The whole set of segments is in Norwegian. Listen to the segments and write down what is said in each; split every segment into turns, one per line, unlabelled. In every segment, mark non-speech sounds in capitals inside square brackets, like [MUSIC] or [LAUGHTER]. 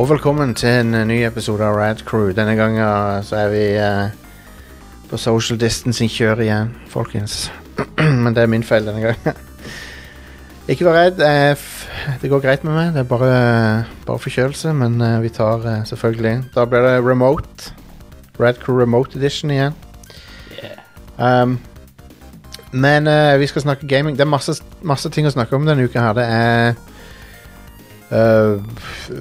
Og velkommen til en eh, ny episode av Rad Crew. Denne gangen eh, så er vi eh, på social distancing-kjør igjen, folkens. [CLEARS THROAT] Men det er min feil denne gangen. [LAUGHS] Ikke vær redd. jeg f- Det går greit med meg. Det er bare, eh, bare forkjølelse, men eh, vi tar eh, selvfølgelig Da blir det remote. Rad Crew Remote Edition igjen. Um, men eh, vi skal snakke gaming. Det er masse, masse ting å snakke om denne uka her. Det er eh,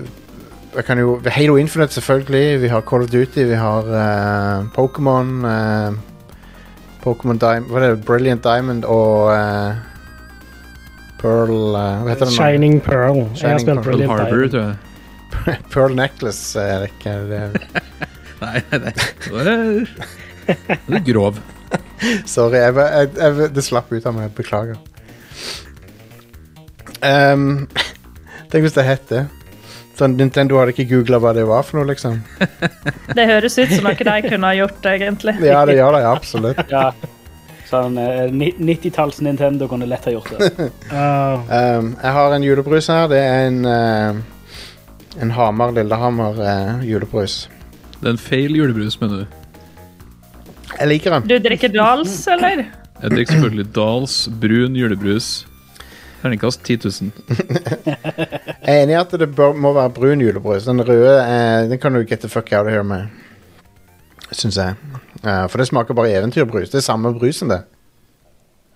jeg kan jo, Halo Infinite, selvfølgelig. Vi har Call of Duty, vi har eh, Pokémon. eh, Pokémon Diamond Hva er det? Brilliant Diamond og eh, Pearl eh, Hva heter den? nå?
Shining Pearl. jeg har
Shining Pearl
spilt Brilliant
Harbor,
Diamond.
tror jeg.
[LAUGHS] Pearl Necklace, Erik. er det-
Nei, [LAUGHS] nei. Nå er du er grov.
Sorry, jeg, var- jeg, jeg, det slapp ut av meg. Beklager. Ehm, [LAUGHS] tenk hvis det het det. Sånn, Nintendo hadde ikke googla hva det var for noe, liksom.
Det høres ut som noe de kunne ha gjort, egentlig.
Ja, det gjør det, ja, absolutt.
Ja. Sånn eh, ni- 90-talls Nintendo kunne lett ha gjort det.
Ah,
Ehm, jeg har en julebrus her. Det er en eh, En Hamar Lillehammer eh, julebrus.
Det er en feil julebrus, mener du.
Jeg liker den.
Du drikker Dahls, eller?
Jeg drikker selvfølgelig Dahls brun julebrus. Terningkast 10 000.
Jeg er enig i at det bør, må være brun julebrus. Den røde eh, den kan du get the fuck out of here med. Syns jeg. Eh, for det smaker bare eventyrbrus. Det er samme brusen, det.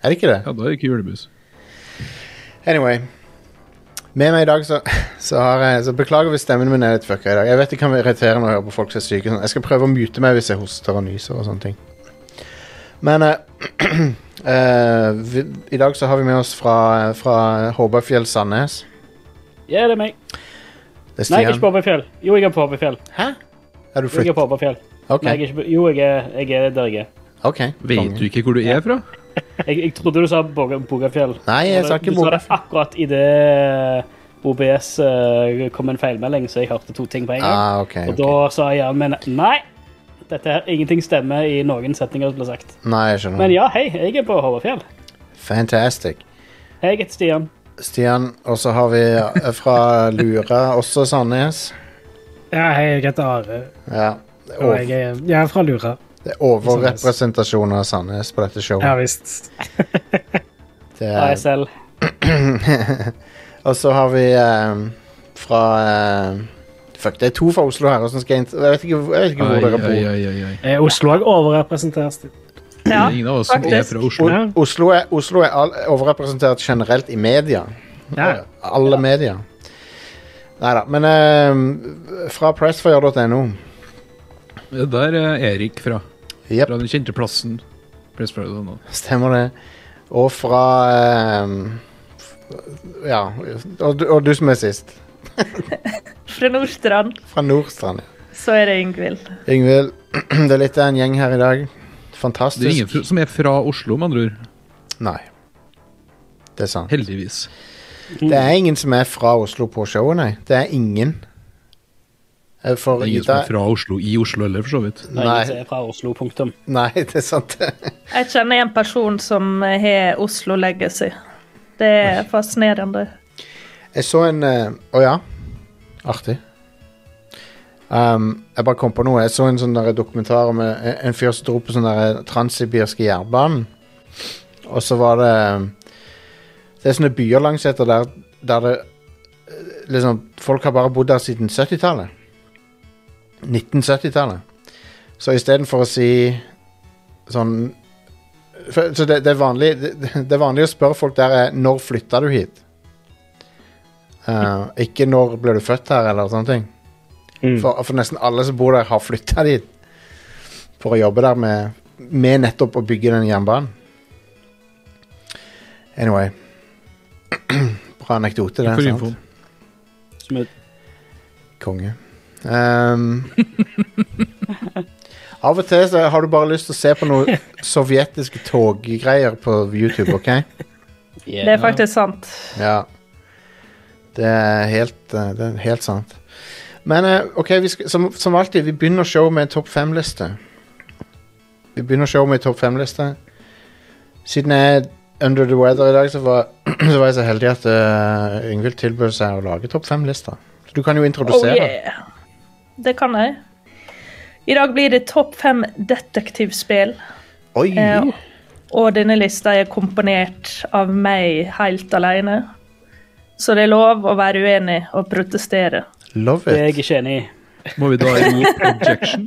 Er det ikke det?
Ja, da er det ikke julebrus.
Anyway. Med meg i dag så, så har jeg Så beklager hvis stemmen min er litt fucka i dag. Jeg vet det kan være irriterende å høre på folk som er syke. og sånn. Jeg skal prøve å mute meg hvis jeg hoster og nyser og sånne ting. Men eh, [CLEARS THROAT] eh, vi, i dag så har vi med oss fra, fra Håberfjell Sandnes.
Ja, det er meg.
Det er
Nei, jeg er ikke
Stian.
på Håberfjell. Jo, jeg er på Håberfjell.
Hæ? Er du
Jeg er
flyttet?
på Håberfjell.
Ok.
Nei, jeg er ikke på... Jo, jeg er, jeg er der jeg er.
ok.
Vet du ikke hvor du er fra?
Jeg, jeg trodde du sa Boga- Bogafjell.
Nei, jeg sa
Du
ikke
sa
Boga.
det akkurat idet OBS eh, kom en feilmelding, så jeg hørte to ting på en gang.
Ah, ok.
Og
ok.
da sa hjernen min nei. Dette her, Ingenting stemmer i noen setninger som ble sagt.
Nei, jeg
Men
skjønner.
ja, hei, jeg er på Håberfjell.
Fantastic.
Hei, jeg heter Stian.
Stian, og så har vi eh, fra Lura, også Sandnes.
ja, hei, jeg heter Are,
Ja.
og
Og
jeg er, jeg er fra Lura.
Det er overrepresentasjon av Sandnes på dette showet.
Ja visst.
Det er-
ASL.
[LAUGHS] og så har vi eh, fra eh, Fuck, det er to fra Oslo her. Hvordan skal jeg, int- jeg vet ikke, jeg vet ikke hvor
Ai,
dere
ai,
bor.
ai, ai, ai.
Er Oslo òg overrepresentert?
Det
Ja.
er ingen av oss som er
faktisk.
fra Oslo.
Ja.
Oslo er, Oslo er all, overrepresentert generelt i media.
Ja.
Alle medier. Nei da. Men eh, fra pressfire.no.
Der er Erik fra.
Jepp,
Fra den kjente plassen. Pressfire nå.
stemmer det. Og fra eh, f- Ja. Og, du- og du som er sist.
Fra Nordstrand
Fra Nordstrand. ja.
så er det Yngvild.
Yngvild, [CLEARS THROAT] det er litt av en gjeng her i dag. Fantastisk.
Det er ingen fr- som er fra Oslo, med andre ord.
Nei. Det er sant.
Heldigvis.
Det er ingen som er fra Oslo på showet, nei. Det er ingen. Eh,
Det
For
er ingen
Ida
som er fra Oslo i Oslo heller, for så vidt.
Nei. Jeg
Nei,
er fra Oslo, punktum.
nei, [LAUGHS] det er sant.
Jeg kjenner en person som har Oslo legacy. Det er fascinerende.
Jeg så en eh, Å ja. Artig. Um, jeg bare kom på noe. Jeg så en sånn der dokumentar om eh, en fyr som dro på sånn der transsibirske jernbanen. Og så var det eh, Det er sånne byer langsetter der, der det eh, liksom Folk har bare bodd der siden 70-tallet. 1970-tallet. Så istedenfor å si sånn for, Så det, det, er vanlig, det, det er vanlig å spørre folk der er Når flytta du hit? Eh, ikke når ble du født her, eller sånne ting.
Mm.
For, for nesten alle som bor der, har flytta dit for å jobbe der med, med nettopp å bygge den jernbanen. Anyway. [CLEARS THROAT] Bra anekdote, det.
Takk for
sant?
infoen.
Smooth.
Konge. Ehm, [LAUGHS] av og til så har du bare lyst til å se på noen sovjetiske toggreier på YouTube, OK?
Det er faktisk sant.
Ja. Det er helt, eh, det er helt sant. Men eh, OK, vi skal, som, som alltid, vi begynner showet med en topp fem-liste. Vi begynner showet med en topp fem-liste. Siden jeg er under [CLEARS THROAT] the weather i dag, så var, så var jeg så heldig at eh, Yngvild tilbød seg å lage topp fem-lista. Du kan jo
Oh
introdusere.
yeah. Det kan jeg. I dag blir det topp fem detektivspill.
Oi!
Eh, og denne lista er komponert av meg helt alene. Så det er lov å være uenig og protestere.
Love
Det
it.
er jeg ikke enig i.
Må vi da imot objection?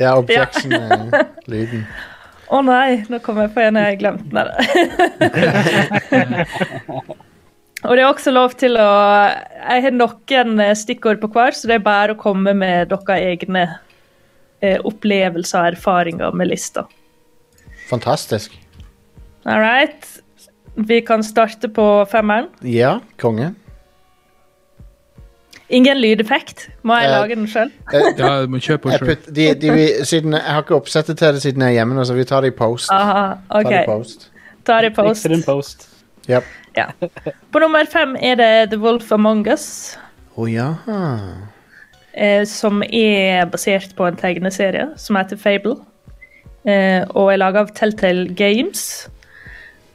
Ja, objection-lyden. [LAUGHS]
Å nei, nå kom jeg på en jeg glemte. Nei, da. og det er også lov til å Jeg har noen eh, stikkord på hver, så det er bare å komme med deres egne eh, opplevelser og erfaringer med lista.
Fantastisk.
All right. Vi kan starte på femmeren.
Ja, konge.
Ingen lydeffekt. Må jeg
Eh,
lage den sjøl?
Jeg,
Ja, du må kjøpe
jeg,
sjøl.
putt, de, de, vi- siden, jeg har ikke oppsettet til det siden jeg er hjemme nå, så vi tar det i post. Tar det i
Ah, OK.
post.
Ta det i
Post.
post.
Din post.
Yep.
Ja. På nummer fem er det The Wolf Among Us,
Å ja.
eh, som er basert på en tegneserie som heter Fable, eh, og er laga av Telltale Games,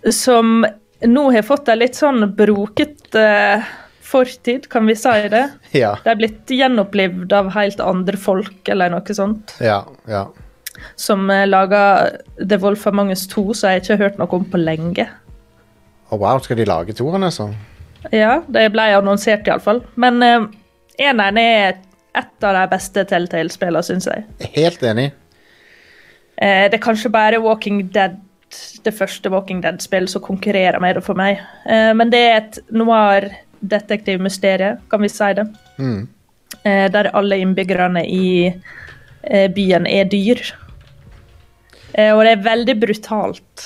som nå har fått en litt sånn broket eh, fortid, kan vi si det.
Ja.
De er blitt gjenopplevd av helt andre folk, eller noe sånt,
Ja. ja.
som eh, laga The Wolf Among Us 2, som jeg ikke har hørt noe om på lenge.
Å, wow, skal de lage toeren, altså?
Ja, det ble annonsert iallfall. Men uh, eneren er et av de beste Telltale-spillene, syns jeg.
Helt enig.
Eh, det er kanskje bare Walking Dead, det første Walking Dead-spillet som konkurrerer med det for meg. Eh, men det er et noir-detektivmysterium, kan vi si det.
Mm.
Eh, der alle innbyggerne i eh, byen er dyr. Eh, og det er veldig brutalt.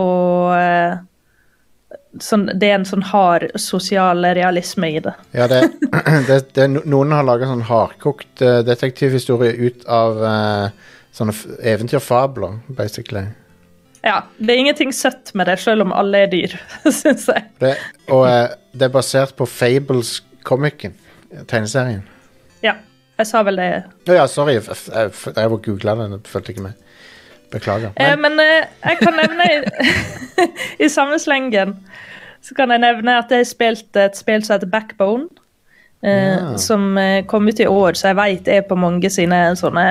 Og eh, sånn, det er en sånn hard sosial realisme i det.
Ja, det, [CLEARS THROAT] det, det, no- noen har laga sånn hardkokt eh, detektivhistorie ut av eh, sånne f eventyrfabler, basically.
Ja, det er ingenting søtt med det, selv om alle er dyr, [LAUGHS] syns jeg.
Det, og eh, det er basert på Fables-komikken. Tegneserien.
Ja, jeg sa vel det.
Å ja, sorry. f- f- Jeg, f- jeg googla den og fulgte ikke med. Beklager.
Eh,
Men,
men eh, jeg kan nevne i, i [LAUGHS] samme slengen så kan jeg nevne at jeg har spilt et spill som heter Backbone. Eh,
Ja.
Som eh, kom ut i år, så jeg veit er på mange sine sånne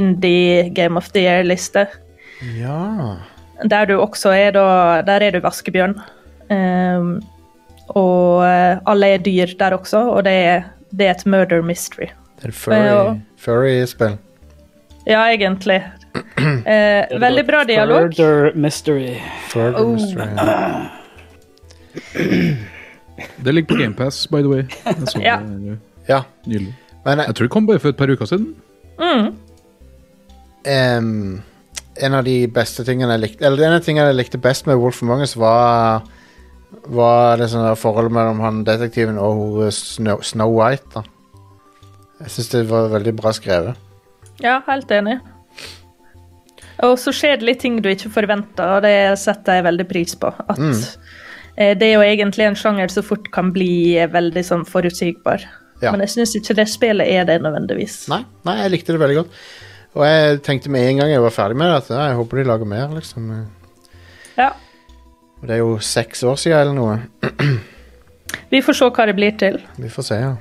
indie Game of the Year-lister.
ja
Der du også er da Der er du vaskebjørn. Ehm, og eh, alle er dyr der også, og det er, det er et murder mystery.
Det er et
Ja.
furry- furry-spill.
Ja, egentlig. Eh, veldig bra dialog.
Murder mystery.
Furry
Oh.
mystery.
Det ligger på GamePass, by
[LAUGHS]
the way. Jeg så
Ja.
det
Ja,
nylig.
men
Jeg tror det kom bare for et par uker siden.
Mm.
ehm, en av de beste tingene jeg likte Eller en av tingene jeg likte best med Wolf Among Us, var, var det sånne forholdet mellom han detektiven og hun, eh, Snow, Snow White. Da. Jeg syns det var veldig bra skrevet.
Ja, helt enig. Og så skjer det litt ting du ikke forventer, og det setter jeg veldig pris på. At
Mm.
eh, det er jo egentlig en sjanger som fort kan bli eh, veldig sånn forutsigbar.
Ja.
Men jeg syns ikke det spillet er det nødvendigvis.
Nei, nei, jeg likte det veldig godt. Og jeg tenkte med en gang jeg var ferdig med det, at ja, jeg håper de lager mer, liksom.
Ja.
Og det er jo seks år siden eller noe.
Vi får se hva det blir til.
Vi får se, ja.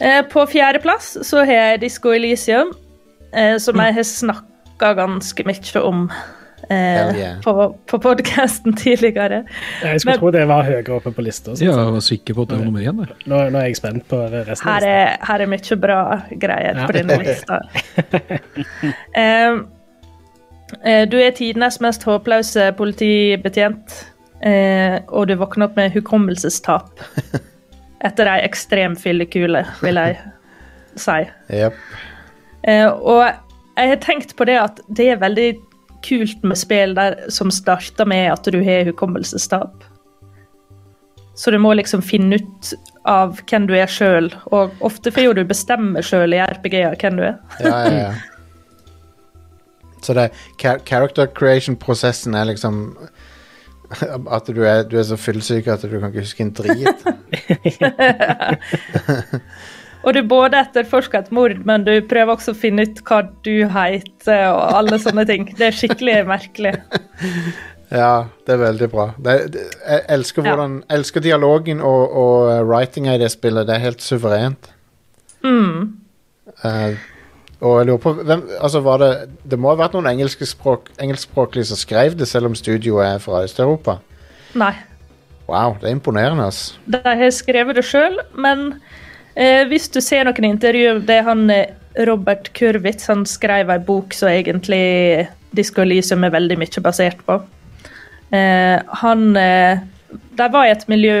Eh, på fjerdeplass så har jeg Disco Elysium, eh, som
Mm.
jeg har snakka ganske mye om eh,
Hell yeah.
på, på podkasten [LAUGHS] tidligere.
Jeg skulle
Men-
tro det var høyere oppe på lista. så-
Ja, jeg var sikker på at det var nummer én. jeg.
Nå, nå er jeg spent på resten. av
Her
lista.
er, her er mye bra greier
Ja. [LAUGHS]
på denne lista. Eh, eh, du er tidenes mest håpløse politibetjent, eh, og du våkner opp
[LAUGHS]
med hukommelsestap etter ei ekstrem fyllekule, vil jeg si.
Jep.
Eh, og jeg har tenkt på det at det er veldig kult med spill der som starter med at du har hukommelsestap. Så du må liksom finne ut av hvem du er sjøl, og ofte får jo du bestemme sjøl i RPG-er hvem du er.
Ja, ja, ja.
[LAUGHS]
Så det char character creation-prosessen er liksom At du er, du er så fyllesyk at du kan ikke huske en
[LAUGHS]
drit.
Og du både etterforsker et mord, men du prøver også å finne ut hva du heter, og alle sånne ting. Det er skikkelig merkelig.
Ja, det er veldig bra. Det, det, jeg elsker,
Ja.
hvordan, elsker dialogen og, og eh, writinga i det spillet. Det er helt suverent.
Mm.
Eh, og jeg lurer på hvem, altså var det, det må ha vært noen engelske språk, engelskspråklige som skrev det, selv om studioet er fra Øst-Europa.
Nei.
Wow, det er imponerende, ass.
De har skrevet det sjøl, men eh, hvis du ser noen intervju Det er han eh, Robert Kurwitz han skrev ei bok som egentlig Disco Elysium er veldig mye basert på. Eh, han eh, De var i et miljø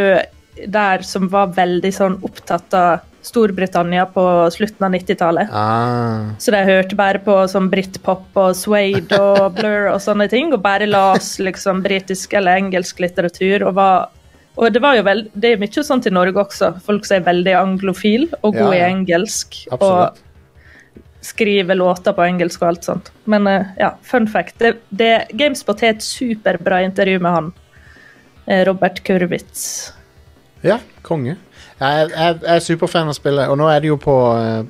der som var veldig sånn opptatt av Storbritannia på slutten av 90-tallet.
Ah,
Så de hørte bare på sånn britpop og Suede
[LAUGHS]
og Blur og sånne ting, og bare las liksom britisk eller engelsk litteratur. Og, var, og det var jo vel, det er mye sånt i Norge også. Folk som er veldig anglofil
Ja,
og god
ja.
i engelsk.
absolutt.
Og skriver låter på engelsk og alt sånt. Men eh, ja, fun fact. Det, det, Gamespot har et superbra intervju med han. eh, Robert Kurwitz.
Ja, konge. Jeg, jeg, jeg er superfan av spillet, og nå er det jo på eh,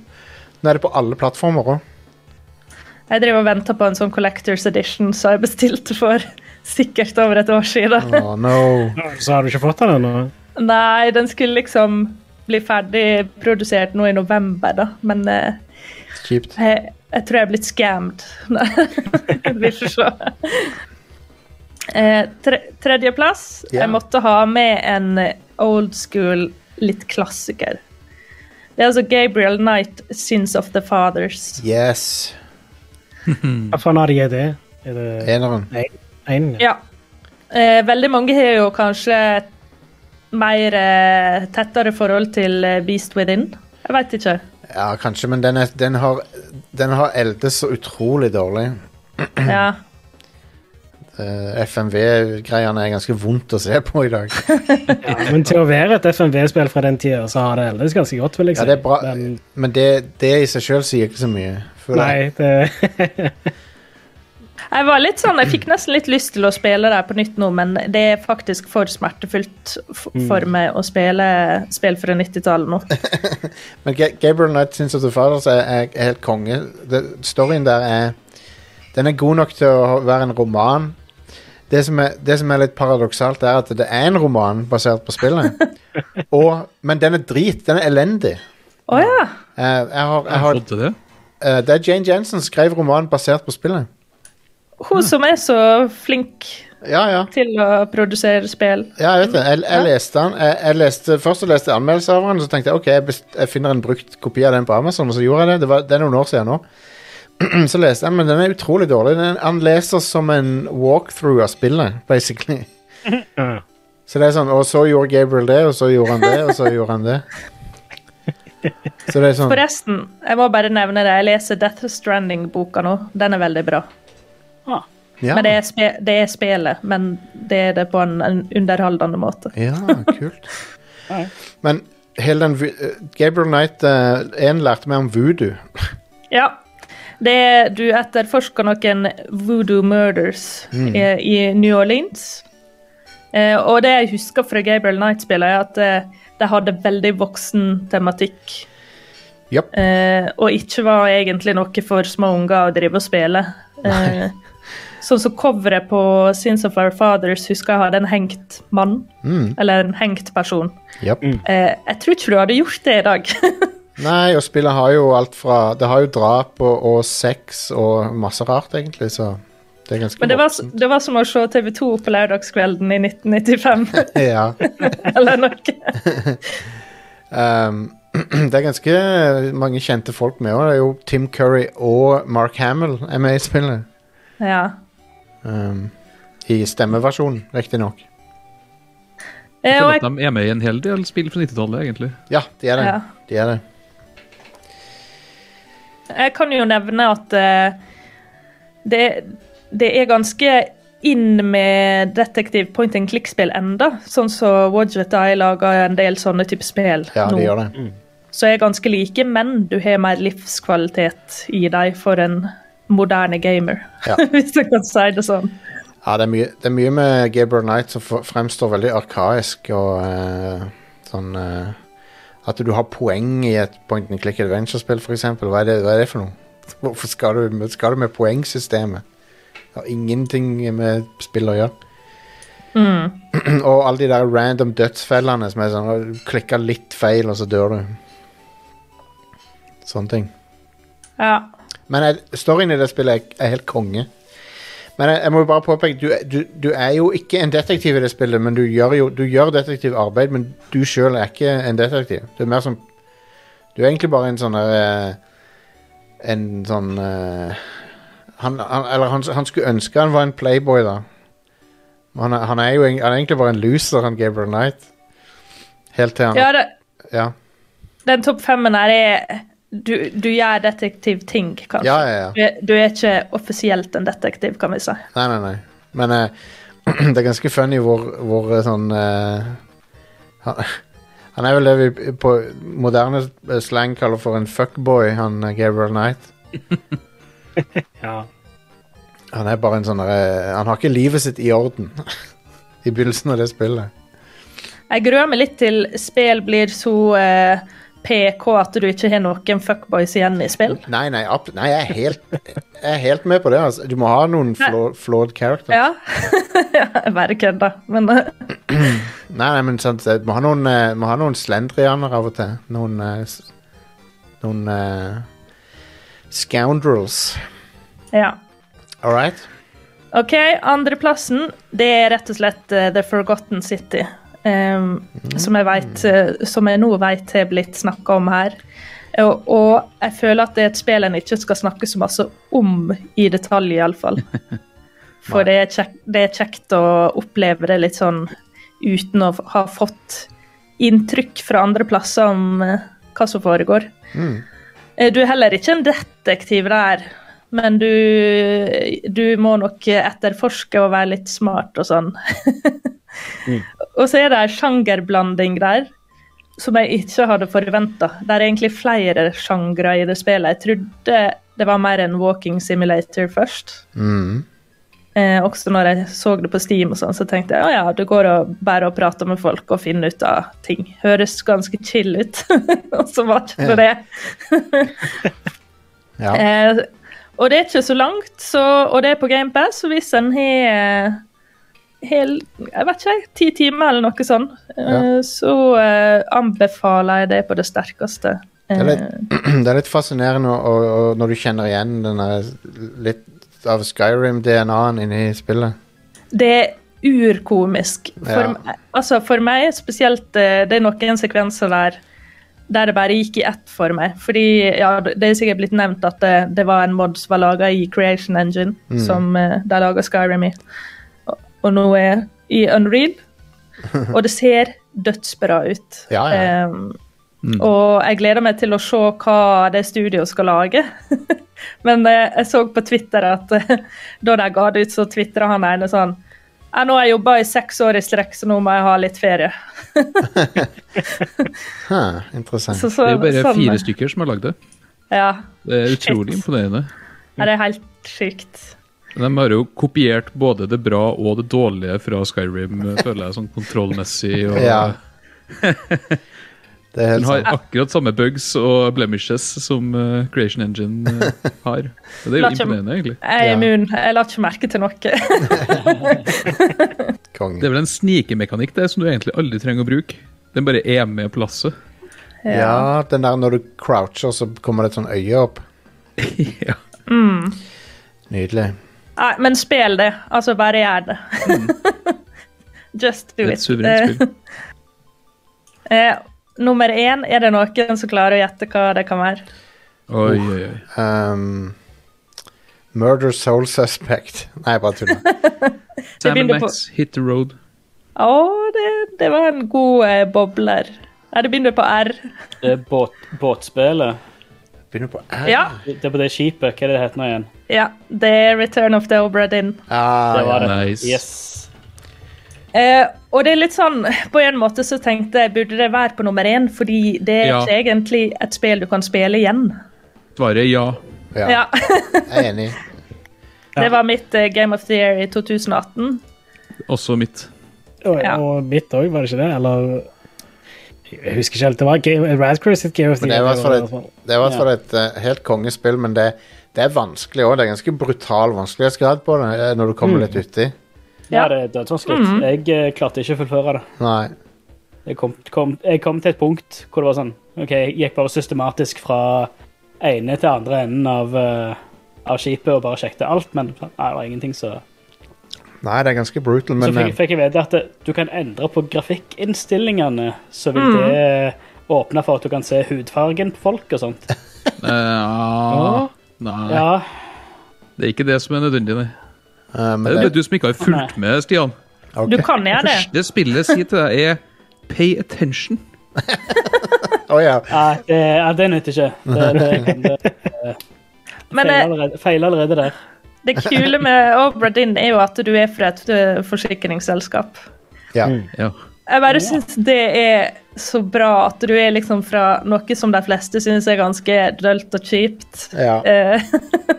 Nå er det på alle plattformer òg.
Jeg driver og venter på en sånn Collectors Edition som jeg bestilte for [LAUGHS] sikkert over et år siden.
Oh, no.
Så har du ikke fått den ennå?
Nei, den skulle liksom bli ferdig produsert nå i november, da. Men eh,
Kjipt.
jeg, jeg tror jeg er blitt scammed. [LAUGHS] Nei, Vi får se. Eh, tre, Tredjeplass.
Ja.
Jeg måtte ha med en old school, litt klassiker. Det er altså Gabriel Knight, 'Sins of the Fathers'.
Yes. Mm.
Hva faen har de i det? Er det
Eneren.
én?
Ja. Eh, veldig mange har jo kanskje mer eh, tettere forhold til eh, Beast Within. Jeg veit ikke.
Ja, kanskje, men den, er, den har Den har eldes så utrolig dårlig.
Ja.
Eh, FMV-greiene er ganske vondt å se på i dag.
Ja, men til å være et FNV-spill fra den tida, så har det heldigvis ganske godt, vil jeg si.
Ja, det er bra,
Men,
men det, det i seg sjøl sier ikke så mye. For det-
nei, det
Jeg var litt sånn, jeg fikk nesten litt lyst til å spille der på nytt nå, men det er faktisk for smertefullt f- for meg å spille spill fra 90-tallet nå.
Men Ga- Gabriel Knight Sins of the Fathers er, er, er helt konge. Det, storyen der er Den er god nok til å være en roman. Det som er, det som er litt paradoksalt, er at det er en roman basert på spillet. Og, men den er drit. Den er elendig.
Å ja!
Eh, jeg har, jeg
Jeg
har,
har fått til det.
eh, det er Jane Jensen som skrev romanen basert på spillet.
Hun som er så flink
Ja, ja.
til å produsere spill.
Ja, jeg vet det. Jeg, jeg
Ja.
leste den. Jeg, jeg leste, først så leste jeg anmeldelser av den, så tenkte jeg ok, jeg, best, jeg finner en brukt kopi av den på Amazon, og så gjorde jeg det. Det, var, det er noen år siden nå. [CLEARS THROAT] så leste jeg den, men den er utrolig dårlig. Den, han leser som en walkthrough av spillet, basically.
ja.
Så det er sånn, og så gjorde Gabriel det, og så gjorde han det, og så gjorde
[LAUGHS]
han det. Så det er sånn
Forresten, jeg må bare nevne det, jeg leser Death Stranding-boka nå. Den er veldig bra.
Ah,
ja,
Men det er, spe det er spillet, men det er det på en, en underholdende måte.
ja, kult.
Ja.
Men hele den vu- eh, Gabriel Knight 1 lærte meg om voodoo.
Ja. Det er, du etterforsker noen voodoo murders
Mm.
i, i New Orleans. Eh, og det jeg husker fra Gabriel Knight-spillet, er at eh, de hadde veldig voksen tematikk.
Japp.
Eh, og ikke var egentlig noe for små unger å drive og spille. Eh, sånn som coveret på Sins of Our Fathers husker jeg hadde en hengt mann.
Mm,
Eller en hengt person.
japp.
Eh, jeg tror ikke du hadde gjort det i dag.
Nei, og spillet har jo alt fra Det har jo drap og, og sex og masse rart, egentlig, så det er ganske
Men det var,
voksent.
det var som å se TV 2 på lørdagskvelden i 1995.
Ja.
[LAUGHS] Eller noe.
ehm, [CLEARS THROAT] det er ganske mange kjente folk med òg. Det er jo Tim Curry og Mark Hamill er med i spillet.
Ja.
Ehm, I stemmeversjonen, riktignok.
Jeg
Eh, og
føler
jeg,
at de er med i en hel del spill fra 90-tallet, egentlig.
Ja, de er det.
Ja.
De er det.
jeg kan jo nevne at eh, det, det er ganske inn med detektiv point and click-spill enda, sånn som så Wadget Eye lager en del sånne type spill
Ja, de
nå,
gjør det.
så er ganske like, men du har mer livskvalitet i deg for en moderne gamer,
Ja.
[LAUGHS] hvis jeg kan si det sånn.
Ja, det er mye, det er mye med Gabriel Knight som f- fremstår veldig arkaisk og eh, sånn eh, At du har poeng i et point and click adventure-spill, f.eks. Hva, er det- hva er det for noe? [LAUGHS] Hvorfor skal du, med- skal du med poengsystemet? Det har ingenting med spill å gjøre.
Mm.
[CLEARS THROAT] Og alle de der random dødsfellene som er sånn «Å, Du klikker litt feil, og så dør du. Sånne ting.
Ja.
Men jeg, storyen i det spillet er, er helt konge. Men jeg, jeg må jo bare påpeke du, du, du er jo ikke en detektiv i det spillet, men du gjør jo du gjør detektivarbeid, men du sjøl er ikke en detektiv. Du er mer som Du er egentlig bare en sånn der eh, En sånn eh, han, han, Eller han, han skulle ønske han var en playboy, da. Men Han, er- han er jo eng- han er egentlig bare en loser, han Gabriel Knight. Helt til han
ja det,
ja.
den topp femmen her er du, du gjør detektivting, kanskje.
ja, ja, ja.
Du, er- du er ikke offisielt en detektiv, kan vi si.
Nei, nei, nei. Men eh, [CLEARS THROAT] det er ganske funny hvor, hvor eh, sånn eh, han, [LAUGHS] han er vel det vi på moderne eh, slang kaller for en fuckboy, han eh, Gabriel Knight.
Ja.
Han er bare en sånn eh, Han har ikke livet sitt i orden [LAUGHS] i begynnelsen av det spillet.
Jeg gruer meg litt til spill blir så eh, PK at du ikke har noen fuckboys igjen i spill.
Nei, nei, ab- nei jeg, er helt, jeg er helt med på det. Altså. Du må ha noen flaw, flawed characters.
Ja. [LAUGHS] Jeg bare kødder, men eh,
Nei, nei, men sant, det- må ha noen, eh, må ha noen slendrianer av og til. Noen eh, s- Noen eh, scoundrels.
ja.
All right?
OK, andreplassen, det er rett og slett eh, The Forgotten City. em, Som jeg vet, eh, som jeg nå vet har blitt snakka om her. Og, og jeg føler at det er et spill en ikke skal snakke så masse om i detalj, iallfall. For det er, kjekt, det er kjekt å oppleve det litt sånn uten å ha fått inntrykk fra andre plasser om eh, hva som foregår.
Mm.
Eh, Du er heller ikke en detektiv der, men du, du må nok etterforske og være litt smart og sånn. [LAUGHS] Og så er det en sjangerblanding der som jeg ikke hadde forventa. Det er egentlig flere sjangre i det spillet. Jeg trodde det var mer en walking simulator først.
Mm.
Eh, også når jeg så det på Steam, og sånn, så tenkte jeg at ja, det går og bare å prate med folk og finne ut av ting. Høres ganske chill ut. [LAUGHS] og så var det ikke det.
Ja.
Eh, og det er ikke så langt, så, og det er på GamePass, så hvis en har eh, hel, jeg vet ikke, ti timer eller noe sånn, eh, så eh, anbefaler jeg det på det sterkeste.
er litt- [CLEARS THROAT]
Eh,
Det er litt fascinerende å, å, å, når du kjenner igjen denne litt av Skyrim-DNA-en inni spillet.
Det er urkomisk. For,
Ja.
meg- altså for meg spesielt eh, Det er noen sekvenser der der det bare gikk i ett for meg. Fordi ja, Det er sikkert blitt nevnt at det, det var en mod som var laga i Creation Engine,
Mm.
som eh, de laga Skyrim i. Og- Og nå er i Unreal. Og det ser dødsbra ut.
Ja, ja.
Ehm, Og jeg gleder meg til å se hva det studioet skal lage. [LAUGHS] Men eh, jeg så på Twitter at [LAUGHS] eh, da de ga det ut, så tvitra han ene sånn «Ja, nå har jeg jobba i seks år i strekk, så nå må jeg ha litt ferie. [LAUGHS]
Huh, interessant.
Så, så,
Det er jo bare
sånn-
fire stykker som har lagd det.
Ja,
Det er utrolig
Shit.
imponerende.
ja, det er helt sykt.
De har jo kopiert både det bra og det dårlige fra Skyrim, eh, føler jeg, sånn kontrollmessig. [LAUGHS] Og,
Ja,
[LAUGHS]
Det er helt
Den har
sant.
akkurat samme bugs og blemishes som eh, Creation Engine eh, har. Og det er
La
jo
ikke-
imponerende, egentlig.
Jeg er
Ja.
immun. Jeg la ikke merke til noe. [LAUGHS]
Det
Konge.
er vel en snikemekanikk det, som du egentlig aldri trenger å bruke. Den bare er med på lasset.
Ja, den der når du croucher, så kommer det et sånn øye opp.
ja.
Nydelig.
Nei, men spill det. Altså, bare gjør det. [LAUGHS] Just do
Det er
it.
Mm. et suverent spill.
Eh, eh, nummer én, er det noen som klarer å gjette hva det kan være?
Oi, oi, oi.
Um, Murder Soul Suspect. [LAUGHS] Nei, jeg bare
[LAUGHS]
tuller.
Sam
begynner på-
Max, Hit the Road.
Å, det, det var en god eh, bobler. Nei, det begynner på R.
Det er båt, båtspillet.
Begynner på R.
Ja,
Det det er på det skipet. Hva er det det heter nå igjen?
ja. Det er Return of the Obra Dinn.
Ah,
Det var det.
Nice.
Yes.
Eh, og det er litt sånn, på en måte så tenkte jeg, burde det være på nummer én? Fordi det er
Ja.
ikke egentlig et spill du kan spille igjen.
Svaret er ja.
ja.
Ja, [LAUGHS]
Jeg er enig.
Det var mitt eh, Game of the Year i 2018.
Også mitt.
Og,
Ja.
og mitt òg, var det ikke det? Eller Jeg husker ikke helt. Det var Game, Radcrew sitt Game of the
Men det er i
Year,
hvert fall
det var-
et, det er i hvert fall et eh, helt kongespill, men det, det er vanskelig òg. Det er ganske brutal vanskelighetsgrad på det eh, når du kommer litt uti.
Ja,
Ja. Mm.
det er dødsvanskelig. Jeg eh, klarte ikke å fullføre det.
Nei.
Jeg kom, kom, jeg kom til et punkt hvor det var sånn OK, jeg gikk bare systematisk fra ene til andre enden av, eh, av skipet og bare sjekket alt, men nei, det var ingenting, så
Nei, det er ganske brutal,
Så
men
fikk,
eh,
fikk jeg vite at det- du kan endre på grafikkinnstillingene, så
Mm.
vil det eh, åpne for at du kan se hudfargen på folk og sånt.
Nei, Eh, ah. nei,
Ja,
det er ikke det som er nødvendig, nei.
eh, men
Det er
det,
bare du som ikke har fulgt med, Stian.
ok.
Du kan gjøre det.
Det spillet sier til deg, er pay attention.
Å, ja.
nei, det, ja, det nytter ikke. Det,
[LAUGHS]
det, det
Men
feiler,
eh,
allerede, feiler allerede der.
det kule med Obra Dinn er jo at du er fra et eh, forsikringsselskap.
ja.
Ja.
Jeg bare syns det er så bra at du er liksom fra noe som de fleste syns er ganske dølt og kjipt.
Ja.
Eh,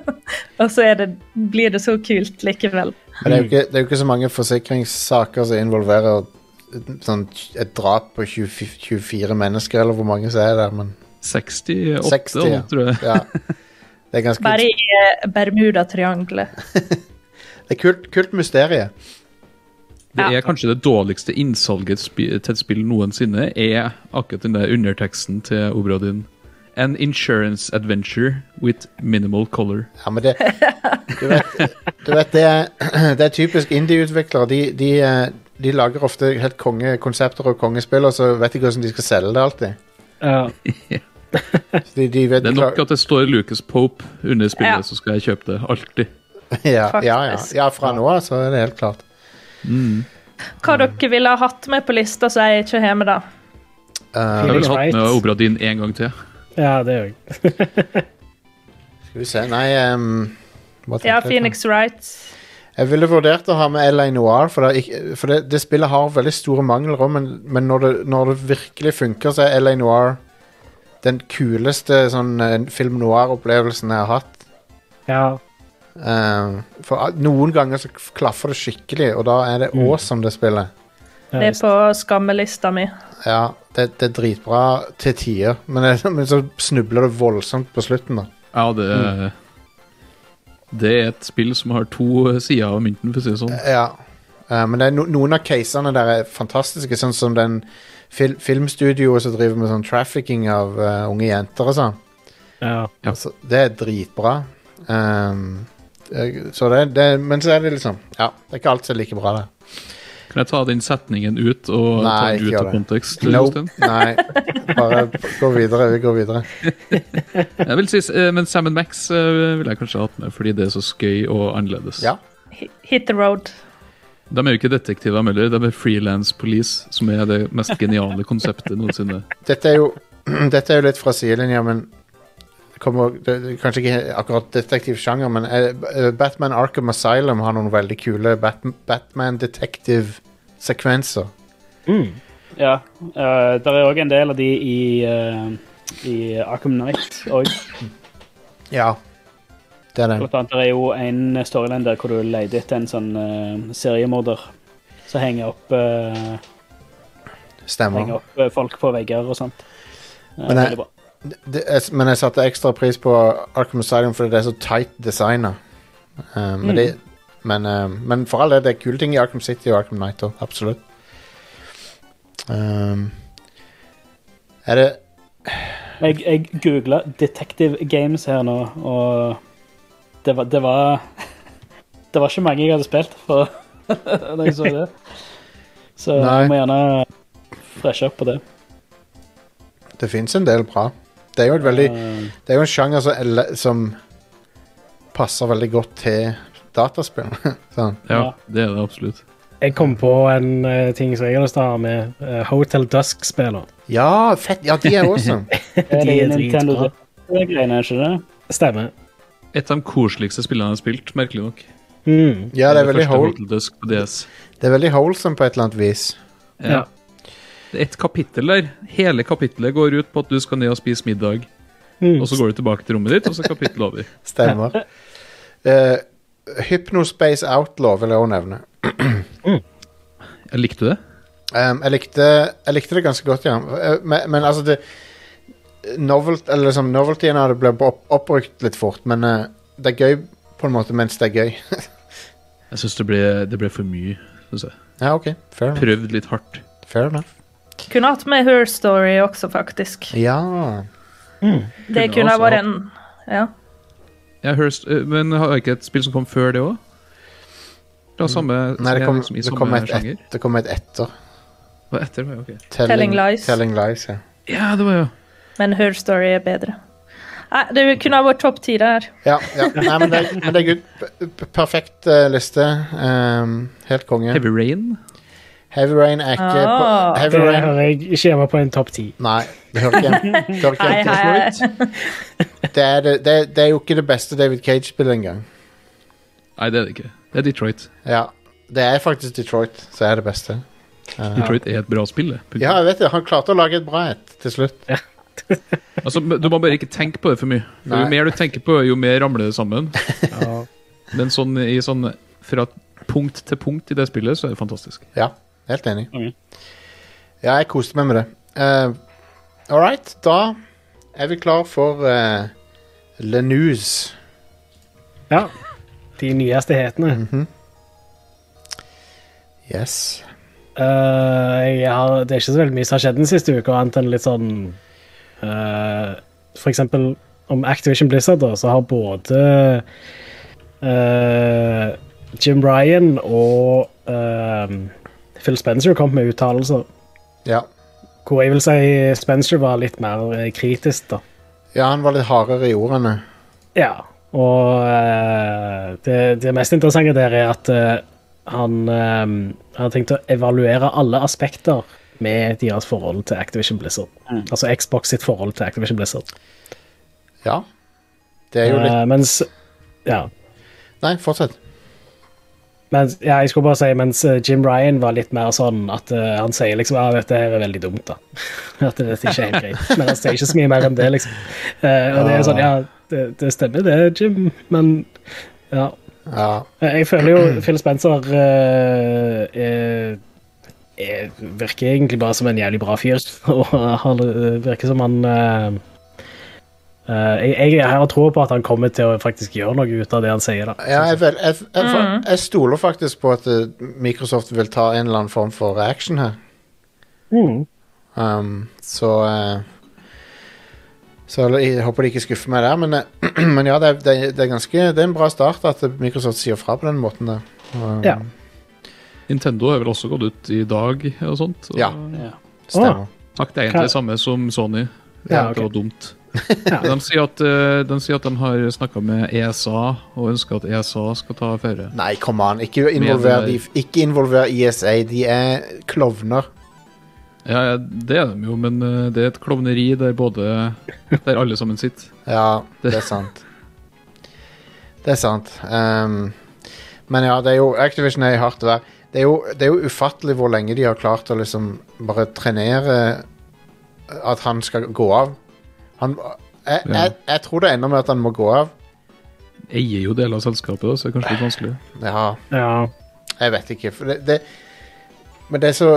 [LAUGHS] og så er det, blir det så kult likevel.
Men det er, jo ikke, det er jo ikke så mange forsikringssaker som involverer sånn, et drap på 20, 24 mennesker, eller hvor mange som er der, men
68,
60, ja.
tror jeg.
ja. Det er ganske
Bare i eh, Bermudatriangelet.
Det er kult, kult mysterie.
Det
Ja.
er kanskje det dårligste innsalget spi- til et spill noensinne, er akkurat den der underteksten til Obradin. An insurance adventure with minimal color.
Ja, men det Du vet, du vet det, er, det er typisk indie-utviklere. De, de, eh, de lager ofte helt kongekonsepter og kongespill, og så vet de ikke hvordan de skal selge det alltid.
Ja.
Så De, de vet
Det er nok at det står Lucas Pope under spillet,
Ja.
så skal jeg kjøpe det. Alltid.
ja, ja, ja.
Faktisk.
ja, fra nå av så er det helt klart. Mm.
Hva dere ville ha hatt med på lista som jeg ikke har med, da?
Eh,
Jeg
Feelings
ville hatt
right.
med Obradin en gang til.
ja, det gjør jeg.
skal vi se Nei ehm, hva tenkte
Ja,
jeg på?
Phoenix Wright.
Jeg ville vurdert å ha med LA Noir, for, det, er ikke- for det, det spillet har veldig store mangler òg, men, men når, det, når det virkelig funker, så er LA Noir den kuleste sånn, eh, film noir-opplevelsen jeg har hatt.
Ja.
Eh, for ah, noen ganger så k- klaffer det skikkelig, og da er det awesome, det spillet.
ja
Det er
visst.
på skammelista mi.
Ja, det, det er dritbra til tider, [LAUGHS] men, det, men så snubler det voldsomt på slutten, da.
Ja, det er,
Mm.
det er et spill som har to sider av mynten, for å si det sånn.
Ja. Eh, men det er no, noen av casene der er fantastiske, sånn som den fil, filmstudioet som driver med sånn trafficking av eh, unge jenter og sånn.
Ja.
Ja.
Altså, det er dritbra. Ehm, eh, så det, det, men så er det liksom Ja, det er ikke alt som er like bra, det.
Kan jeg ta den setningen ut og ta
Nei,
den
ikke
ut
gjør
av
det.
kontekst?
Nope.
Jostein?
Nei. Bare gå videre. Vi går videre.
Jeg vil si, eh, men Sam Max eh, ville jeg kanskje hatt med, fordi det er så skøy og annerledes.
Ja.
Hi- Hit the road.
De er jo ikke detektiver heller, de er freelance police, som er det mest geniale konseptet noensinne.
Dette er jo, [CLEARS THROAT] dette er jo litt fra sidelinja, men det kommer, det, det, er Kanskje ikke akkurat detektivsjanger, men eh, eh, Batman Arkham Asylum har noen veldig kule Bat Batman-detektiv-sekvenser.
Ja. eh, der er òg en del av de i, eh, i Arkham Knight òg.
Ja. Det er det.
Blant annet der er jo en storyline der hvor du leter etter en sånn eh, seriemorder som henger opp, eh, henger
Stemmer.
opp eh, folk på vegger og sånt. Eh,
Men jeg-
veldig bra.
Det, jeg, men jeg satte ekstra pris på Arkham Asylum fordi det er så tight designa. men, det- men, eh, men for all del, det er kule ting i Arkham City og Arkham Knight òg. Absolutt. Um, er det
Jeg, jeg googla Detective Games her nå, og det var, det var Det var ikke mange jeg hadde spilt for [LAUGHS] da jeg så det. Så
Nei.
jeg må gjerne freshe opp på det.
Det fins en del bra. Det er jo, et veldig, det er jo en sjanger som, ele- som passer veldig godt til dataspill. [LAUGHS] sånn.
Ja, det er det absolutt.
Jeg kom på en eh, ting som jeg har lyst til å ha med. eh, Hotel Dusk-spiller.
Ja, fett! Ja, de er [LAUGHS] awesome.
Eh, Det
[LAUGHS]
er
De er
Nintendo
dritbra.
Direct-greiene, er ikke det?
Stemmer.
Et av de koseligste spillene jeg har spilt, merkelig nok.
Mm.
Ja, det er veldig,
første
hol
Hotel Dusk på DS.
det er veldig wholesome på et eller annet vis.
Ja. Det er et kapittel der. Hele kapittelet går ut på at du skal ned og spise middag,
Mm.
og så går du tilbake til rommet ditt, og så er kapittelet over.
Stemmer. [LAUGHS] Eh, Hypnospace Outlaw vil jeg òg nevne.
[LAUGHS] Jeg likte det.
Ehm, jeg, likte, jeg likte det ganske godt, ja. Eh, Men, men altså det novelt, eller liksom, Noveltyen av det blir opp, oppbrukt litt fort, men eh, det er gøy på en måte mens det er gøy.
Jeg syns det, ble- det ble for mye. Synes jeg.
Ja, OK. Fair enough.
Prøvd litt hardt.
Fair enough.
Kunne hatt med Her Story også, faktisk.
Ja.
Det
Kunne
kunne ha
altså
vært
hatt-
en ja.
Jeg har hørt, eh, men har ikke et spill som kom før det òg? Mm. Det var samme
Nei, det kom,
liksom i
det
samme
kom, et,
sjanger?
et, det kom et etter.
Det var etter, det, ok.
Telling Lies.
Telling lies ja.
Ja, det var jo
men Her Story er bedre. Nei, det kunne ha vært topp ti der.
Ja, ja. Nei, men det, men det er good. P- p- Perfekt eh, liste. Ehm, helt konge.
Heavy Rain.
Heavy Rain er ikke på,
Ah.
Heavy
Det
Rain
hører jeg ikke hjemme på en topp ti.
Nei, det hører ikke hjem- det hører ikke
Hei,
hjem til
hei.
det er, det, det, det er jo ikke det beste David Cage-spillet engang.
Nei, det er det ikke. Det er Detroit.
Ja. Det er faktisk Detroit som er det beste. Eh,
[LAUGHS] Detroit er et bra spill. det. Punktum.
ja, jeg vet det. Han klarte å lage et bra et til slutt.
Altså, men du må bare ikke tenke på det for mye. For
Nei.
jo mer du tenker på, jo mer ramler det sammen.
[LAUGHS]
Men sånn, i sånn, fra punkt til punkt i det spillet, så er det fantastisk.
Ja, helt enig.
Ok.
Ja, jeg koste meg med det. Uh, All right, da er vi klar for uh, Le News.
Ja. De nyeste hetene.
Yes.
Eh, jeg har, det er ikke så veldig mye som har skjedd den siste uka, annet enn litt sånn eh, For eksempel om Activision Blizzard, da, så har både eh, Jim Ryan og eh, Phil Spencer kommet med uttalelser.
Ja.
Hvor jeg vil si Spencer var litt mer eh, kritisk, da.
ja, han var litt hardere i ordene.
Ja, og eh, det, det mest interessante der er at eh, han eh, har tenkt å evaluere alle aspekter med deres forhold til Activision Blizzard.
Mm.
Altså Xbox sitt forhold til Activision Blizzard.
Ja. Det er jo litt
Eh, mens ja,
Nei, fortsett.
mens, ja, jeg skulle bare si mens eh, Jim Ryan var litt mer sånn at eh, han sier liksom at dette her er veldig dumt, da. [LAUGHS] at dette ikke er helt greit. Men han sier ikke så mye mer enn det, liksom. Eh, og det er sånn, ja, det, det stemmer det, Jim, men ja.
Ja.
Jeg føler jo Phil Spencer eh, eh, eh, virker egentlig bare som en jævlig bra fyr. [LAUGHS] Og han eh, virker som han eh, eh, jeg, jeg har tro på at han kommer til å faktisk gjøre noe ut av det han sier. da.
Ja, jeg, vel, jeg, jeg, jeg, jeg stoler faktisk på at eh, Microsoft vil ta en eller annen form for action her.
Mm.
Um, så eh, Så jeg håper de ikke skuffer meg der, men, eh, [CLEARS THROAT] men ja, det er, det, er- det er ganske Det er en bra start at Microsoft sier fra på den måten der. Um,
Ja.
Nintendo har vel også gått ut i dag og sånt. Og
Ja.
Ja.
Stemmer.
Sagt egentlig
Hva-
det samme som Sony.
Ja,
Det
ok.
var
[LAUGHS]
dumt. De, sier at, eh, de sier at de har snakka med ESA og ønsker at ESA skal ta affære.
Nei, kom an. Ikke involver, de, ikke involver ISA. De er klovner.
Ja, ja, det er de jo, men eh, det er et klovneri der både Der alle sammen sitter.
Ja, det er sant. Det er sant. Um, men ja, det er jo Activision er i hardt vær. Det er, jo, det er jo ufattelig hvor lenge de har klart å liksom bare trenere eh, at han skal gå av. Han Jeg,
Ja.
jeg, jeg tror det ender med at han må gå av.
Eier jo deler av selskapet, da, så det er kanskje litt vanskelig.
Ja,
Ja.
jeg vet ikke. For det, det, men det er så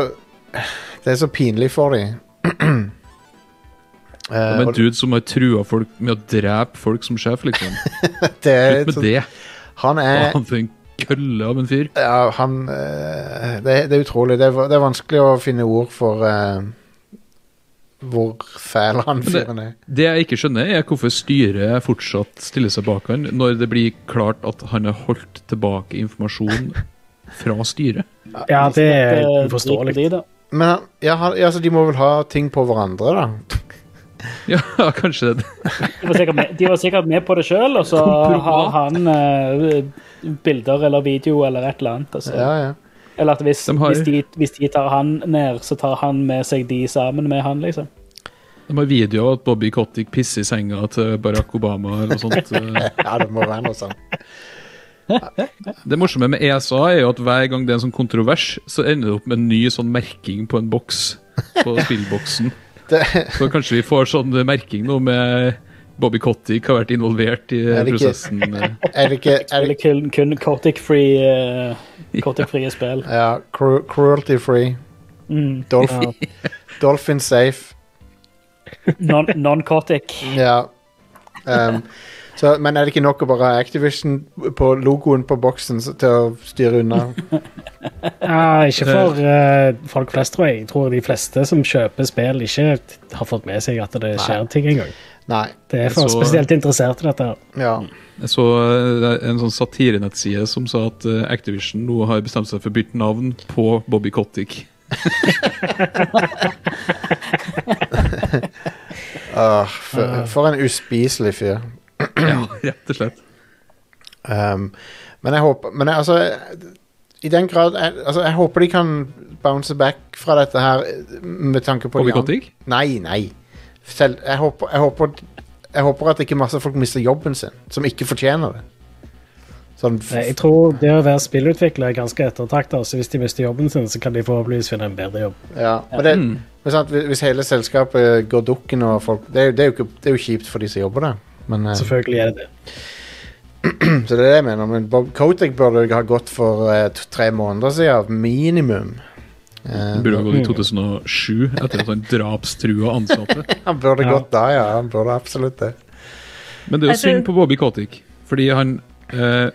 Det er så pinlig for [CLEARS THROAT] Eh, dem. Eh,
Ja, men en dude som har trua folk med å drepe folk som sjef, liksom.
Eh,
Slutt med det.
Han er
Faen, for en kølle av en fyr.
Ja, han eh, det, det er utrolig. Det er, va- det er vanskelig å finne ord for eh, hvor fæl han
det-
fyren er.
Det jeg ikke skjønner, er hvorfor styret fortsatt stiller seg bak han når det blir klart at han har holdt tilbake informasjon fra styret. [LAUGHS]
ja, det eh, er
Dette-
uforståelig.
drit i det.
Men han- ja, han, ja, så de må vel ha ting på hverandre, da.
Ja, kanskje det.
De var sikkert med, de var sikkert med på det sjøl, og så
[LAUGHS]
har han eh, bilder eller video eller et eller annet. Altså.
Ja, ja.
Eller at hvis,
De har-
hvis, de, hvis de tar han ned, så tar han med seg de sammen med han, liksom.
De har video av at Bobby Cottick pisser i senga til Barack Obama eller noe sånt. eh.
ja det må være noe sånt.
Det morsomme med ESA er jo at hver gang det er en sånn kontrovers, så ender det opp med en ny sånn merking på en boks.
[LAUGHS]
På spillboksen.
Det,
Så kanskje vi får sånn merking nå med Bobby Cottick har vært involvert i
Er det ikke-
prosessen.
er det ikke er
Eller
det,
kun, kun Cortic-free eh, Cortic-frie spill.
Ja, cru, cruelty free.
Mm.
Dolph, Dolphin safe.
Non- Non-Cortic.
Ja. Um, Så, men er det ikke nok å bare ha Activision på logoen på boksen så- til å styre unna?
Ja, ikke for eh, folk flest, tror jeg. Jeg tror de fleste som kjøper spill, ikke har fått med seg at det skjer ting engang.
Nei.
Det er for
Så-
spesielt interesserte, dette. her.
Ja.
Jeg så eh, en sånn satirenettside som sa at eh, Activision nå har bestemt seg for å bytte navn på Bobby Cottick.
Åh, for, for en uspiselig fyr.
Ja, rett og slett.
Um, men jeg håper Men jeg, altså I den grad jeg, altså, jeg håper de kan bounce back fra dette her eh, med tanke på
Bobby
de andre-
Cottick?
Nei, nei. Selv, jeg, håper, jeg, håper, jeg håper at ikke masse folk mister jobben sin, som ikke fortjener det. Sånn f-
Nei, Jeg tror det å være spillutvikler er ganske ettertrakta, så hvis de mister jobben sin, så kan de forhåpentligvis finne en bedre jobb.
ja. Men det,
Mm.
men sant, hvis- hvis hele selskapet går dukken og folk Det er, jo- det er, jo, ikke, det er jo kjipt for de som jobber der. Men, eh,
Selvfølgelig er det det.
så det er det jeg mener. Men Bob Kotek burde ha gått for eh, t- tre måneder siden, minimum. Eh,
Han Burde ha gått i 2007, etter at han drapstrua ansatte.
han burde
Ja.
gått da, ja. Han burde absolutt det.
Men det er jo
Jeg tror-
synd på Bobby Cottick, fordi han eh,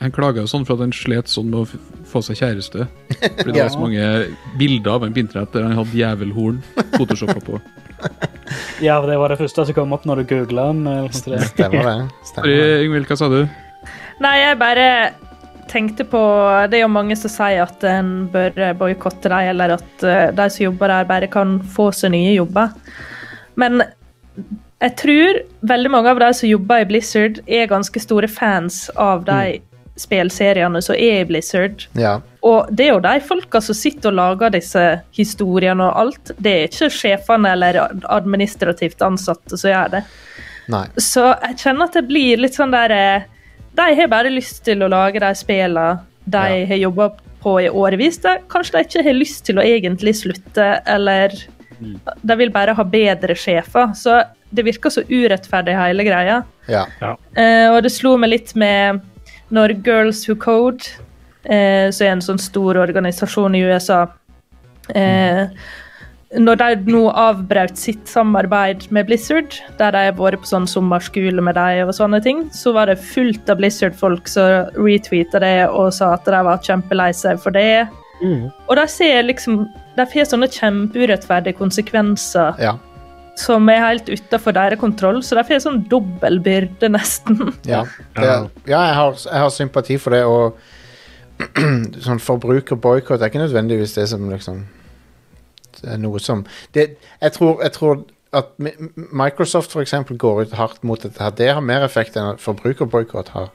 Han klaga jo sånn for at han slet sånn med å f- få seg kjæreste.
[LAUGHS]
Fordi det
Ja.
var så mange bilder av ham på internett der han hadde djevelhorn
[LAUGHS]
photoshoppa på.
Ja, for det var det første som kom opp når du googla den. eh, liksom. eller sånt som det.
Stemmer det. Stemmer det.
Sorry, Ingvild, hva sa du?
[LAUGHS] Nei, jeg bare tenkte på Det er jo mange som sier at en bør boikotte dem, eller at eh, de som jobber der, bare kan få seg nye jobber. Men jeg tror veldig mange av de som jobber i Blizzard, er ganske store fans av de spillseriene som er i Blizzard.
Ja.
Og det er jo de folka som sitter og lager disse historiene og alt. Det er ikke sjefene eller administrativt ansatte som gjør det.
Nei.
Så jeg kjenner at det blir litt sånn der eh, De har bare lyst til å lage de spillene de
Ja.
har jobba på i årevis. De, kanskje de ikke har lyst til å egentlig slutte, eller de vil bare ha bedre sjefer. Så det virker så urettferdig, hele greia.
Ja.
Eh, og det slo meg litt med når Girls Who Code, eh, som er en sånn stor organisasjon i USA eh, Når de nå avbrøt sitt samarbeid med Blizzard, der de har vært på sånn sommerskole med dem og sånne ting, så var det fullt av Blizzard-folk som retweeta det og sa at de var kjempelei seg for det.
Mm.
Og de ser liksom De får sånne kjempeurettferdige konsekvenser
Ja.
som er helt utafor deres kontroll, så de får sånn dobbel byrde, nesten. [LAUGHS]
Ja, det, er- ja jeg, har, jeg har sympati for det, og [CLEARS THROAT] sånn forbrukerboikott er ikke nødvendigvis det som liksom det er noe som det, jeg, tror, jeg tror at Mi- Microsoft for eksempel går ut hardt mot dette her. Det har mer effekt enn at forbrukerboikott har.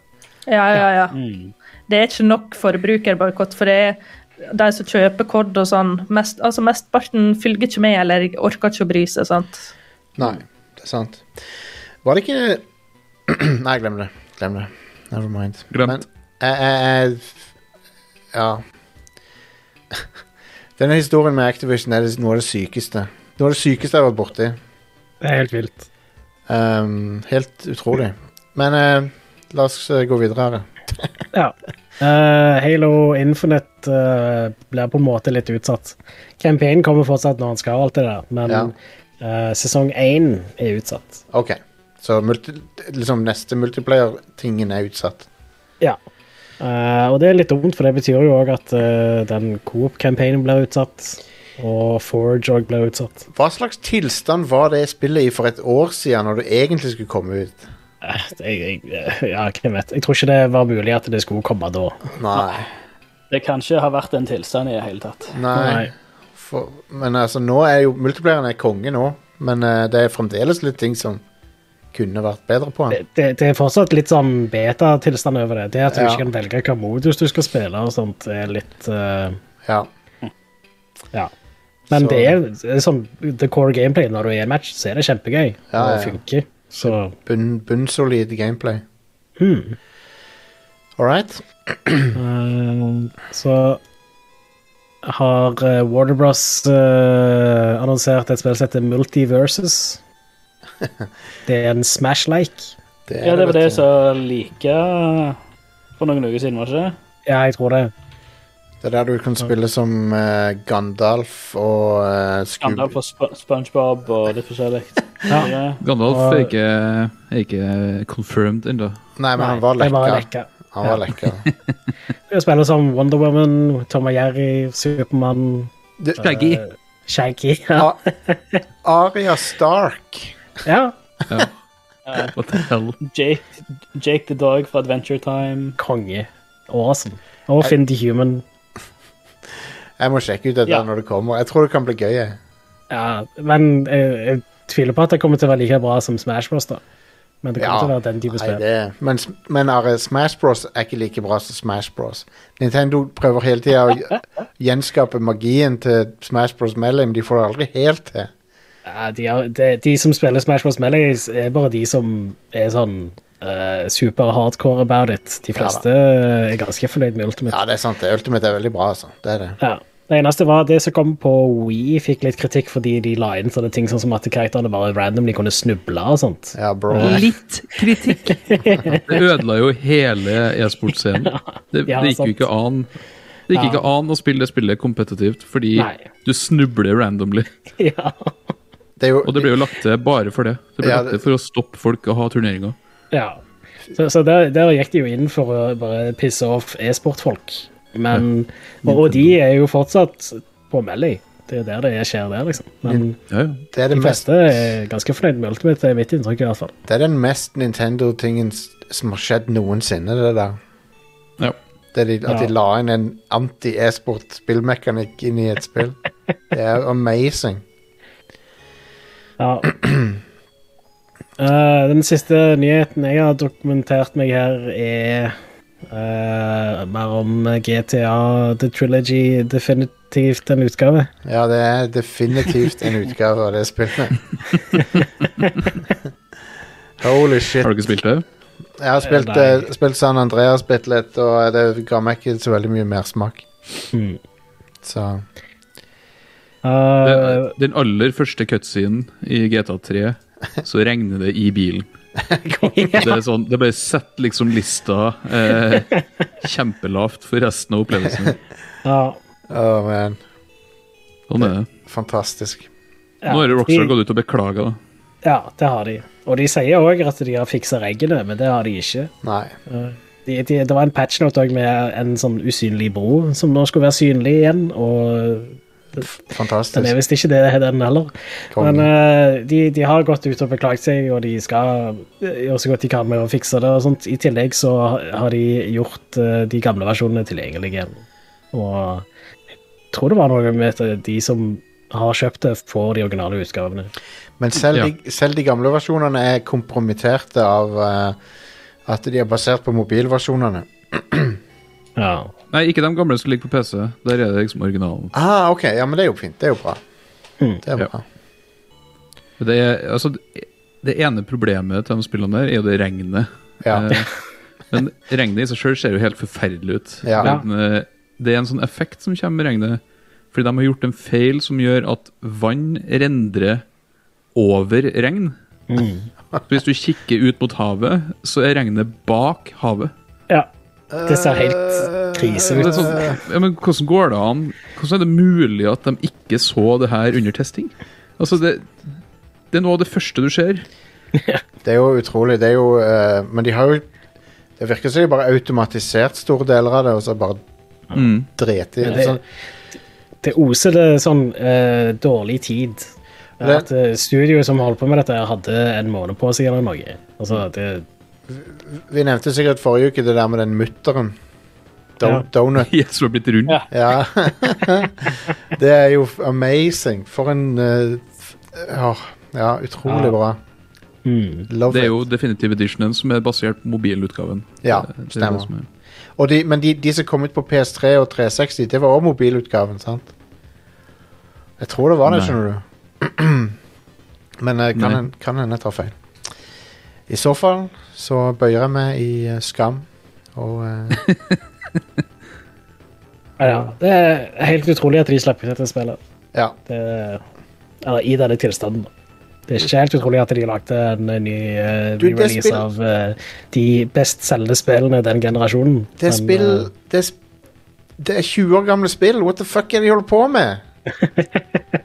Ja, ja, ja.
Mm.
Det er ikke nok forbrukerboikott, for det er de som kjøper kod og sånn. Mest, altså Mesteparten følger ikke med eller orker ikke å bry seg. sant?
Nei, det er sant. Var det ikke [CLEARS THROAT] Nei, glem det. Glem det. Never mind.
Glemt.
Men eh, jeg, jeg, jeg Ja. [LAUGHS] Denne historien med Activision er det- noe av det sykeste. Noe av det sykeste jeg har vært borti.
Det er helt vilt.
Um, helt utrolig. Men eh, la oss eh, gå videre her.
Ja. Eh, Halo Infinite eh, blir på en måte litt utsatt. Campaignen kommer fortsatt når han skal, og alt det der, men
Ja.
eh, sesong én er utsatt.
OK. Så multi, liksom neste multiplayer-tingen er utsatt.
Ja. Eh, og det er litt dumt, for det betyr jo òg at eh, den Coop-campaignen blir utsatt. Og Forge òg blir utsatt.
Hva slags tilstand var det spillet i for et år siden, når det egentlig skulle komme ut?
Eh, Jeg, jeg, ja, hvem vet. Jeg tror ikke det var mulig at det skulle komme da.
Nei.
Det kan ikke ha vært en tilstand i det hele tatt.
Nei. For, men altså, nå er jo multiplayeren er konge nå, men eh, det er fremdeles litt ting som kunne vært bedre på
Det,
den.
det, det er fortsatt litt sånn beta-tilstand over det. Det at du
Ja.
ikke kan velge hvilken modus du skal spille og sånt, er litt eh,
Ja.
Ja. Men
Så-
det er, det er sånn the core gameplay når du er i en match, så er det kjempegøy.
Ja, ja, ja.
Og funker. Så
Bunn, bunnsolid gameplay.
hmm.
All right.
Eh, Så har eh, Warner Bros eh, annonsert et spill som heter
[LAUGHS]
Multiverses. Det er en Smash-like.
Ja, det var
vet
det
du.
som like for noen uker siden, var det ikke?
Ja, jeg tror det.
Det er der du kan spille som eh, Gandalf og uh, Scooby.
Skandal på Sp SpongeBob og litt forskjellig. Ja.
Gandalf
Og-
er ikke, er ikke confirmed ennå.
Nei, men han var
det var
lekka.
lekka.
Han var
Ja.
lekka.
Det er Spiller som Wonder Woman, Tom og Jerry, Supermann,
Du,
Shaggy.
eh, Shaggy. [LAUGHS] Ja.
A- Aria Stark.
ja.
[LAUGHS] What the hell?
Jake, Jake the Dog fra Adventure Time.
Konge. Awesome. Og Finn the Human.
Jeg må sjekke ut dette
Ja.
når det kommer. Jeg tror det kan bli gøy. jeg.
Ja, men jeg, jeg tviler på at det kommer til å være like bra som Smash Bros. da. Men det kommer
Ja.
til å være den type
Nei,
spill.
det, men s- men Are, Smash Bros er ikke like bra som Smash Bros. Nintendo prøver hele tida å
[LAUGHS]
gj- gjenskape magien til Smash Bros. Mellom. De får det aldri helt til.
Ja, de, er, de, de som spiller Smash Bros. Melee, er bare de som er sånn eh, super hardcore about it. De
da.
fleste eh, er ganske fornøyd med Ultimate.
Ja, det er sant. det. Ultimate er veldig bra, altså. Det er det.
Ja. Det eneste var det som kom på Wii fikk litt kritikk fordi de la inn sånne ting sånn som at karakterene bare randomly kunne snuble og sånt.
Ja, bro.
Litt kritikk. Det ødela jo hele e-sportscenen. Det,
[LAUGHS] Ja,
det gikk
sant.
jo ikke an. Det gikk
Ja.
ikke an å spille det spillet kompetitivt, fordi
Nei.
du snubler randomly.
[LAUGHS] ja.
Det er jo,
Og det ble jo lagt til bare for det. Det ble
Ja,
lagt
det-
til for å stoppe folk å ha turneringer.
ja. Så, så der, der gikk de jo inn for å bare pisse off e-sportfolk. Men, og, og de er jo fortsatt på Melly. Det er der det skjer der, liksom. Men
Ja, ja.
det, er
de
det, mest,
fleste er ganske fornøyd med Ultimate, det er mitt inntrykk i hvert fall.
det er den mest Nintendo-tingen s- som har skjedd noensinne, det der.
Ja.
Det de, at de
Ja.
la inn en anti-e-sport-spillmekanikk inn i et
[LAUGHS]
spill. Det er jo amazing.
Ja. Eh, den siste nyheten jeg har dokumentert meg her, er eh, mer om GTA The Trilogy definitivt en utgave.
Ja, det er definitivt en utgave av det
[LAUGHS]
spillet. Holy shit.
Har du ikke spilt det?
Jeg har spilt,
Nei.
eh, spilt San Andreas bitte litt, og det ga meg ikke så veldig mye mersmak.
Hmm.
Så
det?
Eh, [LAUGHS]
Den aller første cutscenen i GTA3, så regner det i bilen. Det er sånn, det bare setter liksom lista eh, kjempelavt for resten av opplevelsen.
ja.
Oh man.
Sånn er det.
Fantastisk.
Ja,
Nå har jo Rockstar
de-
gått ut og beklaga.
Ja, det har de. Og de sier òg at de har fiksa reglene, men det har de ikke.
Nei.
De, de, det var en patchnote òg med en sånn usynlig bro som nå skulle være synlig igjen, og Den er
Fantastisk.
visst ikke det, den heller.
Kongen.
Men eh, de, de har gått ut og beklaget seg, og de skal eh, gjøre så godt de kan med å fikse det. og sånt. I tillegg så har de gjort eh, de gamle versjonene tilgjengelige igjen. Og jeg tror det var noe med at de som har kjøpt det, får de originale utgavene.
Men selv,
Ja.
de, selv de gamle versjonene er kompromitterte av eh, at de er basert på mobilversjonene.
Ja.
Nei, ikke de gamle som ligger på PC. Der er det liksom originalen.
Ah, ok. Ja, men det er jo fint. Det er jo bra.
Mm.
Det er
Ja.
bra.
Men Det, er, altså, det ene problemet til de spillene der, er jo det regnet.
Ja.
Eh, men regnet i seg sjøl ser jo helt forferdelig ut.
Ja.
Men eh, det er en sånn effekt som kommer med regnet. Fordi de har gjort en feil som gjør at vann rendrer over regn.
Mm.
Så hvis du kikker ut mot havet, så er regnet bak havet.
ja. Det ser
Eh,
helt krise ut.
Det er sånn, ja, men hvordan går det an? Hvordan er det mulig at de ikke så det her under testing? Altså, det, det er noe av det første du ser. [LAUGHS]
Det er jo utrolig. Det er jo eh, Men de har jo Det virker som de bare har automatisert store deler av det, og så bare
Mm.
dreti i
Men
det.
det-
Sånn,
Det oser det sånn eh, dårlig tid.
Det-
At eh, studioet som holdt på med dette, her hadde en måned på seg eller noe. Altså, det,
vi nevnte sikkert forrige uke det der med den mutteren. Do
Ja.
Donut.
Yes, du har blitt rund.
Ja.
[LAUGHS]
Ja. det er jo f- amazing. For en eh, f- åh, Ja, utrolig
Ja.
bra.
mm,
Love
Det er
it.
jo Definitive Editionen som er basert på mobilutgaven.
Ja,
Det- det er
stemmer.
det som er-
Og de, men de, de som kom ut på PS3 og 360, det var òg mobilutgaven, sant? Jeg tror det var det,
Nei.
skjønner du. [CLEARS THROAT] men eh, kan
Nei.
en- kan hende jeg tar feil. I så fall så bøyer jeg meg i eh, skam. Og
[LAUGHS]
eh,
Ja, ja. Det er helt utrolig at de slapp ut dette spillet.
ja.
Det, eller i denne tilstanden. Det er ikke helt utrolig at de lagde en ny eh,
Du, det
re-release
spill-
av eh, de best selgende spillene i den generasjonen.
Det er
Men,
spill
eh,
det er, sp- det er 20 år gamle spill! What the fuck er det de holder på med?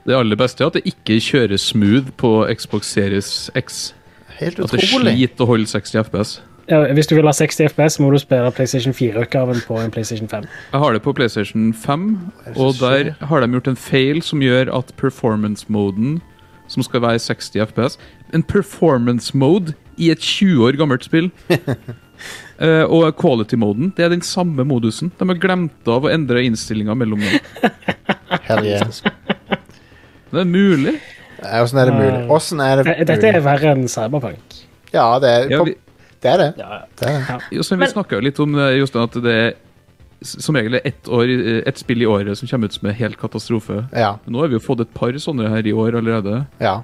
Det aller beste er at det ikke kjører smooth på Xbox Series X.
Helt
At det
utrolig.
sliter å holde 60 FPS.
eh, Ja, hvis du vil ha 60 FPS, må du spille PlayStation 4-utgaven på en PlayStation 5.
Jeg har det på PlayStation 5,
det
og
som
der har de gjort en feil som gjør at performance-moden, som skal være 60 FPS En performance-mode i et 20 år gammelt
[LAUGHS]
spill! Eh, og quality-moden, det er den samme modusen. De har glemt av å endre innstillinga mellom dem.
Hell yeah.
Det er mulig.
Åssen er det mulig? Åssen er det
Eh, Dette er verre enn Cyberpunk.
Ja, det er
Ja,
på,
vi,
det. Er det.
Ja,
det er det.
Jostein,
Men-
vi snakka jo litt om det, Jostein, at det er s- som regel ett et spill i året som kommer ut som er helt katastrofe.
Ja.
Men Nå har vi jo fått et par sånne her i år allerede.
ja.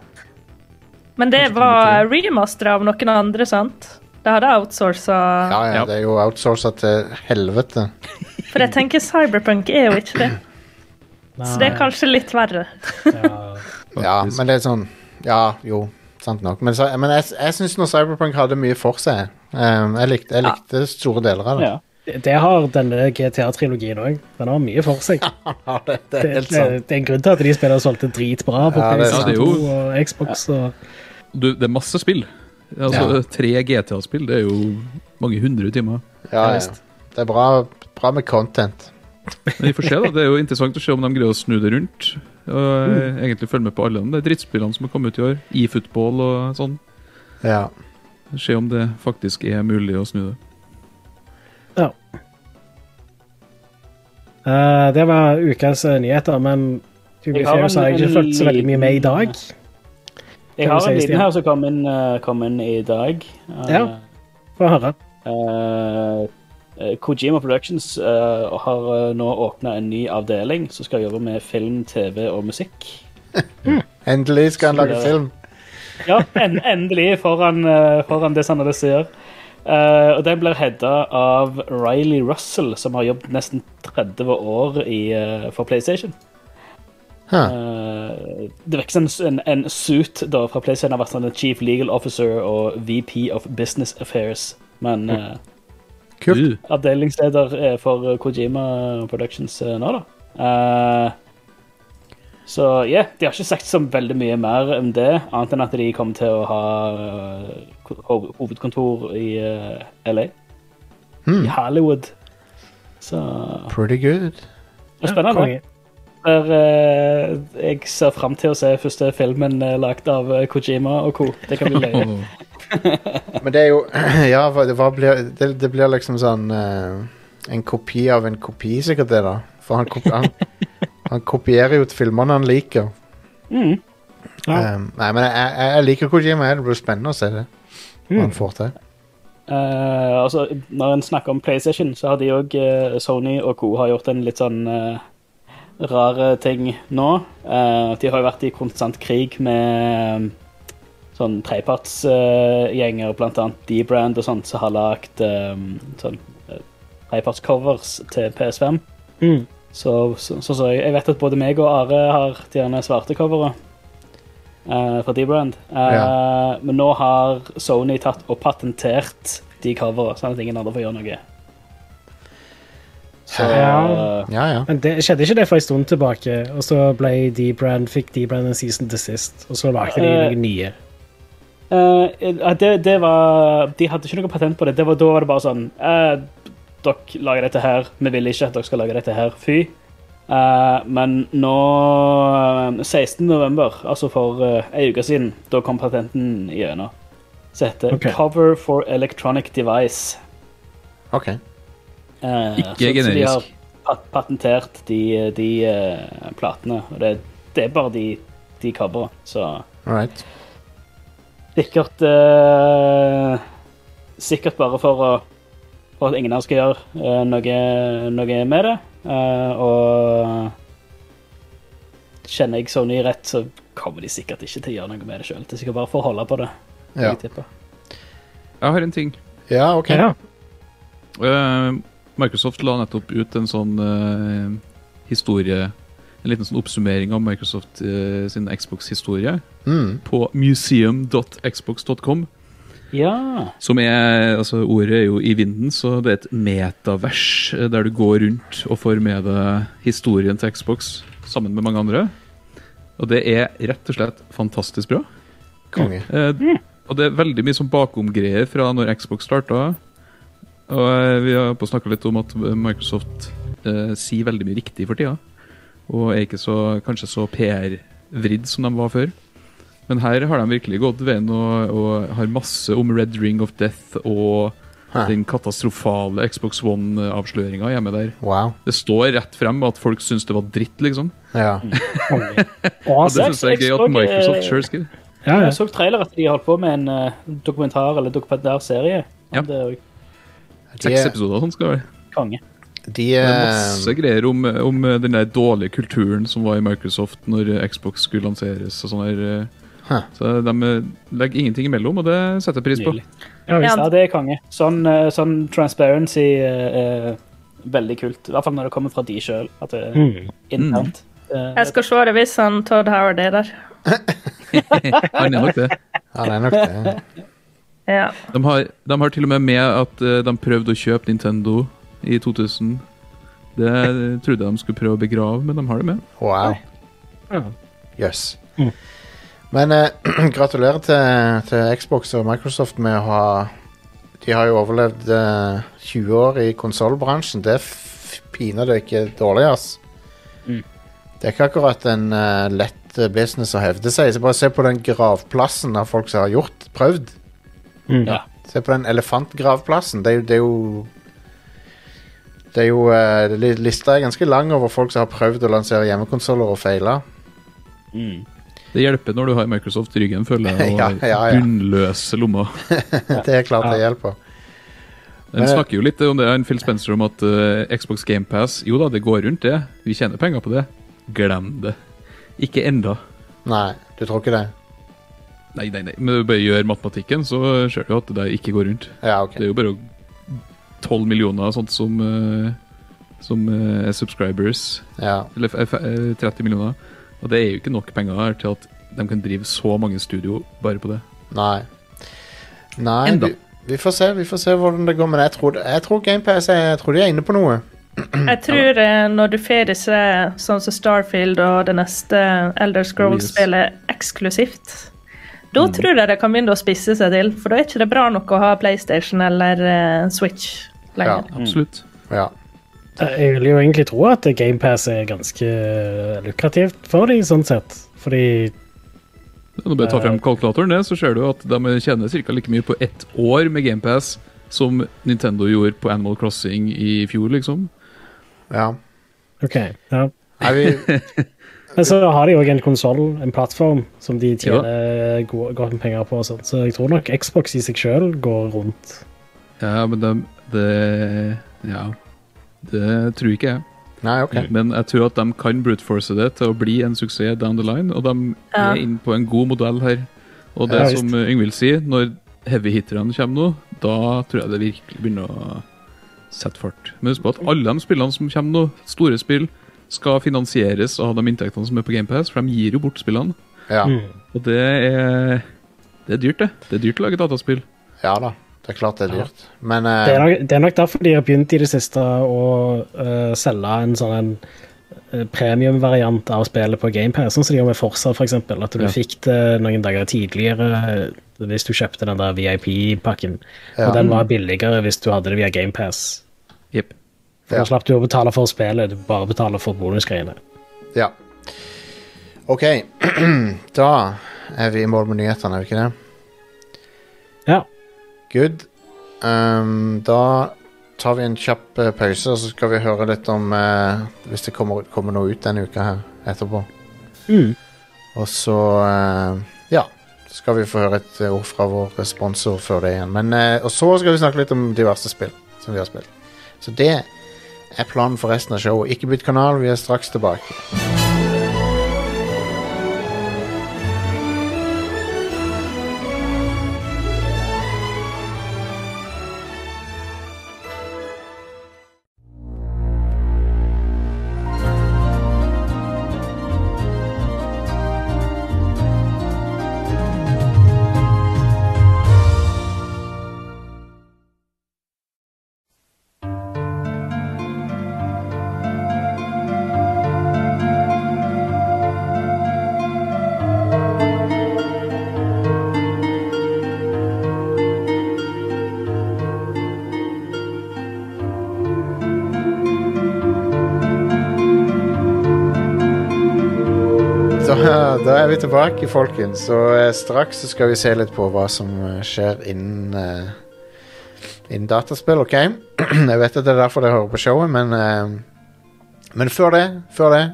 [LAUGHS] Men det var remaster av noen andre, sant? Det hadde jeg outsourca.
Ja, ja,
Ja.
det er jo outsourca til helvete.
For jeg tenker Cyberpunk er jo ikke det. Så det er kanskje litt verre.
Ja.
Ja,
faktisk.
men det er sånn Ja, jo, sant nok. Men, så, men jeg, jeg syns når Cyberpunk hadde mye for seg um, Jeg likte, jeg likte store deler av det.
ja.
Det har denne GTA-trilogien òg. Den har mye for
[LAUGHS]
seg.
Ja, det, det
Det,
er
det,
helt sant.
det er en grunn til at de spiller solgte dritbra på
Ja, det er
PlayStation
sant. Ja, det
2
er jo-
og Xbox. Og,
Du, det er masse spill. Altså,
Ja.
Tre GTA-spill, det er jo mange hundre timer.
Ja, ja. Det er bra, bra med content.
Men vi får se, da. Det er jo interessant å se om de greier å snu det rundt. Og eh,
Mm.
egentlig følge med på alle de drittspillene som har kommet ut i år. E-football og sånn.
Ja.
Se om det faktisk er mulig å snu det.
ja. Eh, det var ukas eh, nyheter, men
Jeg har en-
Tubifair har jeg ikke
en
fulgt så veldig mye med i dag. Kan
Jeg
du
har
si,
en liten
Stian?
her som kom inn, eh, kom inn i dag. Eh,
Ja. Få høre.
eh, eh, Kojima Productions eh, har eh, nå åpna en ny avdeling som skal jobbe med film, TV og musikk.
Endelig skal han lage
Skulle-
film.
Ja, en, endelig foran, eh, foran det Sandnes sier. Eh, og den blir hedda av Riley Russell, som har jobbet nesten 30 år i, eh, for PlayStation.
Huh.
Eh, det virker som en, en suit da, fra PlayStation har vært sånn en Chief Legal Officer og VP of Business Affairs. Men eh,
Kult.
Du,
avdelingsleder eh, for Kojima Productions eh, nå, da. Eh, så ja, de har ikke sagt så veldig mye mer om det, annet enn at de kommer til å ha eh, ho- hovedkontor i eh, LA.
Hmm. Mm.
I Hollywood. Så det
Pretty good.
er spennende.
Konge.
Der, eh, jeg ser fram til å se første filmen uh, lagd av eh, Kojima og co. Det kan bli løye.
Åh.
Men det er jo [CLEARS THROAT] Ja, hva, det, hva blir, det, det blir liksom sånn eh, En kopi av en kopi, sikkert det, da. For han, kopi, han, han kopierer jo filmene han liker.
Mm.
Ja.
Um, nei, men jeg, jeg, jeg liker Kojima. Det blir spennende å se det.
Mm.
Hva han får til.
Eh, altså, når en snakker om PlayStation, så har de òg Sony og co. har gjort en litt sånn eh, rare ting nå. Eh, de har jo vært i konstant krig med eh, sånn trepartsgjenger, uh, blant annet D-Brand og sånt, som har lagd sånn eh, trepartscovers til PS5.
Mm.
Så, så, så, så jeg jeg vet at både meg og Are har de gjerne svarte covere eh, fra D-Brand. Eh,
Ja.
Men nå har Sony tatt og patentert de covere, sånn at ingen andre får gjøre noe. Så eh,
Ja.
Ja, ja.
Men det skjedde ikke det for en stund tilbake, og så ble D-Brand, fikk D-Brand en season til sist, og så lagde de
Eh,
noen nye.
eh, ja, det, det var De hadde ikke noe patent på det. det var, da var det bare sånn eh, Dere lager dette her. Vi vil ikke at dere skal lage dette her. Fy. Eh, men nå eh, 16. november, altså for uh, ei uke siden, da kom patenten gjennom. Så heter
Ok.
Cover for Electronic Device.
OK.
Eh,
Ikke
så- så de
generisk.
har pat patentert de, de eh, platene. Og det, det er bare de, de coverne. Så
All right.
sikkert eh, Sikkert bare for, å, for at ingen av oss skal gjøre eh, noe, noe med det. Eh, og kjenner jeg Sony rett, så kommer de sikkert ikke til å gjøre noe med det sjøl. Det er sikkert bare for å holde på det. vil
Ja,
jeg tippe.
Jeg har en ting.
ja OK.
Ja.
Eh, Microsoft la nettopp ut en sånn eh, historie En liten sånn oppsummering av Microsoft eh, sin Xbox-historie
Mm.
på museum.xbox.com.
Ja.
Som er, altså Ordet er jo i vinden, så det er et metavers eh, der du går rundt og får med deg historien til Xbox sammen med mange andre. Og det er rett og slett fantastisk bra.
Konge.
Eh, og det er veldig mye sånn bakomgreier fra når Xbox starta. Og eh, vi har på snakka litt om at Microsoft eh, sier veldig mye riktig for tida. Og er ikke så, kanskje så PR-vridd som de var før. Men her har de virkelig gått veien og, og har masse om Red Ring of Death og
Hæ.
den katastrofale Xbox One-avsløringa hjemme der.
Wow.
Det står rett frem at folk syns det var dritt, liksom.
Ja.
Konge.
Og det syns jeg er gøy at Microsoft sjøl skriver.
Ja, ja.
Jeg så trailer at de holdt på med en eh, dokumentar eller dokumentarserie.
Ja.
om Det er jo
Seks
De,
episoder og sånn skal det være.
konge.
de
Det er
eh,
masse greier om, om den der dårlige kulturen som var i Microsoft når Xbox skulle lanseres. og sånne her,
Hæ.
Så de eh, legger ingenting imellom, og det setter jeg pris på.
Nydelig.
Ja, visst.
Ja, det er konge. Sånn, eh, sånn transparency eh, er veldig kult. I hvert fall når det kommer fra de sjøl. At eh, det er
Mm.
internt. Eh,
Jeg skal se det hvis han Todd Howard er der.
Han er nok det.
Ja, det er nok det.
Ja.
De har, de har til og med med at eh, de prøvde å kjøpe Nintendo i 2000. Det trodde jeg de skulle prøve å begrave, men de har det med.
Wow.
Ja.
Jøss.
Mm.
Men eh, [CLEARS THROAT] gratulerer til, til Xbox og Microsoft med å ha De har jo overlevd eh, 20 år i konsollbransjen. Det er f- pinadø ikke dårlig, ass.
Mm.
Det er ikke akkurat en eh, lett eh, business å hevde seg i. Så Bare se på den gravplassen av folk som har gjort, prøvd.
Mm.
Ja.
Se på den elefantgravplassen. Det er jo Det er jo, det er jo eh, li- Lista er ganske lang over folk som har prøvd å lansere hjemmekonsoller og feila.
Mm.
Det hjelper når du har Microsoft i ryggen, føler jeg,
[LAUGHS]
og
Ja, ja, ja.
bunnløse lommer.
Det er klart det hjelper.
Den snakker jo litt om det, han Phil Spencer om at eh, Xbox GamePass Jo da, det går rundt, det. Vi tjener penger på det. Glem det. Ikke enda.
Nei, du tror ikke det?
Nei, nei, nei. Men du bare gjør matematikken, så ser du at det der ikke går rundt.
Ja, ok.
Det er jo bare tolv millioner og sånt som, eh, som eh, er subscribers.
Ja,
Eller f- f- eh, 30 millioner. Og det er jo ikke nok penger her til at de kan drive så mange studio bare på det.
nei. Nei,
Enda.
vi, vi får se vi får se hvordan det går, men jeg tror, det- jeg tror GamePass er, jeg tror de er inne på noe.
Jeg tror eh, når du får disse sånn som Starfield og det neste Elder Scrolls-spillet eksklusivt, da tror jeg det kan begynne å spisse seg til, for da er ikke det bra nok å ha PlayStation eller eh, Switch lenger.
Absolutt.
Ja.
Eh, Jeg vil jo egentlig tro at GamePass er ganske eh, lukrativt for dem, sånn sett. Fordi
Nå bare ta frem kalkulatoren, det, så ser du at de tjener ca. like mye på ett år med GamePass som Nintendo gjorde på Animal Crossing i fjor, liksom.
ja.
OK. Ja.
Nei,
[LAUGHS]
vi,
Men så har de òg en konsoll, en plattform, som de tjener go- godt med penger på. Og sånt. så jeg tror nok Xbox i seg sjøl går rundt.
Ja, men de Det Ja. Det tror ikke jeg.
nei, ok.
Men jeg tror at de kan bruteforce det til å bli en suksess down the line, og de
Ja.
er inne på en god modell her. Og det
Ja,
som Yngvild sier, når heavy-hitterne kommer nå, da tror jeg det virkelig begynner å sette fart. Men husk på at alle de spillene som kommer nå, store spill, skal finansieres av de inntektene som er på GamePass, for de gir jo bort spillene.
Ja,
Mm.
Og det er Det er dyrt, det. Det er dyrt å lage dataspill.
ja da. Det er klart det er dyrt. Men
Det er,
eh,
nok, det er nok derfor de har begynt i det siste å eh, selge en sånn en eh, premiumvariant av spillet på GamePass, sånn som de gjør med Forsa, for eksempel, At du
Ja.
fikk det noen dager tidligere eh, hvis du kjøpte den der VIP-pakken.
Ja.
Og den var billigere hvis du hadde det via GamePass.
Jepp.
For
Ja.
Da slapp du å betale for spillet, du bare betaler for bonusgreiene.
ja. OK. [CLEARS THROAT] Da er vi i mål med nyhetene, er vi ikke det?
Ja.
Good. Ehm, da tar vi en kjapp eh, pause, og så skal vi høre litt om eh, Hvis det kommer, kommer noe ut denne uka her etterpå.
Mm.
Og så eh, Ja. Så skal vi få høre et eh, ord fra vår sponsor før det igjen. Men, eh, og så skal vi snakke litt om diverse spill som vi har spilt. Så det er planen for resten av showet. Ikke bytt kanal, vi er straks tilbake. Da er vi tilbake, folkens. Og eh, straks så skal vi se litt på hva som eh, skjer innen eh, Innen dataspill, OK? [CLEARS THROAT] Jeg vet at det er derfor dere hører på showet, men eh, Men før det, før det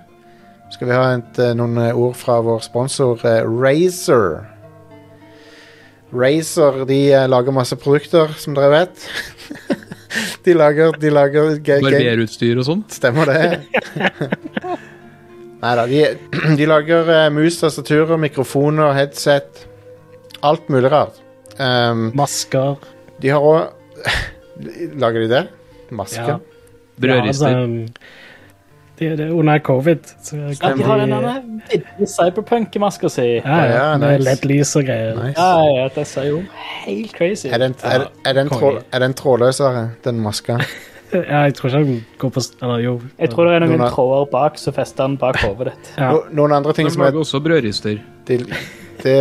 skal vi ha et, eh, noen eh, ord fra vår sponsor uh, Razer. Razer de eh, lager masse produkter, som dere vet. [LAUGHS] de lager, de lager ga- ga-
Barberutstyr og sånn.
Stemmer det. Nei da. De, [CLEARS THROAT] de lager eh, mus, tastaturer, mikrofoner, headset. Alt mulig rart. Ehm,
Masker.
de har òg [LAUGHS] Lager de det? Masker?
Ja.
Brødrister.
Ja, altså, det, det er under covid. Så
Ja,
kan
de har den derne vidde cyberpunk-maska si.
Ja, ja,
Ja,
med
nice.
LED-lys og greier.
Nice.
Ja, ja, det ser jo helt crazy
Er den,
ut.
er, er den, trå, er den trådløsere, den maska?
Ja, jeg tror ikke han går på s- Eller jo.
Jeg tror det er
Noen
noen
har-
tråder bak, så fester den bak hodet ditt.
Ja.
No, noen andre ting
De
som er
lager også brødrister.
det, det,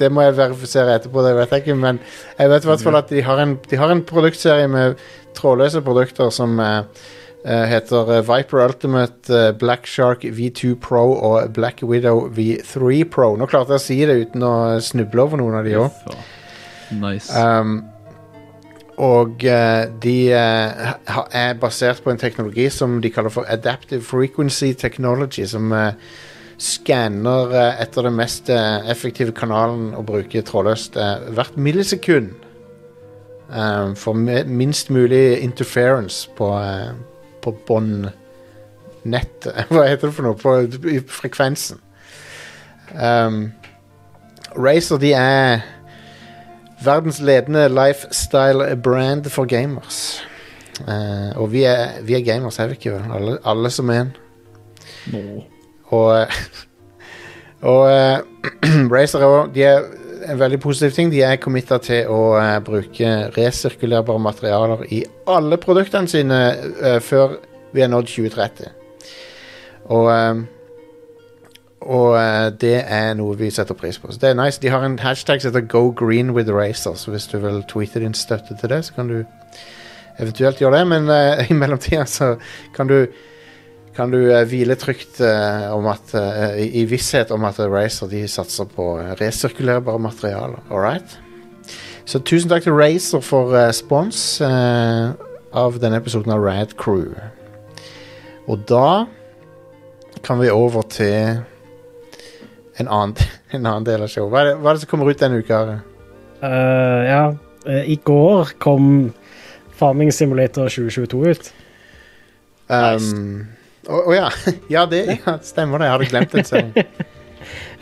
det må jeg verifisere etterpå, det vet jeg ikke, men jeg vet i hvert fall at de har en, de har en produktserie med trådløse produkter som eh, eh, heter eh, Viper Ultimate, eh, Black Shark V2 Pro og Black Widow V3 Pro. Nå klarte jeg å si det uten å snuble over noen av de òg.
Faen. Nice.
Um, og eh, de eh, ha- er basert på en teknologi som de kaller for Adaptive Frequency Technology, som eh, skanner eh, etter den mest eh, effektive kanalen å bruke trådløst eh, hvert millisekund. Um, for mi- minst mulig interference på, eh, på båndnettet. [LAUGHS] Hva heter det for noe? På i frekvensen. Um, Razer, de er verdens ledende lifestyle-brand for gamers. Eh, og vi er, vi er gamers, er vi ikke? vel? Alle, alle som en.
Nå.
Og, eh, og eh, [CLEARS THROAT] Razer er, også- de er en veldig positiv ting. De er committa til å eh, bruke resirkulerbare materialer i alle produktene sine eh, før vi har nådd 2030. Og, eh, og eh, det er noe vi setter pris på. Så det er nice. De har en hashtag som heter Go green with Razer, så hvis du vil tweete din støtte til det, så kan du eventuelt gjøre det, men eh, [LAUGHS] i mellomtida så kan du kan du eh, hvile trygt eh, om at, eh, i, i visshet om at Razer de satser på eh, resirkulerbare materialer. All right? Så tusen takk til Razer for eh, spons eh, av denne episoden av Rad Crew. Og da kan vi over til en annen, [LAUGHS] en annen del av showet. Hva er det, hva er det som kommer ut denne uka? Are?
Eh, ja. eh, I går kom Farming Simulator 2022 ut.
Um,
Nice.
Å å ja. [LAUGHS] ja, det ja, stemmer det. Jeg hadde glemt den
[LAUGHS]
serien.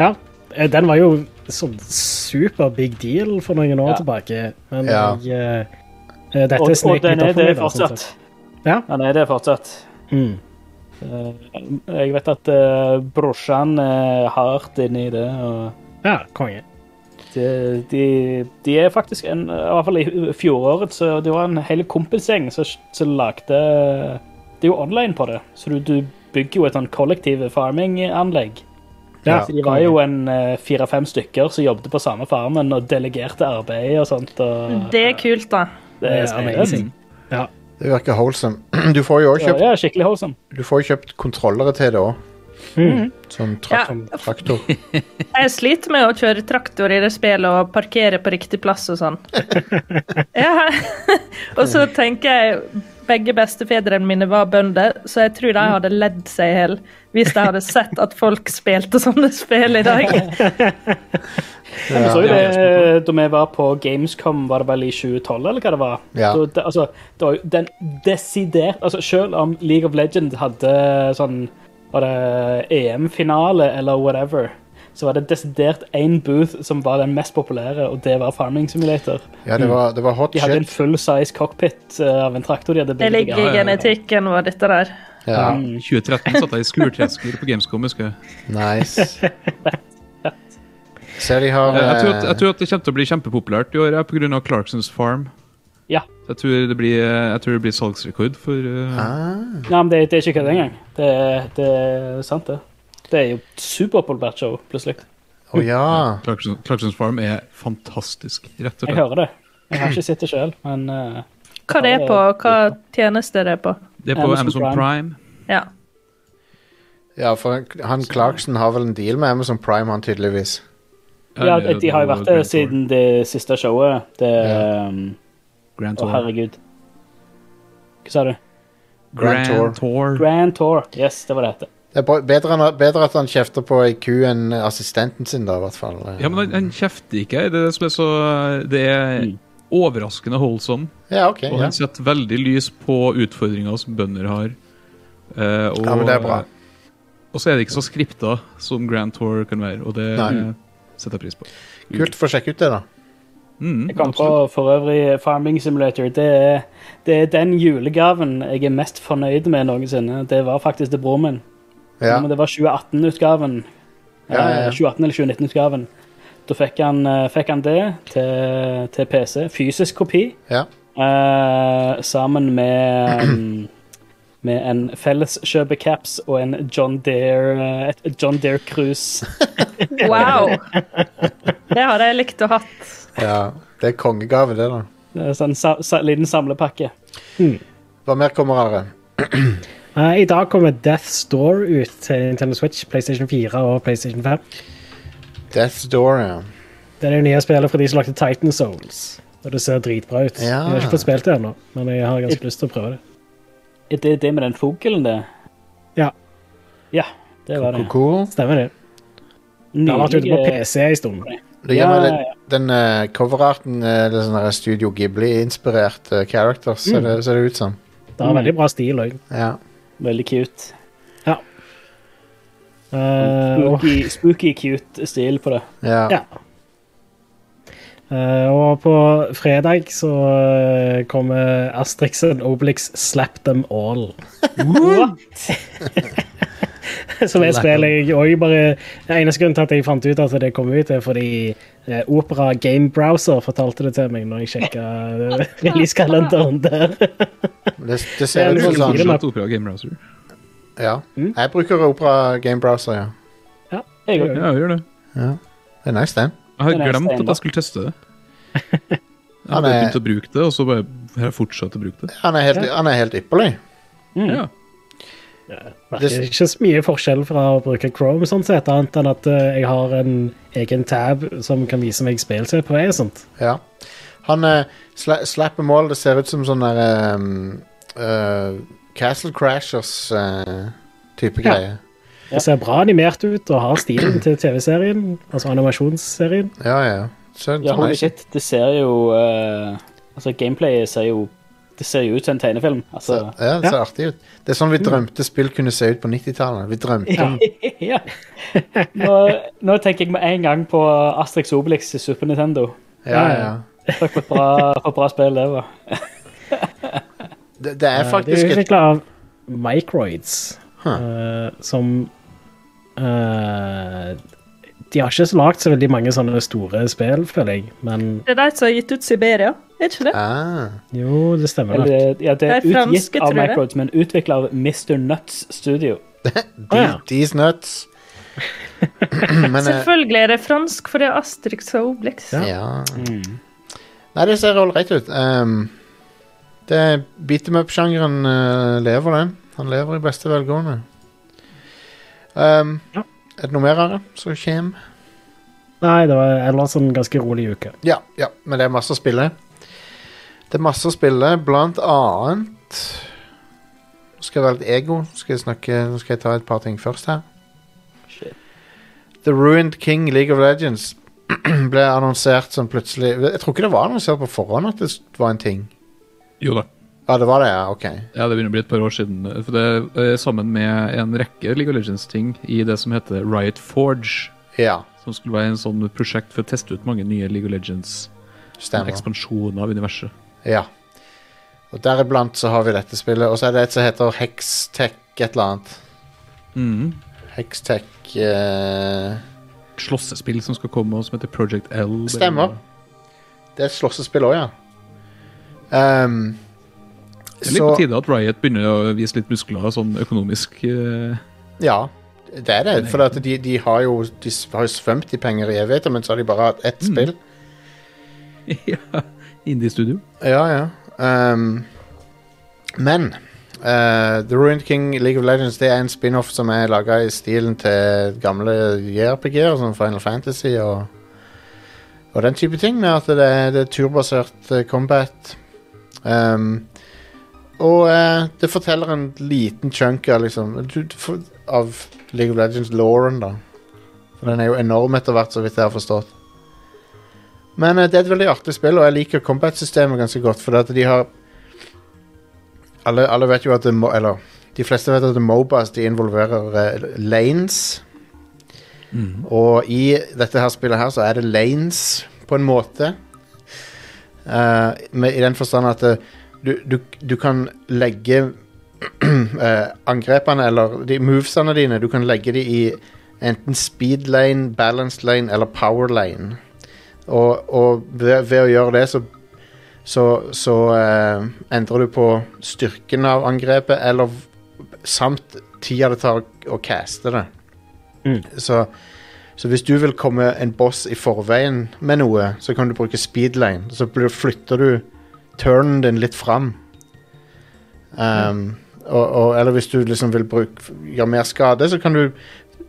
Ja, eh, den var jo sånn super big deal for noen år
Ja.
tilbake, men
Ja.
jeg eh, eh, Dette
Og, og
snek
den
litt
er
opp for
det
meg. da, sånn
fortsatt.
sett. Ja.
Den er det fortsatt.
Mm.
Eh, Jeg vet at eh, brorsan eh, er hardt inne i det. og
Ja, konge.
de, de, de er faktisk en, I hvert fall i fjoråret så det var en hel kompisgjeng som, som lagde Det er jo online på det, så du, du bygger jo et sånn kollektiv farming-anlegg.
Ja,
så De var jo en eh, fire-fem stykker som jobbet på samme farmen og delegerte arbeid og sånt. Og
Det er kult, da.
det er spennende.
amazing. Ja.
Det virker wholesome. [CLEARS THROAT] Du får jo òg
Ja,
kjøpt
ja, skikkelig holdsom.
Du får jo kjøpt kontrollere til det òg.
Mm.
Som
Ja,
trak traktor.
jeg sliter med å kjøre traktor i det spillet og parkere på riktig plass og sånn. Ja. [LAUGHS] Og så tenker jeg begge bestefedrene mine var bønder, så jeg tror de hadde ledd seg i hjel hvis de hadde sett at folk spilte sånne spill i dag.
Vi så jo
Ja.
det eh, da vi var på Gamescom, var det vel i 2012, eller hva det var?
Ja.
Så det, altså, det var jo den desidert altså, Selv om League of Legends hadde sånn Var det EM-finale eller whatever, så var det desidert én booth som var den mest populære, og det var Farming Simulator.
Ja, det var, det var hot
Mm. De hadde en
shit.
full-size cockpit eh, av en traktor de hadde
Det
bygd.
ligger i genetikken vår, dette der.
Ja,
Mm.
2013 satt jeg i skurtresker på Gamescom, husker jeg.
[LAUGHS]
nice. Ser de har
Eh, Jeg tror, at, jeg
eh,
tror at det kommer til å bli kjempepopulært i år ja, pga. Clarksons Farm.
Ja.
Så Jeg tror det blir, eh, jeg tror det blir salgsrekord for eh,
ah,
Nei, men det, det er ikke kødd engang. Det, det er sant, det. Det er jo superpopulært show, plutselig.
Å ja.
Clarkson, Clarksons Farm er fantastisk, rett og
Jeg
slett.
hører det. Jeg har ikke sett det sjøl, men eh,
Hva det er på, hva tjeneste det er på.
Det er på
Amazon
Amazon Prime.
Ja.
Ja, for han Clarkson har vel en deal med Amazon Prime, han tydeligvis.
Ja, de har jo vært det siden det siste showet. Det
Ja.
um,
Grand
Å,
Tour.
herregud. Hva sa du?
Grand Tour.
Grand Tour.
Grand Tour. Yes, det var det det het.
Det er bra- bedre, enn- bedre at han kjefter på ei ku enn assistenten sin, da, i hvert fall.
Ja, men han, han kjefter ikke. Det er det som er så Det er
Mm.
overraskende holdsom.
Ja, ok.
Og
Ja.
han setter veldig lys på utfordringer som bønder har. Eh, og,
ja, men det er bra.
Og så er det ikke så skripta som Grand Tour kan være, og det
Nei.
eh, setter jeg pris på.
Kult, få sjekke ut det, da.
Mm,
Jeg kom på
absolutt.
for øvrig eh, Farming Simulator. Det er, det er den julegaven jeg er mest fornøyd med noensinne. Det var faktisk til broren min.
Ja.
Men det var 2018-utgaven.
Ja, ja, ja.
Eh, 2018 eller 2019-utgaven. Da fikk han, eh, fikk han det til, til PC. Fysisk kopi.
ja.
eh, sammen
[CLEARS THROAT]
med um, med en felleskjøpecaps og en John Dare eh, et John Dare
[LAUGHS]
Cruise.
Wow! Det hadde jeg likt å hatt.
ja. Det er kongegave, det, da.
Eh, Sånn sa, sa, liten samlepakke.
Hva mer kommer, Are?
Eh, I dag kommer Death's Door ut til Nintendo Switch, PlayStation 4 og PlayStation 5.
Death's Door, ja.
Det er det nye spillet fra de som lagde Titan Souls. Og det ser dritbra ut.
Ja.
Jeg har ikke fått spilt det ennå, men jeg har ganske lyst til å prøve det.
Er det det med den fuglen, det?
Ja.
Ja, det var det.
Koko?
Stemmer det. Det har vært ute
eh,
på PC en stund.
Det gir meg
Ja,
litt Den eh, coverarten eh, det er sånn der Studio Ghibli-inspirert eh, characters,
Mm.
ser, det, ser det ut som.
Det har veldig bra stil òg.
Ja.
Veldig cute.
Eh, og,
Spooky, spooky cute stil på det.
ja.
ja. Eh, og på fredag så eh, kommer Astrix and Obelix Slap Them All. [LAUGHS] Som er et spill jeg òg bare Den eneste grunnen til at jeg fant ut at det kom ut, er fordi eh, Opera Game Browser fortalte det til meg når jeg sjekka [LAUGHS] releasekalenderen der.
Det, det ser ut
Jeg lurer
liksom
som
på
sånn.
om det-
Fortsatt Opera Game Browser.
Ja.
Mm.
Jeg bruker Opera Game Browser, ja.
Jeg òg.
Ja, jeg gjør det.
Det er nice, den.
Jeg har
Den er
glemt
stein,
at
da.
jeg skulle teste
[LAUGHS]
det. Jeg
Han
hadde
er-
begynt å bruke det, og så bare har jeg fortsatt å bruke det.
Han er helt, han er helt ypperlig.
Ja.
Det er ikke så mye forskjell fra å bruke Chrome, sånn sett, annet enn at eh, jeg har en egen tab som kan vise meg spill til på vei og sånt.
Ja. Han eh, sla, slapper mål. Det ser ut som sånn der ehm, eh, Castle Crashers-type
Ja.
greie.
Ja.
Det ser bra animert ut og har stilen til TV-serien, altså animasjonsserien.
Ja, ja. Så,
Ja,
så
holy
nice.
shit. Det ser jo eh, Altså, gameplayet ser jo Det ser jo ut som en tegnefilm.
Så,
Altså
ja, det ser artig ut. Det er sånn vi
Mm.
drømte spill kunne se ut på 90-tallet. Vi drømte om
[LAUGHS] ja. Nå, nå tenker jeg med en gang på Astrix Obelix i Super Nintendo.
Ja,
Ja,
ja.
ja.
Takk for et bra, for et bra spill, det var.
Det, det er
Det Eh, er
faktisk et Ah.
utvikla av Microids,
Huh.
eh, som eh, De har ikke lagd så veldig mange sånne store spill, føler jeg, men
Det er de som har gitt ut Siberia, er ikke det?
ah,
jo, det stemmer nok.
Eller, ja, det
Det
er
er franske,
utgitt av
tror jeg.
Microids, men utvikla av Mr. Nuts Studio.
de,
ja.
These
[LAUGHS]
nuts. Men eh,
Selvfølgelig er det fransk, for det er Asterix og Obelix.
ja.
Mm.
Nei, det ser ålreit ut. Ehm, det beat em up-sjangeren eh, lever, den. Han lever i beste velgående. Ehm,
Ja.
Er det noe mer av det som kommer?
Nei, det var ellers en sånn ganske rolig uke.
Ja, ja, men det er masse å spille. Det er masse å spille, blant annet Nå skal jeg være litt ego. Nå Skal jeg snakke, nå skal jeg ta et par ting først her.
Shit.
The Ruined King League of Legends [CLEARS THROAT] ble annonsert som plutselig Jeg tror ikke det var annonsert på forhånd at det var en ting.
Jo da.
Ja, det var det, ja. Ok.
Ja, Det begynner å bli et par år siden. For det er sammen med en rekke League of Legends-ting i det som heter Riot Forge.
Ja,
Som skulle være en sånn prosjekt for å teste ut mange nye League of Legends-ekspansjoner
stemmer.
av universet.
Ja. Og deriblant så har vi dette spillet. Og så er det et som heter Hextech et eller annet.
Mm.
Hextech eh,
Et slåssespill som skal komme, som heter Project L.
Stemmer. Det er et slåssespill òg, ja. Ehm,
Det er litt på
så
tide at Riot begynner å vise litt muskler sånn økonomisk. eh, [LAUGHS]
Ja, det er det. For at de, de har jo De s- har jo svømt i penger i evigheter, men så har de bare hatt ett
Mm.
spill.
ja, Indie-studio.
Ja, ja. Ehm, men Eh, The Ruined King League of Legends Det er en spin-off som er laga i stilen til gamle JRPG-er, som Final Fantasy og, og den type ting, med at det er, det er turbasert eh, combat. Ehm, og eh, det forteller en liten chunk av liksom du- du får- Av League of Legends-lauren, da. For den er jo enorm etter hvert, så vidt jeg har forstått. Men eh, det er et veldig artig spill, og jeg liker combat-systemet ganske godt, fordi at de har alle, alle vet jo at det må, Eller de fleste vet at det MOBAs de involverer eh, lanes.
Mhm.
Og i dette her spillet her så er det lanes, på en måte. Eh, med, I den forstand at eh, du, du, du kan legge [CLEARS THROAT] eh, angrepene, eller de movesene dine, du kan legge de i enten speed lane, balanced lane eller power lane. Og, og ved, ved å gjøre det så så, så eh, endrer du på styrken av angrepet, eller v- samt tida det tar å caste det.
Mm.
Så, så hvis du vil komme en boss i forveien med noe, så kan du bruke speed lane. Så blir- flytter du turnen din litt fram. Um, og, og, eller hvis du liksom vil bruke, gjøre mer skade, så kan du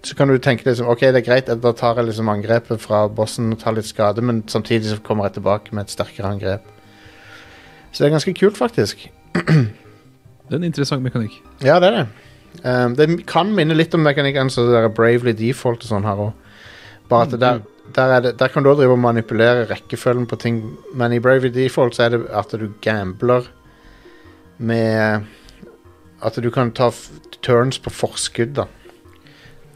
så kan du tenke liksom, ok, det er greit, da tar jeg liksom angrepet fra bossen og tar litt skade, men samtidig så kommer jeg tilbake med et sterkere angrep. Så det er ganske kult, faktisk.
Det er en interessant mekanikk.
Ja, det er det. Um, det kan minne litt om mekanikken så det der Bravely Default og sånn her òg. Bare at det der, der, er det, der kan du også drive og manipulere rekkefølgen på ting, men i Bravely Default så er det at du gambler med At du kan ta f turns på forskudd, da.
Jeg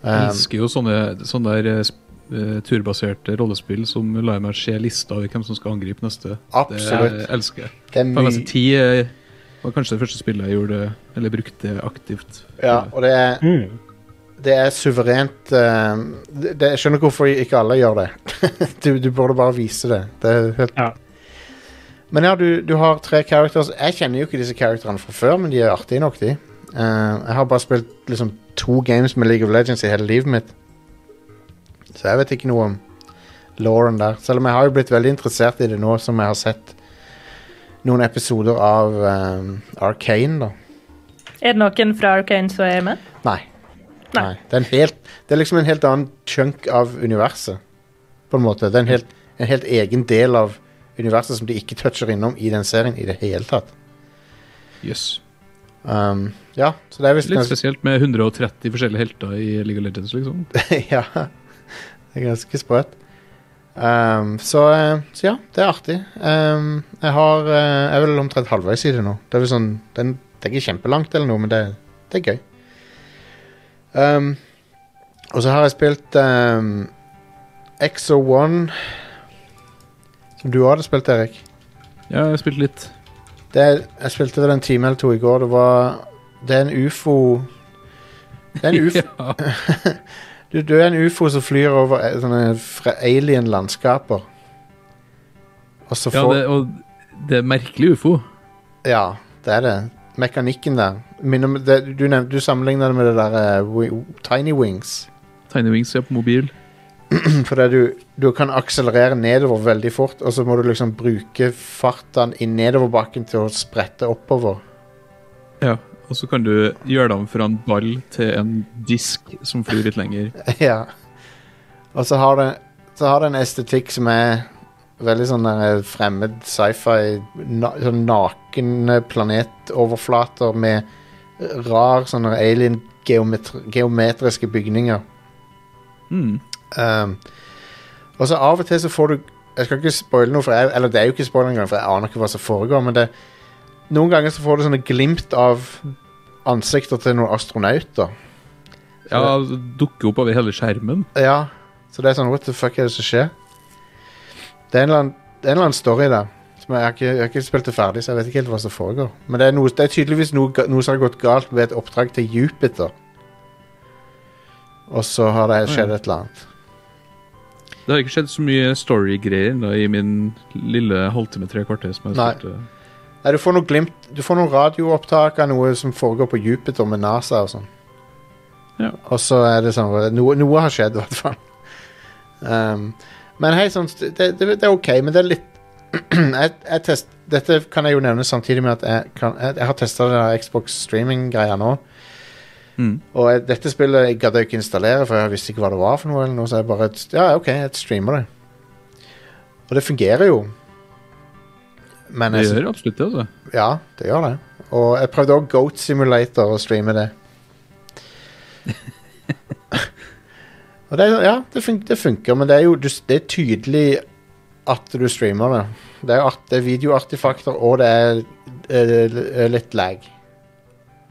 Um,
elsker jo sånne, sånne der, eh, sp- eh, turbaserte rollespill som lar meg se lista over hvem som skal angripe neste.
absolutt.
Det eh, elsker jeg.
Det er
Final
mye
Fantasy 10 eh, var kanskje det første spillet jeg gjorde Eller brukte aktivt.
Ja, og det er
Mm.
det er suverent eh, det, det, Jeg skjønner ikke hvorfor ikke alle gjør det. [LAUGHS] du, du burde bare vise det. det er helt...
Ja.
Men ja, du, du har tre characters. Jeg kjenner jo ikke disse characterene fra før, men de er artige nok, de. Eh, jeg har bare spilt liksom to games med League of Legends i hele livet mitt. Så jeg vet ikke noe om Lauren der. Selv om jeg har jo blitt veldig interessert i det nå som jeg har sett noen episoder av eh, Arcane, da.
Er det noen fra Arcane som er med?
Nei.
Nei.
Nei. Det, er en helt, det er liksom en helt annen chunk av universet, på en måte. Det er en helt, en helt egen del av universet som de ikke toucher innom i den serien i det hele tatt.
Jøss.
Um, ja, så det er visst
Litt
ganske
spesielt med 130 forskjellige helter i League of Legends, liksom.
[LAUGHS] Ja. Det er ganske sprøtt. Um, så, eh, så ja, det er artig. Um, jeg har eh, Jeg er vel omtrent halvveis i det nå. Det er vel sånn Det er, det er ikke kjempelangt eller noe, men det, det er gøy. Um, og så har jeg spilt um, XO1 Som du hadde spilt, Erik.
Ja, jeg har spilt litt.
Det, jeg spilte vel en time eller to i går. Det var Det er en ufo Det er en ufo
Ja.
Du, du er en ufo som flyr over eh, sånne fra alien-landskaper. Og så
[LAUGHS] Ja,
får
det, og det er merkelig ufo.
Ja, det er det. Mekanikken der. Minner om det, du, nevnte- du sammenligner det med det der eh, wi- Tiny Wings.
Tiny Wings er på mobil.
Fordi du, du kan akselerere nedover veldig fort, og så må du liksom bruke farten i nedoverbakken til å sprette oppover.
Ja, og så kan du gjøre dem fra en ball til en disk som flyr litt lenger.
[LAUGHS] ja. Og så har det Så har det en estetikk som er Veldig sånn der fremmed sci-fi na, Sånn nakne planetoverflater Med rar sånne alien geometr, Geometriske bygninger
Mm.
um, Og så av og til så får du Jeg skal ikke spoile noe, for jeg, eller det er jo ikke spoil engang, for jeg aner ikke hva som foregår, men det Noen ganger så får du sånne glimt av ansikter til noen astronauter.
Ja, dukker opp over hele skjermen.
Ja, så det er sånn What the fuck er det som skjer? Det er en eller annen, det er en eller annen story der. Som jeg, har ikke, jeg har ikke spilt det ferdig, så jeg vet ikke helt hva som foregår. Men det er, noe, det er tydeligvis noe, ga- noe som har gått galt ved et oppdrag til Jupiter. Og så har det skjedd et eller annet.
Det har ikke skjedd så mye story-greier da, i min lille halvtime, tre kvarter. som jeg
Nei.
spilte.
Nei, du får noe glimt Du får noen radioopptak av noe som foregår på Jupiter med NASA og sånn.
Ja.
Og så er det sånn Noe, noe har Ehm, skjedd, i hvert fall. Um, men hei, sånn, det, det, det er OK, men det er litt [CLEARS THROAT] jeg, jeg test, Dette kan jeg jo nevne samtidig med at jeg, kan, jeg, jeg har testa Xbox streaming-greia nå.
Mm.
Og jeg, dette spillet gadd jeg ikke installere, for jeg visste ikke hva det var. for noe eller noe, Så jeg bare Ja, OK, jeg streamer det. Og det fungerer jo. Men
Det
jeg,
gjør absolutt det, altså.
ja, det gjør det. Og jeg prøvde også Goat Simulator å streame det. og det, er- ja, det, fun det funker, men det er jo du, s- det er tydelig at du streamer det. Det er, jo art, det er videoartifakter, og det er eh, litt lag.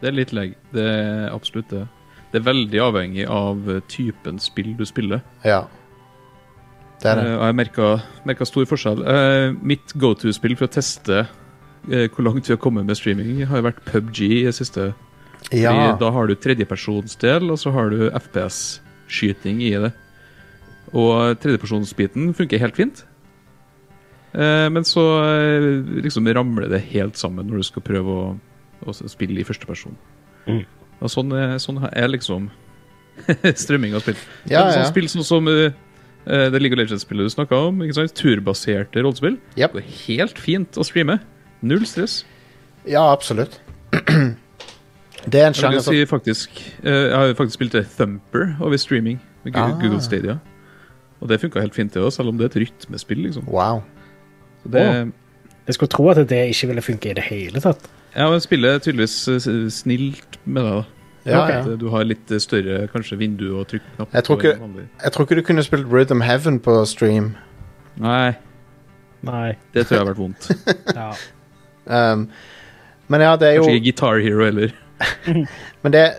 Det er litt leg. Det er absolutt det. Det er veldig avhengig av eh, typen spill du spiller.
Ja. Det er det.
Eh, og jeg merket merket stor forskjell. Eh, mitt go to-spill for å teste eh, hvor langt vi har kommet med streaming, har jo vært PubG i det siste.
Ja.
Fordi Da har du tredjepersonsdel, og så har du FPS-skyting i det. Og tredjepersonsbiten funker helt fint. Eh, men så eh, liksom ramler det helt sammen når du skal prøve å, å s- spille i førsteperson.
Mm.
Og sånn, er- sånn er liksom [LAUGHS] strømming av spill.
Ja,
Men
ja.
Sånn spill sånn som eh, eh, det League of Legends-spillet du snakka om, ikke sant? turbaserte rollespill,
Jep.
går helt fint å streame. Null stress.
ja, absolutt. [CLEARS THROAT] det er en
Jeg
sjanger
vil
som
si faktisk eh, Jeg har jo faktisk spilt det Thumper over streaming med Gu-
Ah.
Google Stadia. Og det funka helt fint, det òg, selv om det er et rytmespill. liksom.
Wow.
Så det,
Jeg skulle tro at det ikke ville funke i det hele tatt.
ja, men Spillet er tydeligvis eh, s- snilt med deg. da.
Ja,
Ok.
ja.
At Du har litt eh, større kanskje vindu og trykknapp.
Jeg tror ikke-
enn vanlig.
Jeg tror ikke du kunne spilt Rhythm Heaven på stream.
Nei,
Nei.
det tror jeg har vært [LAUGHS] vondt.
[LAUGHS] Ja.
Um, men ja, det er jo
Kanskje ikke Guitar Hero heller.
Men det,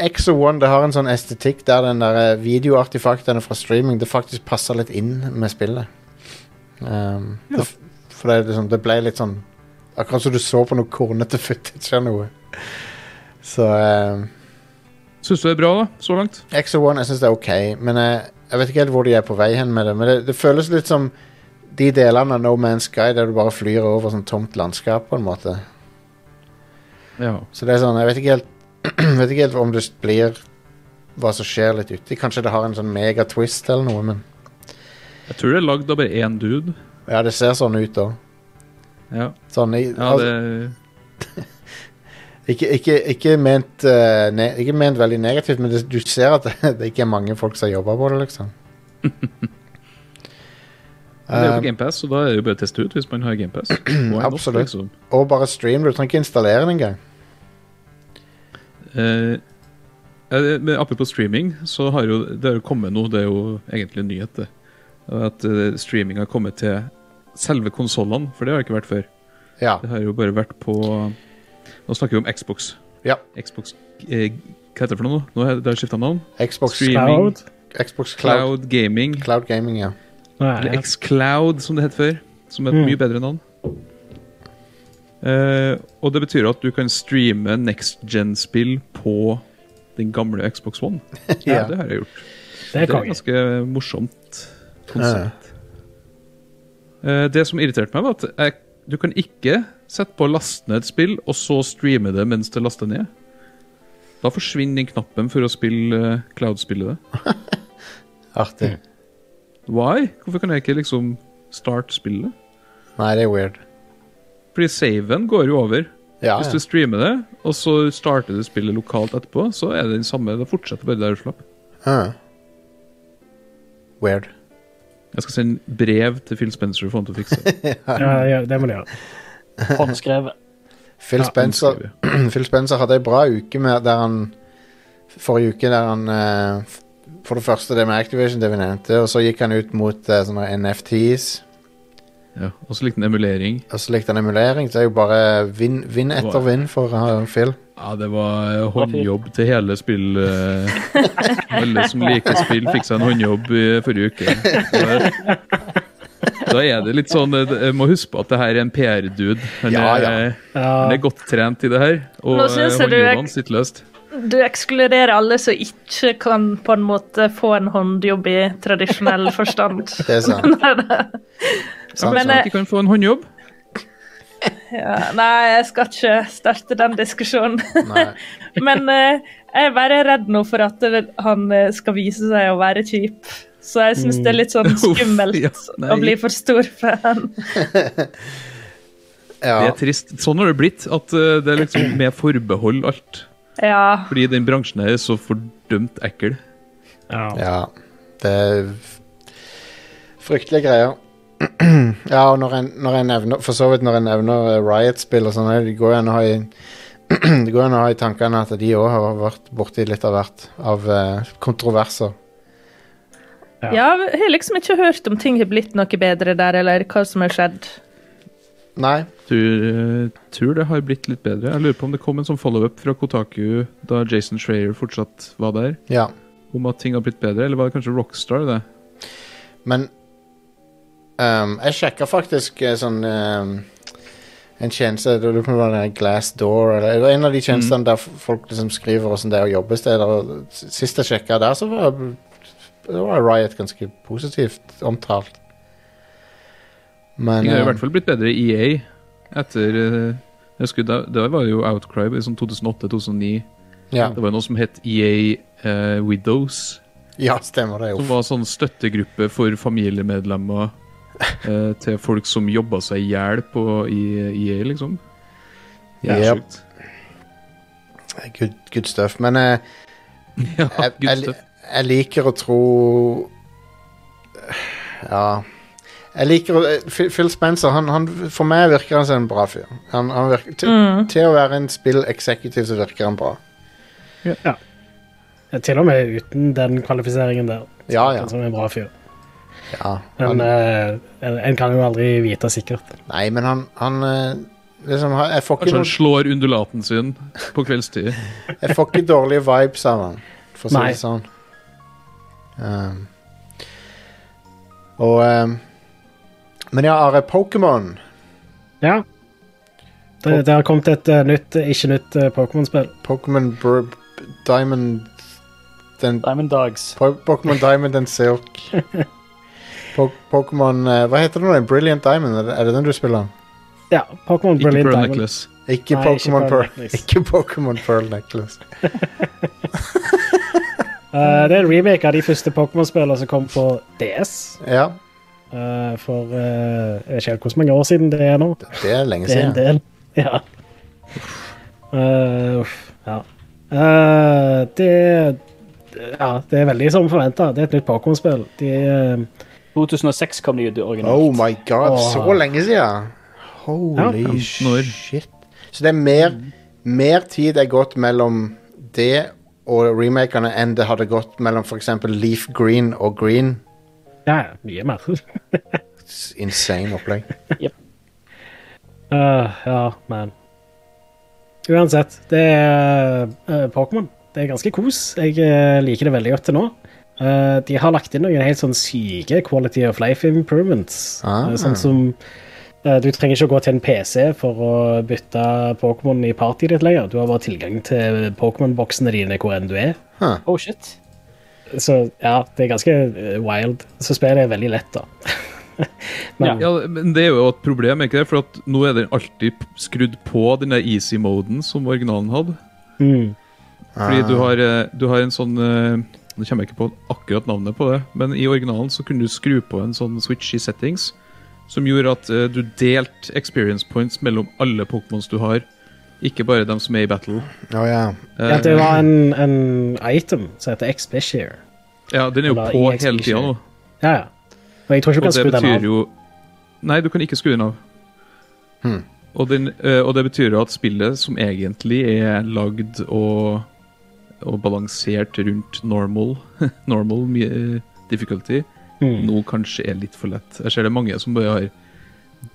Exo One det har en sånn estetikk der den der eh, videoartifaktene fra streaming det faktisk passer litt inn med spillet. Um, det, f- for det, er liksom, det ble litt sånn Akkurat som du så på noe kornete footage eller noe. Så um,
Syns du det er bra da, så langt?
Exo One jeg syns det er OK, men jeg, jeg vet ikke helt hvor de er på vei hen med det. Men det, det føles litt som de delene av No Man's Sky der du bare flyr over sånn tomt landskap, på en måte.
Ja.
Så det er sånn, jeg vet ikke helt, [CLEARS THROAT] vet ikke helt om det blir hva som skjer litt uti. Kanskje det har en sånn megatwist eller noe, men
Jeg tror det er lagd av bare én dude.
ja, det ser sånn ut da.
Ja,
Sånn, i,
ja det,
altså, ikke, ikke, ikke, ment, eh, ne, ikke ment veldig negativt, men det, du ser at [LAUGHS] det, ikke er mange folk som jobber på det,
[LAUGHS]
liksom.
men det er jo
Eh,
på GamePass, så da er det jo bare å teste ut hvis man har GamePass.
Absolutt.
liksom?
og bare stream, du trenger ikke installere den engang.
Eh, eh, men apropos streaming, så har jo det har jo kommet noe. Det er jo egentlig en nyhet, det. At eh, streaming har kommet til selve konsollene, for det har det ikke vært før.
Ja,
Det har jo bare vært på Nå snakker vi om Xbox.
Ja.
Xbox eh, Hva heter det for noe nå? nå? har- Det har skifta navn.
Xbox,
Stream.
Cloud?
Xbox Cloud,
Cloud Gaming.
Cloud Gaming, ja.
Nei,
Eller Xcloud, som det het før. Som er et
Mm.
mye bedre navn. Eh, og det betyr at du kan streame next gen-spill på den gamle Xbox One.
[LAUGHS] Ja.
Det har jeg gjort.
det er
Det
[LAUGHS]
er
konge.
ganske morsomt konsept. Eh, Det som irriterte meg, var at jeg, du kan ikke sette på å laste ned et spill, og så streame det mens det laster ned. Da forsvinner den knappen for å spille eh, cloud-spillet. det.
Artig.
Why? Hvorfor kan jeg ikke liksom starte spillet?
Nei, det er weird.
Fordi saven går jo over.
Ja,
Hvis
ja.
du streamer det, og så starter du spillet lokalt etterpå, så er det den samme. Det fortsetter bare der du slapp.
Ah. Weird.
Jeg skal sende brev til Phil Spencer for han til å
[LAUGHS]
fikse det.
Ja, ja, det må du gjøre.
Håndskrevet.
Phil
Ja,
Spencer [CLEARS THROAT] Phil Spencer hadde ei bra uke med der han Forrige uke der han eh, f- For det første det med Activision, det vi nevnte, og så gikk han ut mot eh, sånne NFTs.
Ja, og så likte han emulering.
Og så likte han emulering. Så det er jo bare vinn vinn etter
Wow.
vinn for eh, Phil.
Ja, det var eh, håndjobb til hele spill. eh. Alle som liker spill, fikk seg en håndjobb i forrige uke. Da- Da er det litt sånn eh, Jeg må huske på at det her er en PR-dude. Han,
Ja,
er-
ja.
han
Ja,
er godt trent i det her. Og
Nå
eh,
synes jeg du er-
håndjobbene sitter løst.
Du ekskluderer alle som ikke kan på en måte få en håndjobb i tradisjonell forstand.
[LAUGHS] Det er sant. sant,
Men,
sant.
eh,
Ikke kan få en håndjobb.
Ja, nei, jeg skal ikke starte den diskusjonen.
Nei.
Men eh, jeg er bare redd nå for at det- han eh, skal vise seg å være kjip. Så jeg syns det er litt sånn
Mm. [LAUGHS] Uff,
skummelt
ja, nei.
å bli for stor fan.
Det
Ja.
er trist. Sånn har det blitt. At eh, det er liksom med forbehold alt.
Ja.
Fordi den bransjen her er så fordømt ekkel.
Ja.
ja. Det er f- fryktelige greier. [CLEARS THROAT] ja, og når en, når en nevner For så vidt når en nevner eh, Riot-spill og sånn, det går jo an å ha i [CLEARS THROAT] det går an å ha i tankene at de òg har vært borti litt av hvert av eh, kontroverser.
Ja.
ja, jeg har liksom ikke hørt om ting har blitt noe bedre der, eller hva som har skjedd.
Nei.
Tror, eh, tror det har blitt litt bedre. Jeg lurer på om det kom en sånn follow-up fra Kotaku da Jason Schreier fortsatt var der,
Ja.
om at ting har blitt bedre. Eller var det kanskje Rockstar, det?
Men ehm, jeg sjekka faktisk eh, sånn ehm, en tjeneste jeg lurer på om det var den der Glassdoor eller det var en av de
Mm.
tjenestene der f- folk liksom skriver åssen det er å jobbe steder. og s- Sist jeg sjekka der, så var, det var Riot ganske positivt omtalt. Men
Ting har i
ehm,
hvert fall blitt bedre i EA etter eh, jeg husker, da, da var jo Outcry i sånn 2008-2009.
ja,
Det var jo noe som het EA eh, Widows.
ja, stemmer det.
Som
Uff.
var sånn støttegruppe for familiemedlemmer eh, til folk som jobba seg i hjel på i EA, liksom. Ja,
Yep.
sjukt. [LAUGHS]
Good, good stuff. Men eh,
Ja,
jeg,
good
jeg,
stuff.
jeg liker å tro Ja Jeg liker å Phil Phil Spencer, han, han, for meg virker han som en bra fyr. Han, han virker, til, til å være en spill-executive så virker han bra.
Til og med uten den kvalifiseringen der.
Ja, ja.
Som en bra fyr.
ja
Men
han,
eh, en, en kan jo aldri vite sikkert.
nei, men han, han eh, liksom, han- jeg, får ikke
Kanskje
Altså,
han
noen,
slår undulaten sin på kveldstid.
jeg får ikke dårlige vibes av han, for å si
Nei.
det sånn. Um, og um, Men ja, Are, Pokémon
Ja. Det, det har kommet et eh, nytt, eh, ikke nytt eh, Pokémon-spill.
Pokémon Br- Br- Diamond Den
Diamond Dogs.
Po- Pokémon Diamond and
[LAUGHS]
Silk. Po Pokémon eh, Hva heter det nå? Brilliant Diamond? Er det, er det den du spiller?
Ja, Pokémon
Ikke
Brilliant
Pearl
Diamond.
Necklace.
Ikke
Nei, ikke
Pokémon Pearl
Pearl Necklace.
Ikke Pokémon Pearl Necklace.
Eh, det er en remake av de første Pokémon-spillene som kom på DS.
Ja,
eh, for eh, jeg vet ikke helt hvor mange år siden det er nå.
det er lenge
Det er
siden.
en del. [LAUGHS] Ja. Eh, uff, ja. Eh, det Ja, det er veldig som forventa. Det er et nytt Pokémon-spill. De eh,
2006 kom de ut originalt.
Oh my god,
Åh.
så lenge siden! Holy
15 år.
shit. Så det er mer,
Mm.
mer tid er gått mellom det og remakerne enn det hadde gått mellom f.eks. Leaf Green og Green.
Ja, ja, mye mer. [LAUGHS]
S- Insane opplegg.
Eh, ja, men Uansett, det er eh, Pokémon. Det er ganske kos. Jeg eh, liker det veldig godt til nå. Eh, de har lagt inn noen helt sånn syke quality of life improvements.
Ah.
Eh, sånn som eh, Du trenger ikke å gå til en PC for å bytte Pokémon i partyet ditt lenger. Du har bare tilgang til Pokémon-boksene dine hvor enn du er.
Oh shit.
Så ja, det er ganske eh, wild. Så spillet er veldig lett, da. [LAUGHS] men,
Ja, men det er jo et problem, er ikke det? For at nå er den alltid p- skrudd på den der easy-moden som originalen hadde.
Mm,
Fordi du har, eh, du har en sånn eh, Nå kommer jeg ikke på akkurat navnet på det, men i originalen så kunne du skru på en sånn switch i settings som gjorde at eh, du delte experience points mellom alle Pokémons du har, ikke bare dem som er i battle.
Å Oh, ja.
ja,
Eh,
det var en, en item som heter Expishare.
ja, den er jo
Eller
på
EXP
hele tida nå,
Ja, ja. Og jeg tror ikke
og
du kan
det
skru den av.
betyr jo Nei, du kan ikke skru den av.
Hmm.
Og, den, eh, og det betyr jo at spillet, som egentlig er lagd og, og balansert rundt normal, [LAUGHS] normal eh, difficulty,
Mm.
nå kanskje er litt for lett. Jeg ser det er mange som bare har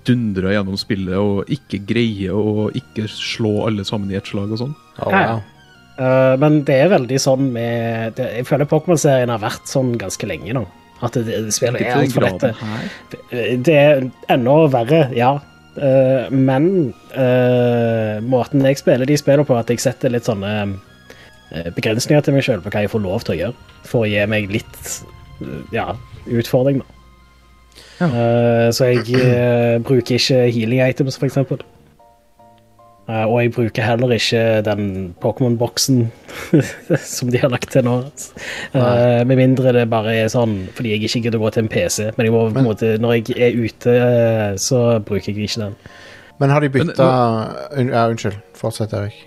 dundra gjennom spillet og ikke greier å ikke slå alle sammen i ett slag og sånn.
Å,
Ja,
Oh,
ja.
wow.
Eh, men det er veldig sånn med det, Jeg føler Pokémon-serien har vært sånn ganske lenge nå. At det, det spillet er
Ikke til den
altfor lette.
graden her.
Det er enda verre, ja. Eh, men eh, måten jeg spiller de spiller på, at jeg setter litt sånne eh, begrensninger til meg sjøl på hva jeg får lov til å gjøre, for å gi meg litt eh, ja, utfordring, da. Eh, så jeg eh, bruker ikke healing items, for eksempel. Eh, og jeg bruker heller ikke den Pokémon-boksen [LAUGHS] som de har lagt til nå. Eh, med mindre det bare er sånn fordi jeg ikke gidder å gå til en PC. Men, jeg må, på en måte, når jeg er ute, eh, så bruker jeg ikke den.
Men har de
Men-
bytta un, Ja, unnskyld. Fortsett, Erik.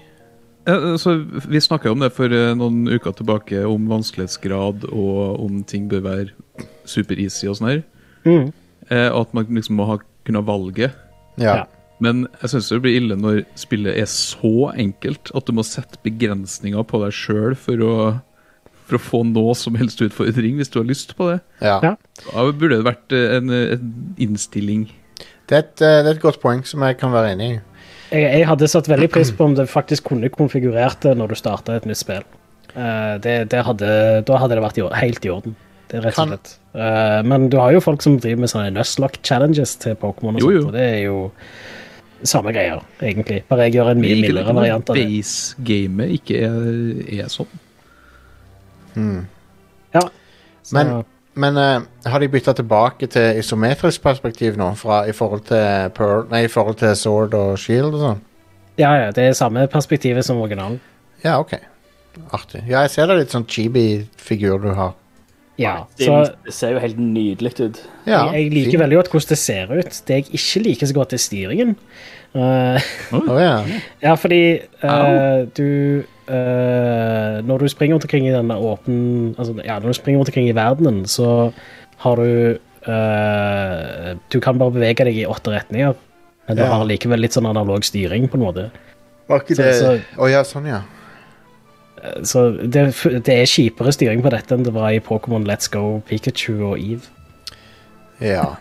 Ja, altså, vi snakka om det for eh, noen uker tilbake, om vanskelighetsgrad og om ting bør være super-easy og sånn her.
Mm.
Eh, og at man liksom må ha, kunne ha valget.
Ja.
Ja.
Men jeg syns det blir ille når spillet er så enkelt at du må sette begrensninger på deg sjøl for, å- for å få noe som helst utfordring, hvis du har lyst på det.
ja.
Ja.
Da burde det vært eh, en, eh, en innstilling.
Det, er et, eh, det er et godt poeng som jeg kan være enig i.
Jeg, jeg hadde satt veldig pris på om det faktisk kunne konfigurert det når du starta et nytt spill. Eh, det, det hadde, da hadde det vært i, or- helt i orden. Det er rett og
Kan-
slett. Eh, men du har jo folk som driver med sånne Nuzlocke challenges til Pokémon, og,
Jo,
sånt,
jo.
og det er jo samme greier, egentlig. Bare jeg gjør en mye
Ikke-
mildere variant av det.
Base-gamet ikke er, er sånn.
Ja. Så,
Men- Men eh, har de bytta tilbake til isometrisk perspektiv nå? Fra, I forhold til Pearl Nei, i forhold til Sword og Shield og sånn?
ja, ja, det er samme perspektivet som originalen.
Ja, OK. Artig. Ja, jeg ser det er litt sånn chibi-figur du har.
Ja,
Det,
så
det ser jo helt nydelig ut.
Ja,
jeg, jeg liker
fin.
veldig godt hvordan det ser ut. Det jeg ikke liker så godt, er styringen. Eh,
Å ja.
Ja, fordi eh,
Au.
du eh, Når du springer rundt omkring i denne åpen altså, Ja, når du springer rundt omkring i verdenen, så har du eh, Du kan bare bevege deg i åtte retninger, men du
Ja.
har likevel litt sånn analog styring, på en måte.
Var ikke
Så-
det Å
så-
ja, sånn, ja.
Eh, Så det, f- det er kjipere styring på dette enn det var i Pokémon Let's Go, Pikachu og Eve. [LAUGHS]
Ja.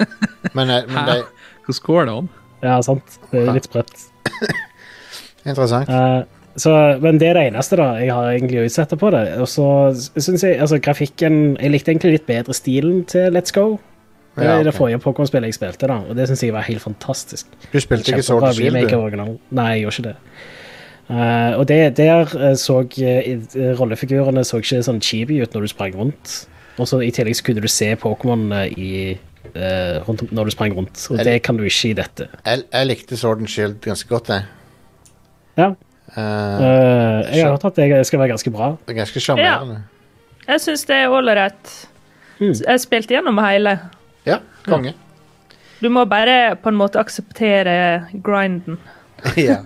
Men, eh, men det er
Hvordan går det an?
Ja, sant? Det er litt sprøtt.
interessant.
Eh, så, men det er det eneste da jeg har egentlig å utsette på det. Og så syns jeg altså, grafikken Jeg likte egentlig litt bedre stilen til Let's Go. Det
Ja,
er Eh, det
ok.
forrige Pokémon-spillet jeg spilte, da, og det syns jeg var helt fantastisk.
Du spilte ikke Sword
Kjempebra
og Shield,
remake av
du?
originalen. Nei, jeg gjorde ikke det. Eh, og det, der eh, så eh, i- rollefigurene så ikke sånn chibi ut når du sprang rundt. Og så i tillegg så kunne du se Pokémon eh, i eh, rundt, om- når du sprang rundt, og
Er
det kan du ikke i dette.
Jeg, jeg likte Sword and Shield ganske godt, jeg.
Ja.
Eh,
eh, jeg har hørt at det skal være ganske bra.
[LAUGHS] det er ganske sjarmerende.
Jeg syns det er ålreit.
Mm.
Jeg spilte gjennom hele.
Ja, konge.
Du må bare på en måte akseptere grinden.
[LAUGHS] ja.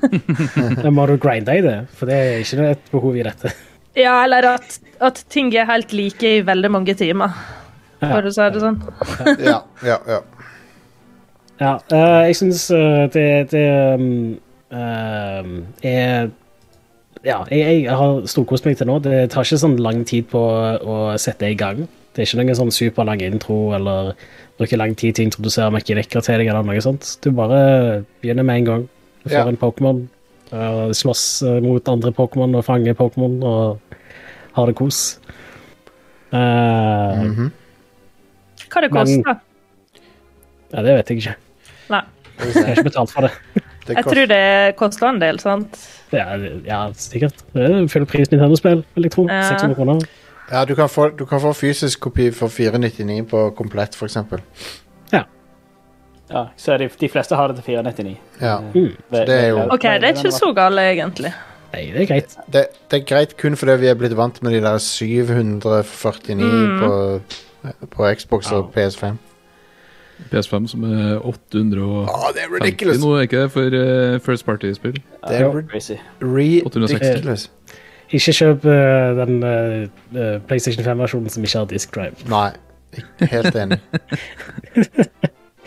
Men må du grinde i det? For det er ikke et behov i dette.
Ja, eller at, at ting er helt like i veldig mange timer, for å si det sånn.
[LAUGHS] ja, ja, ja.
Ja, eh, jeg syns det, det um, um, er Ja, jeg, jeg har storkost meg til nå. Det tar ikke sånn lang tid på å sette i gang. Det er ikke noen sånn superlang intro eller bruker lang tid til å introdusere mekanikker til deg eller noe sånt. Du bare begynner med en gang. Du får
Ja.
en Pokémon, eh, slåss eh, mot andre Pokémon og fanger Pokémon og har det kos. Eh,
Hva det
Men-
koster?
Ja, det vet jeg ikke.
Nei.
Jeg har ikke betalt for det.
Det
Jeg tror det koster en del, sant?
Det er, ja, sikkert. Det er Full pris Nintendo-spill, vil jeg tro.
Ja.
600 kroner.
Ja, du kan, få, du kan få fysisk kopi for 499 på komplett, for eksempel.
Ja, så er de, de fleste har det til 499.
Ja.
Mm.
Ve-
det er jo-
ve-
OK, det er ikke så gale, egentlig.
Nei, det er greit.
Det, det er greit kun fordi vi er blitt vant med de der 749
Mm.
på, på Xbox og PS5.
PS5 som er 800 og
Å, det er
50
ridiculous!
nå, er ikke det, for eh, First Party-spill?
Det
Ja,
er
jo, crazy.
ridiculous.
Ikke kjøp eh, den eh, eh, PlayStation 5-versjonen som ikke har disk drive.
Nei, ikke helt enig.
[LAUGHS]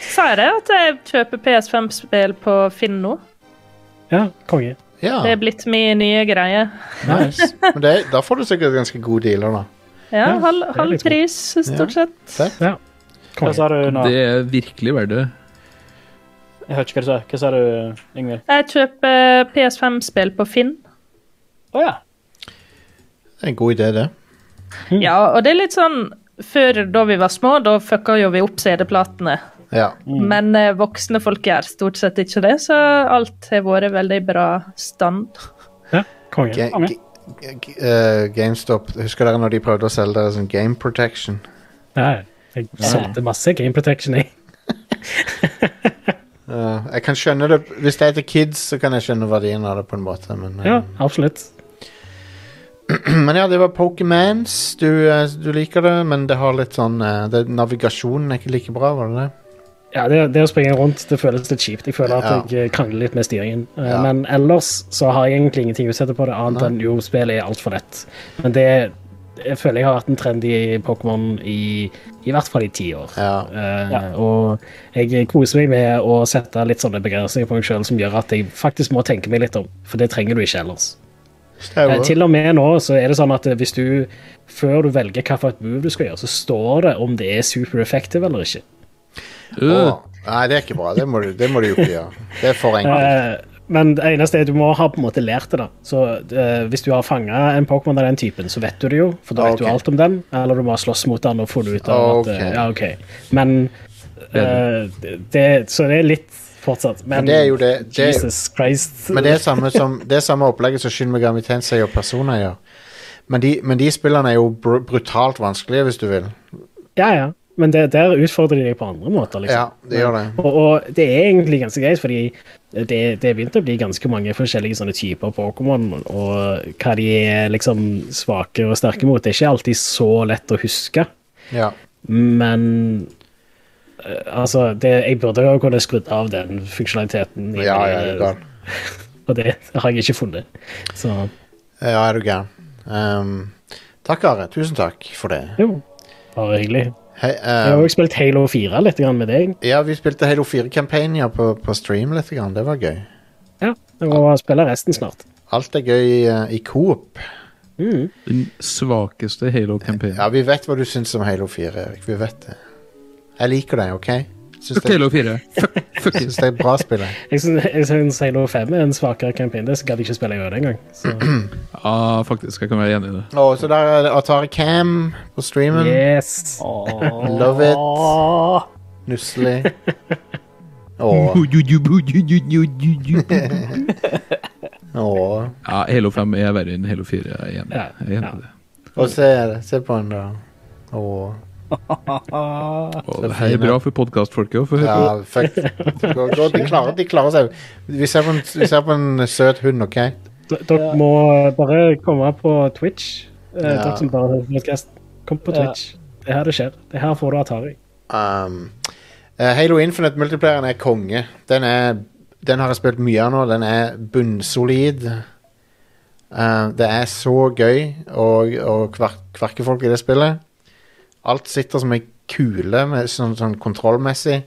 Sa jeg det at jeg kjøper PS5-spill på Finn nå?
Ja, konge.
Ja,
Det er blitt min nye greie.
nice. Men det, er- da får du sikkert ganske gode dealer, da.
Ja,
Ja,
halv,
det er
halv
litt
pris,
Ja.
stort sett.
Fett.
Ja.
Hva
Altså,
konge.
sa du nå?
Det er virkelig verdt det.
Jeg hørte ikke hva du sa. Hva sa du, Ingvild?
Jeg kjøper PS5-spill på Finn.
Å ja.
Det er en god idé, det.
Ja, og det er litt sånn Før, da vi var små, da fucka jo vi opp CD-platene.
Ja.
Men eh, voksne folk gjør stort sett ikke det, så alt har vært veldig bra stand.
Ja, konge.
Ga- ga- ga- eh, GameStop, husker dere når de prøvde å selge dere sånn Game Protection?
Ja, jeg solgte masse Game Protection, jeg.
Eh, jeg jeg kan skjønne det Hvis det er til kids, så kan jeg skjønne verdien av det, på en måte. Men, eh,
Ja, absolutt.
[CLEARS THROAT] men ja, det var Pokémans. Du, eh, du liker det, men det har litt sånn eh, det, Navigasjonen er ikke like bra, var det det?
Ja, det, det å springe rundt det føles litt kjipt. Jeg føler at
Ja.
jeg eh, krangler litt med styringen. Eh,
Ja.
Men ellers så har jeg egentlig ingenting å utsette på det, annet
Nei.
enn jo, spillet er altfor lett. Men det jeg føler jeg har vært en trend i Pokémon i i hvert fall i ti år.
Ja.
Eh,
Ja.
Og jeg koser meg med å sette litt sånne begrensninger på meg sjøl som gjør at jeg faktisk må tenke meg litt om, for det trenger du ikke ellers. Eh,
Stauer.
Til og med nå så er det sånn at eh, hvis du, før du velger hvilket move du skal gjøre, så står det om det er super effective eller ikke.
Øh,
Åh, Nei, det er ikke bra. Det må du, det må du jo ikke gjøre. Det er for enkelt.
Eh, Men det eneste er at du må ha på en måte lært det. da. Så eh, Hvis du har fanga en Pokémon av den typen, så vet du det jo, for da
Ah,
vet
ok.
du alt om den. Eller du må slåss mot den og få det ut av
Ah,
at
ok.
eh, Ja, OK. Men eh, det, Så det er litt fortsatt. Men,
Men det er jo det, det er,
Jesus Christ.
Men det er samme, som, det er samme opplegget som Shin Megami Tensei og Persona gjør. Men de, men de spillene er jo br brutalt vanskelige, hvis du vil.
Ja, ja. Men det, der utfordrer de deg på andre måter, liksom.
Ja, det gjør det.
Og, og det er egentlig ganske greit, fordi det, det er begynt å bli ganske mange forskjellige sånne typer Pokémon, og hva de er liksom svake og sterke mot. Det er ikke alltid så lett å huske,
Ja.
men eh, altså, det, jeg burde jo kunne skrudd av den funksjonaliteten. i-
Ja, ja, er du gal.
og det har jeg ikke funnet. Så
eh, Ja, er du gæren. Um, takk, Are. Tusen takk for det.
jo, bare hyggelig.
Hei,
Jeg har
um,
også spilt Halo 4 litt grann med deg.
ja, vi spilte Halo 4-kampanjer på, på stream litt. Grann. Det var gøy.
Ja, jeg må spille resten snart.
Alt er gøy eh, i coop.
Mm.
den svakeste Halo-campaignen.
Ja, vi vet hva du syns om Halo 4, Erik. Vi vet det. Jeg liker deg, OK? Syns
Fuck
det,
Halo 4. Fuck, fuck it.
[LAUGHS] syns det er et bra spill. jeg.
Jeg syns- jeg syns Halo 5 er en svakere campaign. Det gadd jeg ikke spille i øret engang. Så
Ja, faktisk. Jeg kan være enig i det.
Å, så der er det Atari Cam på streamen.
yes.
Love it. Nusselig. Åh, åh.
Ja, Halo 5 er verre enn Halo 4. Jeg er enig.
Ja,
Jeg er enig
ja.
i det.
Og se, se på han, da. Åh.
Og det her er bra for podkastfolket å få høre på.
Ja, fuck. Gå- gå, De klarer, de klarer seg. Vi ser, på en, vi ser på en søt hund, OK?
D- Dere må bare komme på Twitch. Eh,
Ja.
Dere som bare hører podcast, kom på
Ja.
Twitch. Det er her det skjer. Det er her får du Atari.
Um, eh, Halo Infinite Multiplayeren er konge. Den, er, den har jeg spilt mye av nå. Den er bunnsolid. Eh, det er så gøy å- å kver- kverke folk i det spillet. Alt sitter som ei kule med, sånn, sånn kontrollmessig.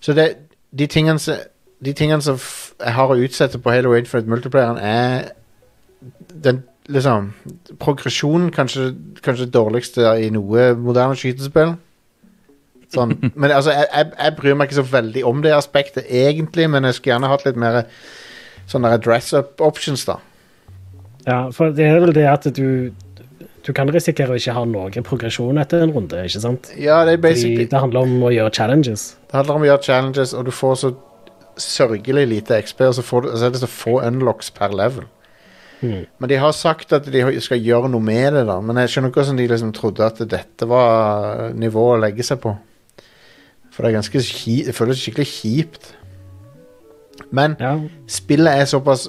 Så det, de tingene som de tingene som f jeg har å utsette på Halo Infinite Multiplayeren, er den liksom Progresjonen kanskje, kanskje det dårligste i noe moderne skytespill. Sånn. Men altså, jeg, jeg, jeg bryr meg ikke så veldig om det aspektet egentlig, men jeg skulle gjerne hatt litt mer sånne der dress up options, da.
Ja, for det er vel det at du du kan risikere å ikke ha noen progresjon etter en runde. ikke sant?
Ja, det er
Fordi
basically
det handler om å gjøre challenges.
Det handler om å gjøre challenges, og du får så sørgelig lite XP, og så, får du, så er det så få unlocks per level.
Mhm.
Men de har sagt at de skal gjøre noe med det, da. Men jeg skjønner ikke hvordan de liksom trodde at dette var nivået å legge seg på. For det er ganske kji- det føles skikkelig kjipt. Men
Ja,
spillet er såpass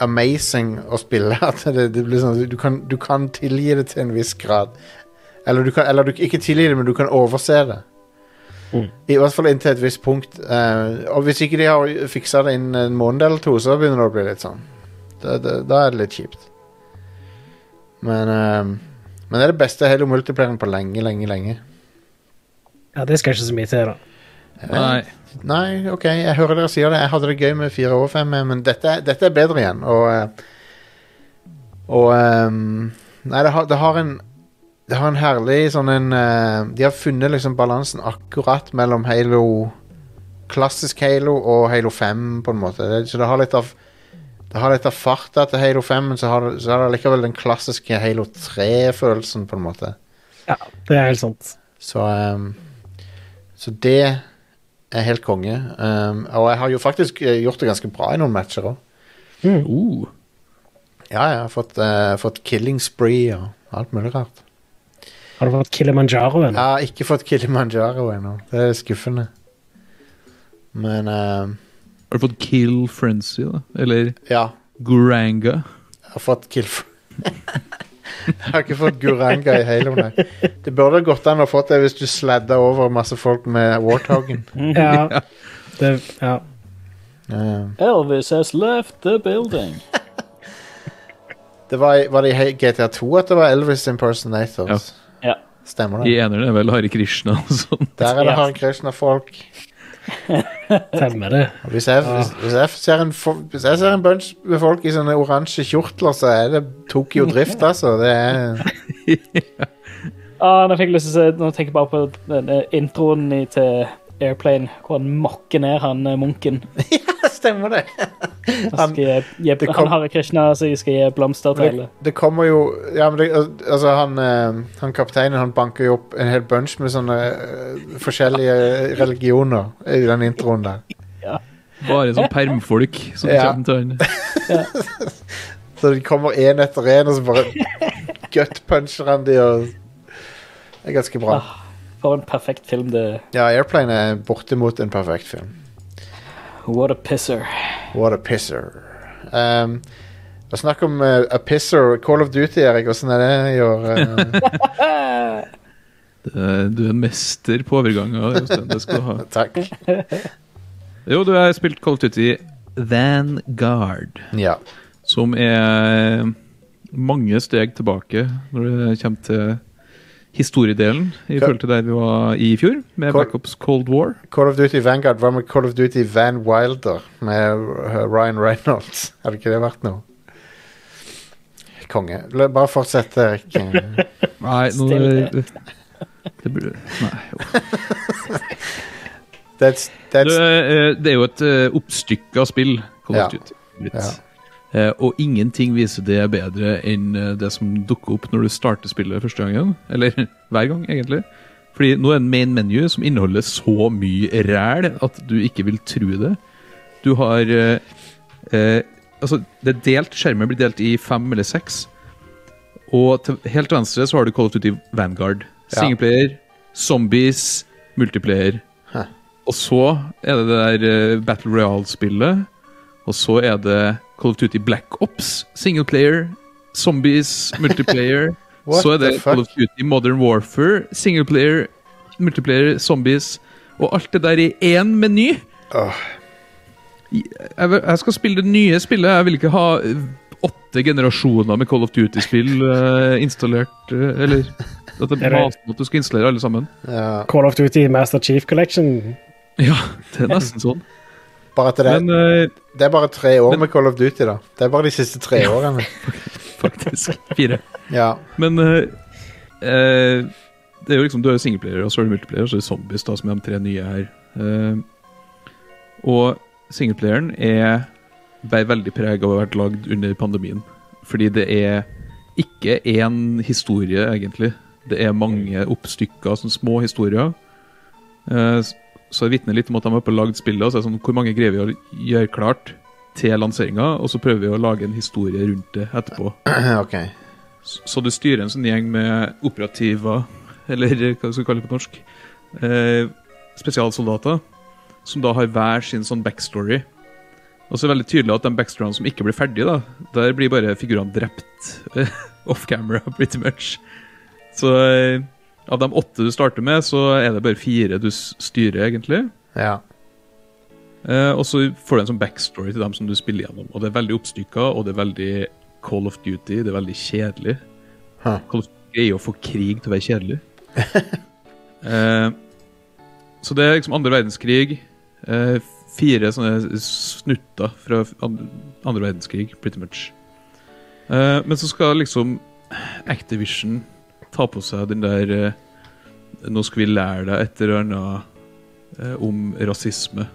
amazing å spille [LAUGHS] at det, det blir sånn, du, kan, du kan tilgi det til en viss grad. Eller du kan eller du, ikke tilgi det, men du kan overse det.
Mm.
I hvert fall inntil et visst punkt. eh, og hvis ikke de har fiksa det innen en måned eller to, så begynner det å bli litt sånn. Da, da, da er det litt kjipt. Men eh, Men det er det beste Halo multiplayeren på lenge, lenge, lenge.
ja det skal ikke så mye til, da.
Nei.
Nei, ok, jeg hører dere sier det. Jeg hadde det gøy med fire og fem, men dette, dette er bedre igjen. Og, eh, og ehm, Nei, det har, det har en Det har en herlig sånn en eh, De har funnet liksom balansen akkurat mellom Halo Klassisk Halo og Halo 5, på en måte. Det, så det har litt av Det har litt av farta til Halo 5, men så har, det- så har det likevel den klassiske Halo 3-følelsen, på en måte.
Ja, Det er helt sant.
Så, ehm, så det er helt konge. Ehm, og jeg har jo faktisk eh, gjort det ganske bra i noen matcher òg.
Uh,
Ja, jeg har fått, eh, fått killing spree og alt mulig rart.
Har du fått Kilimanjaro
Jeg
ennå?
har ikke fått Kilimanjaro ennå. Det er skuffende. Men eh,
Har du fått Kill Frenzy, da? Eller
ja.
Guranga?
Jeg har fått Kilf. [LAUGHS] jeg har ikke fått Guranga i Halo, nei. Det burde gått an å fått det hvis du sladda over masse folk med Warthogen.
Ja. Det, ja.
Eh,
[LAUGHS] Elvis has left the building.
det var, i- var det i He- GTA 2 at det var Elvis Impersonators?
Ja. Ja.
Stemmer
I
det.
eneren er vel Hare Krishna og sånn.
Der er det
Ja.
Hare Krishna-folk.
Stemmer det.
Og Hvis jeg, hvis, hvis, jeg ser en, fo- hvis jeg ser en bunch med folk i sånne oransje kjortler, så er det Tokyo Drift, altså. Det er,
Ah, nå fikk jeg lyst til å se, nå tenker jeg bare på denne introen i, til Airplane, hvor han mokker ned han eh, munken.
stemmer [LAUGHS] det.
Han, skal gi, gi,
det kom-
han har Krishna, så jeg skal gi blomster til alle.
Det, det kommer jo ja, men det, al- Altså, han, eh, han kapteinen han banker jo opp en hel bunch med sånne eh, forskjellige religioner i den introen der.
Bare sånn permfolk som
Ja.
kommer til han.
Så de kommer én etter én, og så bare gutpuncher han de og Det er ganske bra.
For en perfekt film det
Ja, Airplane er bortimot en perfekt film.
What a pisser.
What a pisser. Um, det er snakk om eh, a pisser. Call of Duty, Erik, åssen er det i år? eh?
Det- Eh, Du er en mester på overganger. Jostein. Det skal du ha.
Eh, takk.
Jo, du har spilt Call of Duty Vanguard,
Ja.
som er eh, mange steg tilbake når det kommer til historiedelen i
Hva-
forhold til der vi var i fjor, med
Hva-
Backups Cold War.
Call of Duty Vanguard var med Call of Duty Van Wilder med eh, Ryan Reynolds. Hadde ikke det vært noe? Konge. La- Bare fortsett, Erik. Eh,
Nei, nå
Stille.
det blir, nei.
That's,
Du,
that's,
eh, det er jo et eh, oppstykka spill, Call of
Ja.
Duty. Litt.
Ja.
Eh, og ingenting viser det bedre enn eh, det som dukker opp når du starter spillet første gangen. Eller [LAUGHS] hver gang, egentlig. Fordi nå er det en main menu som inneholder så mye ræl at du ikke vil tro det. Du har eh, eh, Altså, det er delt, skjermen blir delt i fem eller seks. Og til, helt til venstre så har du Call of Duty Vanguard.
Ja.
Singleplayer, zombies, multiplayer.
Hæ.
Og så er det det der eh, Battle Royale-spillet. Og så er det Call of Duty Black Ops, singleplayer, zombies, multiplayer.
[LAUGHS] What
så er
the
det Call of
fuck?
Duty Modern Warfare, singleplayer, multiplayer, zombies. Og alt det der i én meny.
Åh.
Jeg, vil- jeg skal spille det nye spillet. Jeg vil ikke ha eh, åtte generasjoner med Call of Duty-spill eh, installert. eh, eller at
Er
det
det-
maser om at du skal installere alle sammen.
ja.
Call of Duty Master Chief Collection.
Ja, det er nesten sånn.
Bare at det,
Men eh,
det er bare tre år med Call of Duty, da. Det er bare de siste tre årene.
faktisk fire.
[LAUGHS] Ja. [CLEARS THROAT]
Men eh, eh, det er jo liksom, du har jo singleplayer, og så er det multiplayer, og så er det zombies, da, som er de tre nye her. Eh, og singleplayeren er bærer veldig preg av å ha vært lagd under pandemien. Fordi det er ikke én historie, egentlig. Det er mange oppstykker, sånne små historier. Eh, s- så det vitner litt om at de er på å lage spillet. Og så er det sånn, hvor mange greier vi å gjøre klart til lanseringa, og så prøver vi å lage en historie rundt det etterpå.
OK.
S- Så du styrer en sånn gjeng med operativer, eller hva du skal kalle det på norsk, eh, spesialsoldater, som da har hver sin sånn backstory. Og så er det veldig tydelig at de backstoryene som ikke blir ferdige, da, der blir bare figurene drept eh, [LAUGHS] off camera, pretty much. Så eh, av de åtte du starter med, så er det bare fire du s- styrer, egentlig.
Ja.
Eh, og så får du en sånn backstory til dem som du spiller gjennom. Og det er veldig oppstykka, og det er veldig Call of Duty. Det er veldig kjedelig.
Huh.
Call of Duty greier å få krig til å være kjedelig. eh, så det er liksom andre verdenskrig. Eh, fire sånne snutter fra an- andre verdenskrig, pretty much. Eh, men så skal liksom Activision ta på seg den der eh, Nå skal vi lære deg et eller annet eh, om rasisme.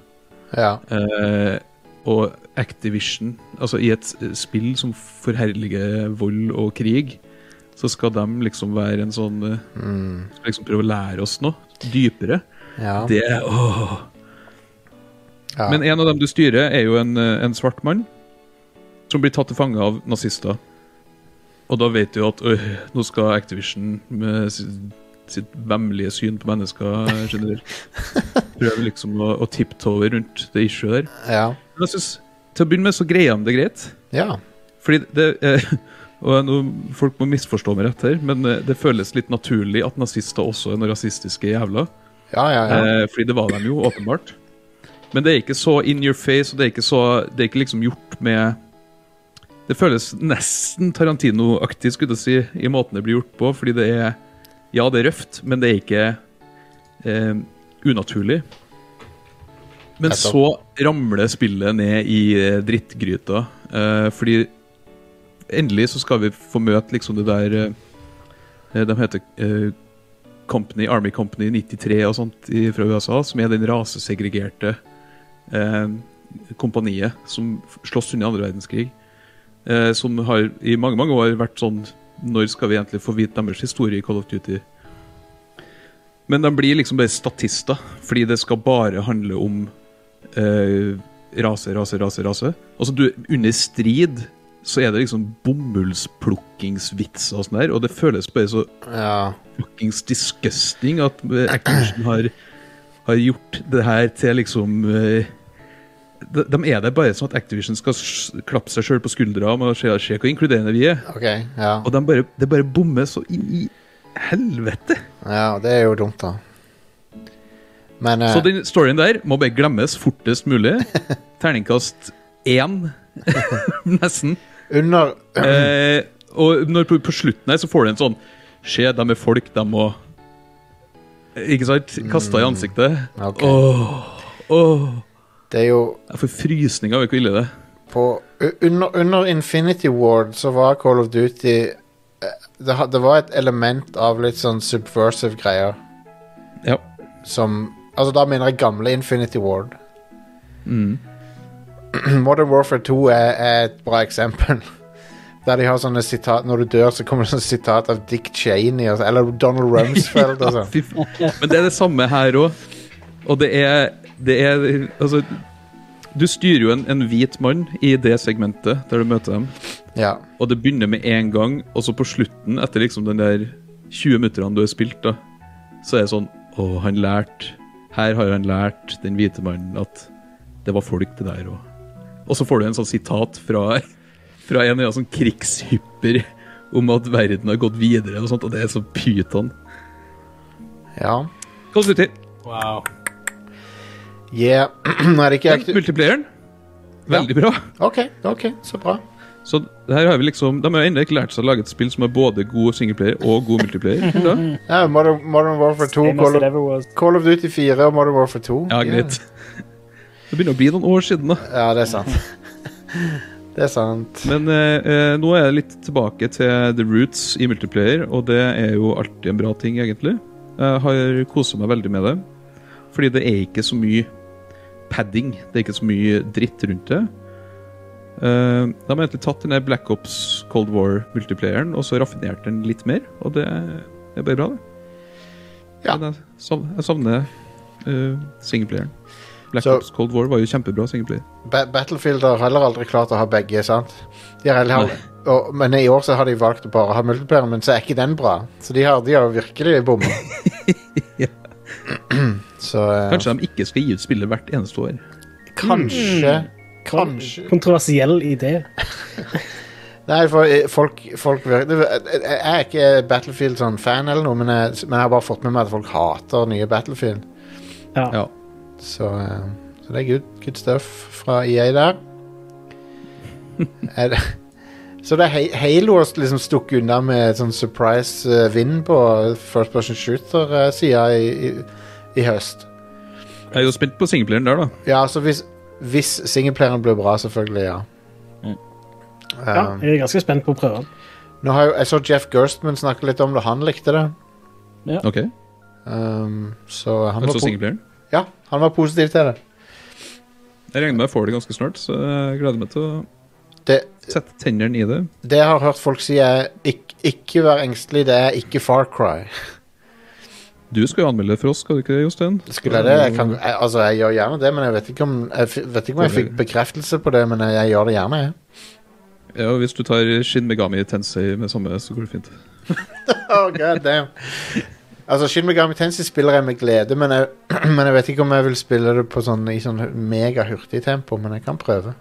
Ja.
Eh, og Activision, altså i et eh, spill som forherliger vold og krig, så skal de liksom være en sånn eh,
Mm.
Skal liksom prøve å lære oss noe dypere.
ja.
Det er åh.
ja.
Men en av dem du styrer, er jo en, eh, en svart mann som blir tatt til fange av nazister. Og da vet du at øh, nå skal Activision med s- sitt vemmelige syn på mennesker
[LAUGHS]
generelt. Prøver liksom å, å tipptove rundt det issue der.
Ja.
Men jeg synes, Til å begynne med så greier de det greit.
ja.
Fordi det eh, [LAUGHS] og nå, Folk må misforstå meg rett her, men eh, det føles litt naturlig at nazister også er noen rasistiske jævler.
Ja, ja, ja.
Eh, fordi det var de jo, åpenbart. Men det er ikke så in your face, og det er ikke, så, det er ikke liksom gjort med Det føles nesten Tarantino-aktig, skulle jeg si, i måten det blir gjort på. Fordi det er Ja, det er røft, men det er ikke eh, unaturlig. Men
Nettopp.
så ramler spillet ned i eh, drittgryta, eh, fordi endelig så skal vi få møte liksom det der eh, De heter eh, Company, Army Company 93 og sånt i, fra USA, som er den rasesegregerte eh, kompaniet som f- slåss under andre verdenskrig. Eh, som har i mange mange år vært sånn Når skal vi egentlig få vite deres historie i Call of Duty? Men de blir liksom bare statister, fordi det skal bare handle om eh, rase, rase, rase, rase. Altså, du, under strid så er det liksom bomullsplukkingsvitser og sånn der, og det føles bare så
ja.
fuckings disgusting at eh, Activision har, har gjort det her til liksom eh, de, de er der bare sånn at Activision skal s- klappe seg sjøl på skuldra og se, se hvor inkluderende vi er.
OK. Ja.
Og de bare, det bare bommer så inn i helvete!
ja. Det er jo dumt, da. Men eh,
Så den storyen der må bare glemmes fortest mulig. Terningkast én, [LAUGHS] nesten.
under
Eh, og når på, på slutten her så får du en sånn Se, de er folk, de må Ikke sant? Kasta i ansiktet.
Ok.
Åh, åh.
Det er jo
Jeg får frysninger av hvor ille det er.
på u- under, under Infinity Ward så var Call of Duty eh, det, ha- det var et element av litt sånn subversive greier
Ja.
som Altså, da mener jeg gamle Infinity Ward.
Mm.
Modern Warfare 2 er, er et bra eksempel. [LAUGHS] Der de har sånne sitat Når du dør, så kommer det sånne sitat av Dick Cheney og, så- eller Donald
[LAUGHS]
Rumsfeld og sånn.
Fy faen. Men det er det samme her òg. Og det er, det er Altså, du styrer jo en, en hvit mann i det segmentet der du møter dem,
Ja.
og det begynner med én gang, og så på slutten, etter liksom den der 20 minuttene du har spilt, da, så er det sånn Å, han lærte Her har han lært, den hvite mannen, at det var folk, det der òg. Og så får du en sånn sitat fra, fra en eller annen sånn krigshypper om at verden har gått videre, og sånt, og det er så pyton.
ja.
Call of Duty.
Wow.
Yeah. [CLEARS THROAT] er det ikke
Den
aktu...
multiplayeren. Veldig bra.
OK, OK, så bra.
Så det her har vi liksom, De har ennå ikke lært seg å lage et spill som er både god singleplayer og god multiplayer. Da.
Ja, Modern, Modern Warfare 2,
Same as
Call
it
of,
ever was.
Call of Duty 4 og Modern Warfare 2.
Ja, greit. Det begynner å bli noen år siden, da.
Ja, det er sant. [LAUGHS] det er sant.
Men eh, eh, nå er jeg litt tilbake til the roots i multiplayer, og det er jo alltid en bra ting, egentlig. Jeg har kosa meg veldig med det. Fordi det er ikke så mye padding. Det er ikke så mye dritt rundt det. Eh, de har egentlig tatt den der Black Ops Cold War-multiplayeren og så raffinert den litt mer, og det er bare bra, det.
Ja.
Men jeg savner, jeg savner eh, singleplayeren. Black
Så-
Ops Cold War var jo kjempebra singleplayer.
Ba Battlefield har heller aldri klart å ha begge, sant? De har heller, og, men i år så har de valgt å bare ha multiplayer, men så er ikke den bra. Så de har, de har virkelig bomma.
[LAUGHS] Ja.
så eh,
Kanskje de ikke skal gi ut spillet hvert eneste år.
kanskje
Hmm.
Kanskje
Kontroversiell idé.
Nei, for eh, folk, folk vir- det- Jeg eh, jeg er ikke Battlefield-fan eller noe, men jeg, men jeg har bare fått med meg at folk hater nye Battlefield.
Ja.
Ja.
Så, eh, så det er good, good stuff fra EA
[LAUGHS]
der. Er det, så det er Hal- Halo har liksom stukket unna med sånn surprise eh, vinn på First Person Shooter-sida i, i, i høst.
Jeg er jo spent på singleplayeren der, da.
Ja, altså hvis, hvis singleplayeren blir bra, selvfølgelig, ja.
Mm.
Ja,
Um,
jeg er ganske spent på å prøve den.
nå har jo, jeg så Jeff Gerstmann snakke litt om det. Han likte det.
Ok,
Um, så han var,
altså
po
singleplayeren.
ja, han var positiv til det.
Jeg regner med jeg får det ganske snart, så jeg gleder meg til å
Det,
sette tennene i det.
det jeg har hørt folk si, er ikke, ikke vær engstelig, det er ikke Far Cry.
Du skal jo anmelde det for oss, skal du ikke det, Jostein?
Skulle jeg det? Jeg kan, jeg, altså, jeg gjør gjerne det, men jeg vet ikke om jeg, fi- vet ikke om jeg fikk bekreftelse på det, men jeg, jeg gjør det gjerne, jeg.
Ja, og Hvis du tar Shin Megami Tensei med samme, så går det fint.
Oh, God damn. Altså, Shin Megami Tensei spiller jeg med glede, men jeg, [CLEARS THROAT] men jeg vet ikke om jeg vil spille det på sånn, i sånn megahurtig tempo, men jeg kan prøve.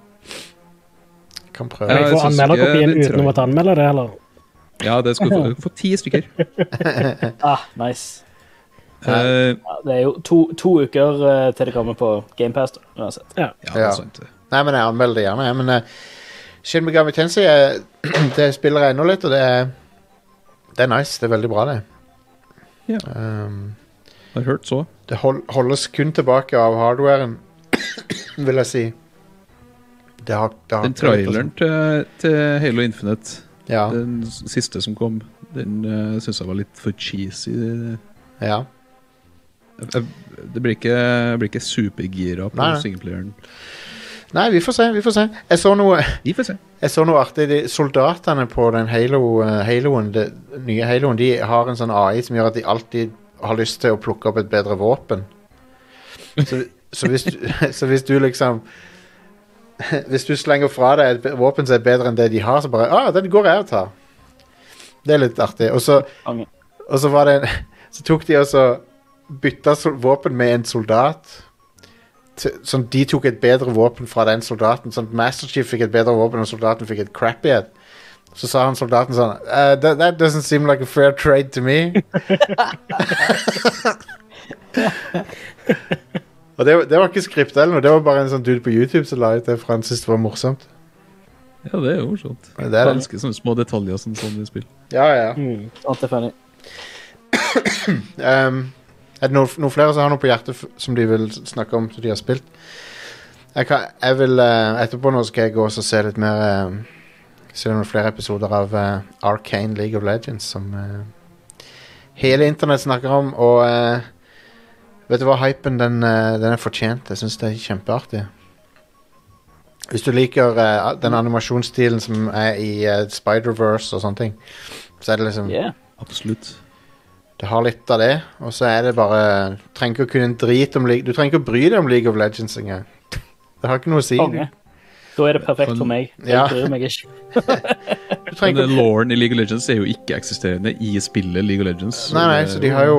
Jeg kan prøve.
Ja,
Kan jeg
jeg
få
synes ikke
anmelderkopien
det er
uten å måtte anmelde det, eller?
Ja, det skal du få. Du kan få ti
[LAUGHS]
stykker.
Ah, nice.
Eh,
Ja, det er jo to, to uker eh, til det kommer på GamePast uansett.
ja, det
Ja.
er sant. det.
Nei, men jeg anmelder det gjerne, jeg, men eh, Shin Megami Tensei, eh, [CLEARS THROAT] det spiller jeg ennå litt, og det er, det er nice. Det er veldig bra, det.
Ja.
Um,
Jeg har hørt så.
det hold, holdes kun tilbake av hardwaren, [CLEARS THROAT] vil jeg si. Det har, det har
Den traileren til, til Halo Infinite,
Ja.
den s- siste som kom, den uh, syns jeg var litt for cheesy.
ja.
Jeg, jeg, det blir ikke, jeg blir ikke supergira på
Nei, nei.
singleplayeren.
Nei, vi får se. Vi får se. Jeg så noe
Vi får se.
Jeg så noe artig. De, soldatene på den Halo, eh, Haloen, det, nye Haloen de har en sånn AI som gjør at de alltid har lyst til å plukke opp et bedre våpen. Så, så, hvis, du, [LAUGHS] så hvis du liksom [LAUGHS] Hvis du slenger fra deg et be- våpen som er bedre enn det de har, så bare ah, den går jeg og tar. Det er litt artig. Og så,
Konge.
og så var det en, [LAUGHS] Så tok de og så bytta sol, våpen med en soldat. T- Sånn, de tok et bedre våpen fra den soldaten. Sånn, at Master Chief fikk et bedre våpen, og soldaten fikk et crappy et. Så sa han soldaten sånn «Eh, that, that doesn't seem like a fair trade to [LAUGHS] me. og det, var- det var ikke skript eller noe, det var bare en sånn dude på YouTube som la ut det, for han syntes det var morsomt.
Ja, det er jo morsomt.
Det er
Jeg
det.
elsker sånne små detaljer som sånn i spill.
Ja, ja.
Mm.
Alt er funny.
Um, er det noen, noen flere som har noe på hjertet f- som de vil s- snakke om som de har spilt? Jeg, kan, jeg vil eh, Etterpå nå skal jeg gå og så se litt mer eh, Se noen flere episoder av uh, Arcane League of Legends som eh, hele internett snakker om, og eh, Vet du hva, hypen den, eh, den er fortjent. Jeg syns det er kjempeartig. Hvis du liker eh, den animasjonsstilen som er i eh, Spider-Verse og sånne ting, så er det liksom
Yeah.
Absolutt.
det har litt av det, og så er det bare trenger ikke å kunne en drit om League Du trenger ikke å bry deg om League of Legends engang. Det har ikke noe å si.
Konge. Da er det perfekt for meg.
Ja.
Jeg bryr meg ikke.
Du
Men eh,
trenger ikke å...
Lauren i League of Legends er jo ikke-eksisterende i spillet League of Legends.
Nei, nei,
det er
så de har jo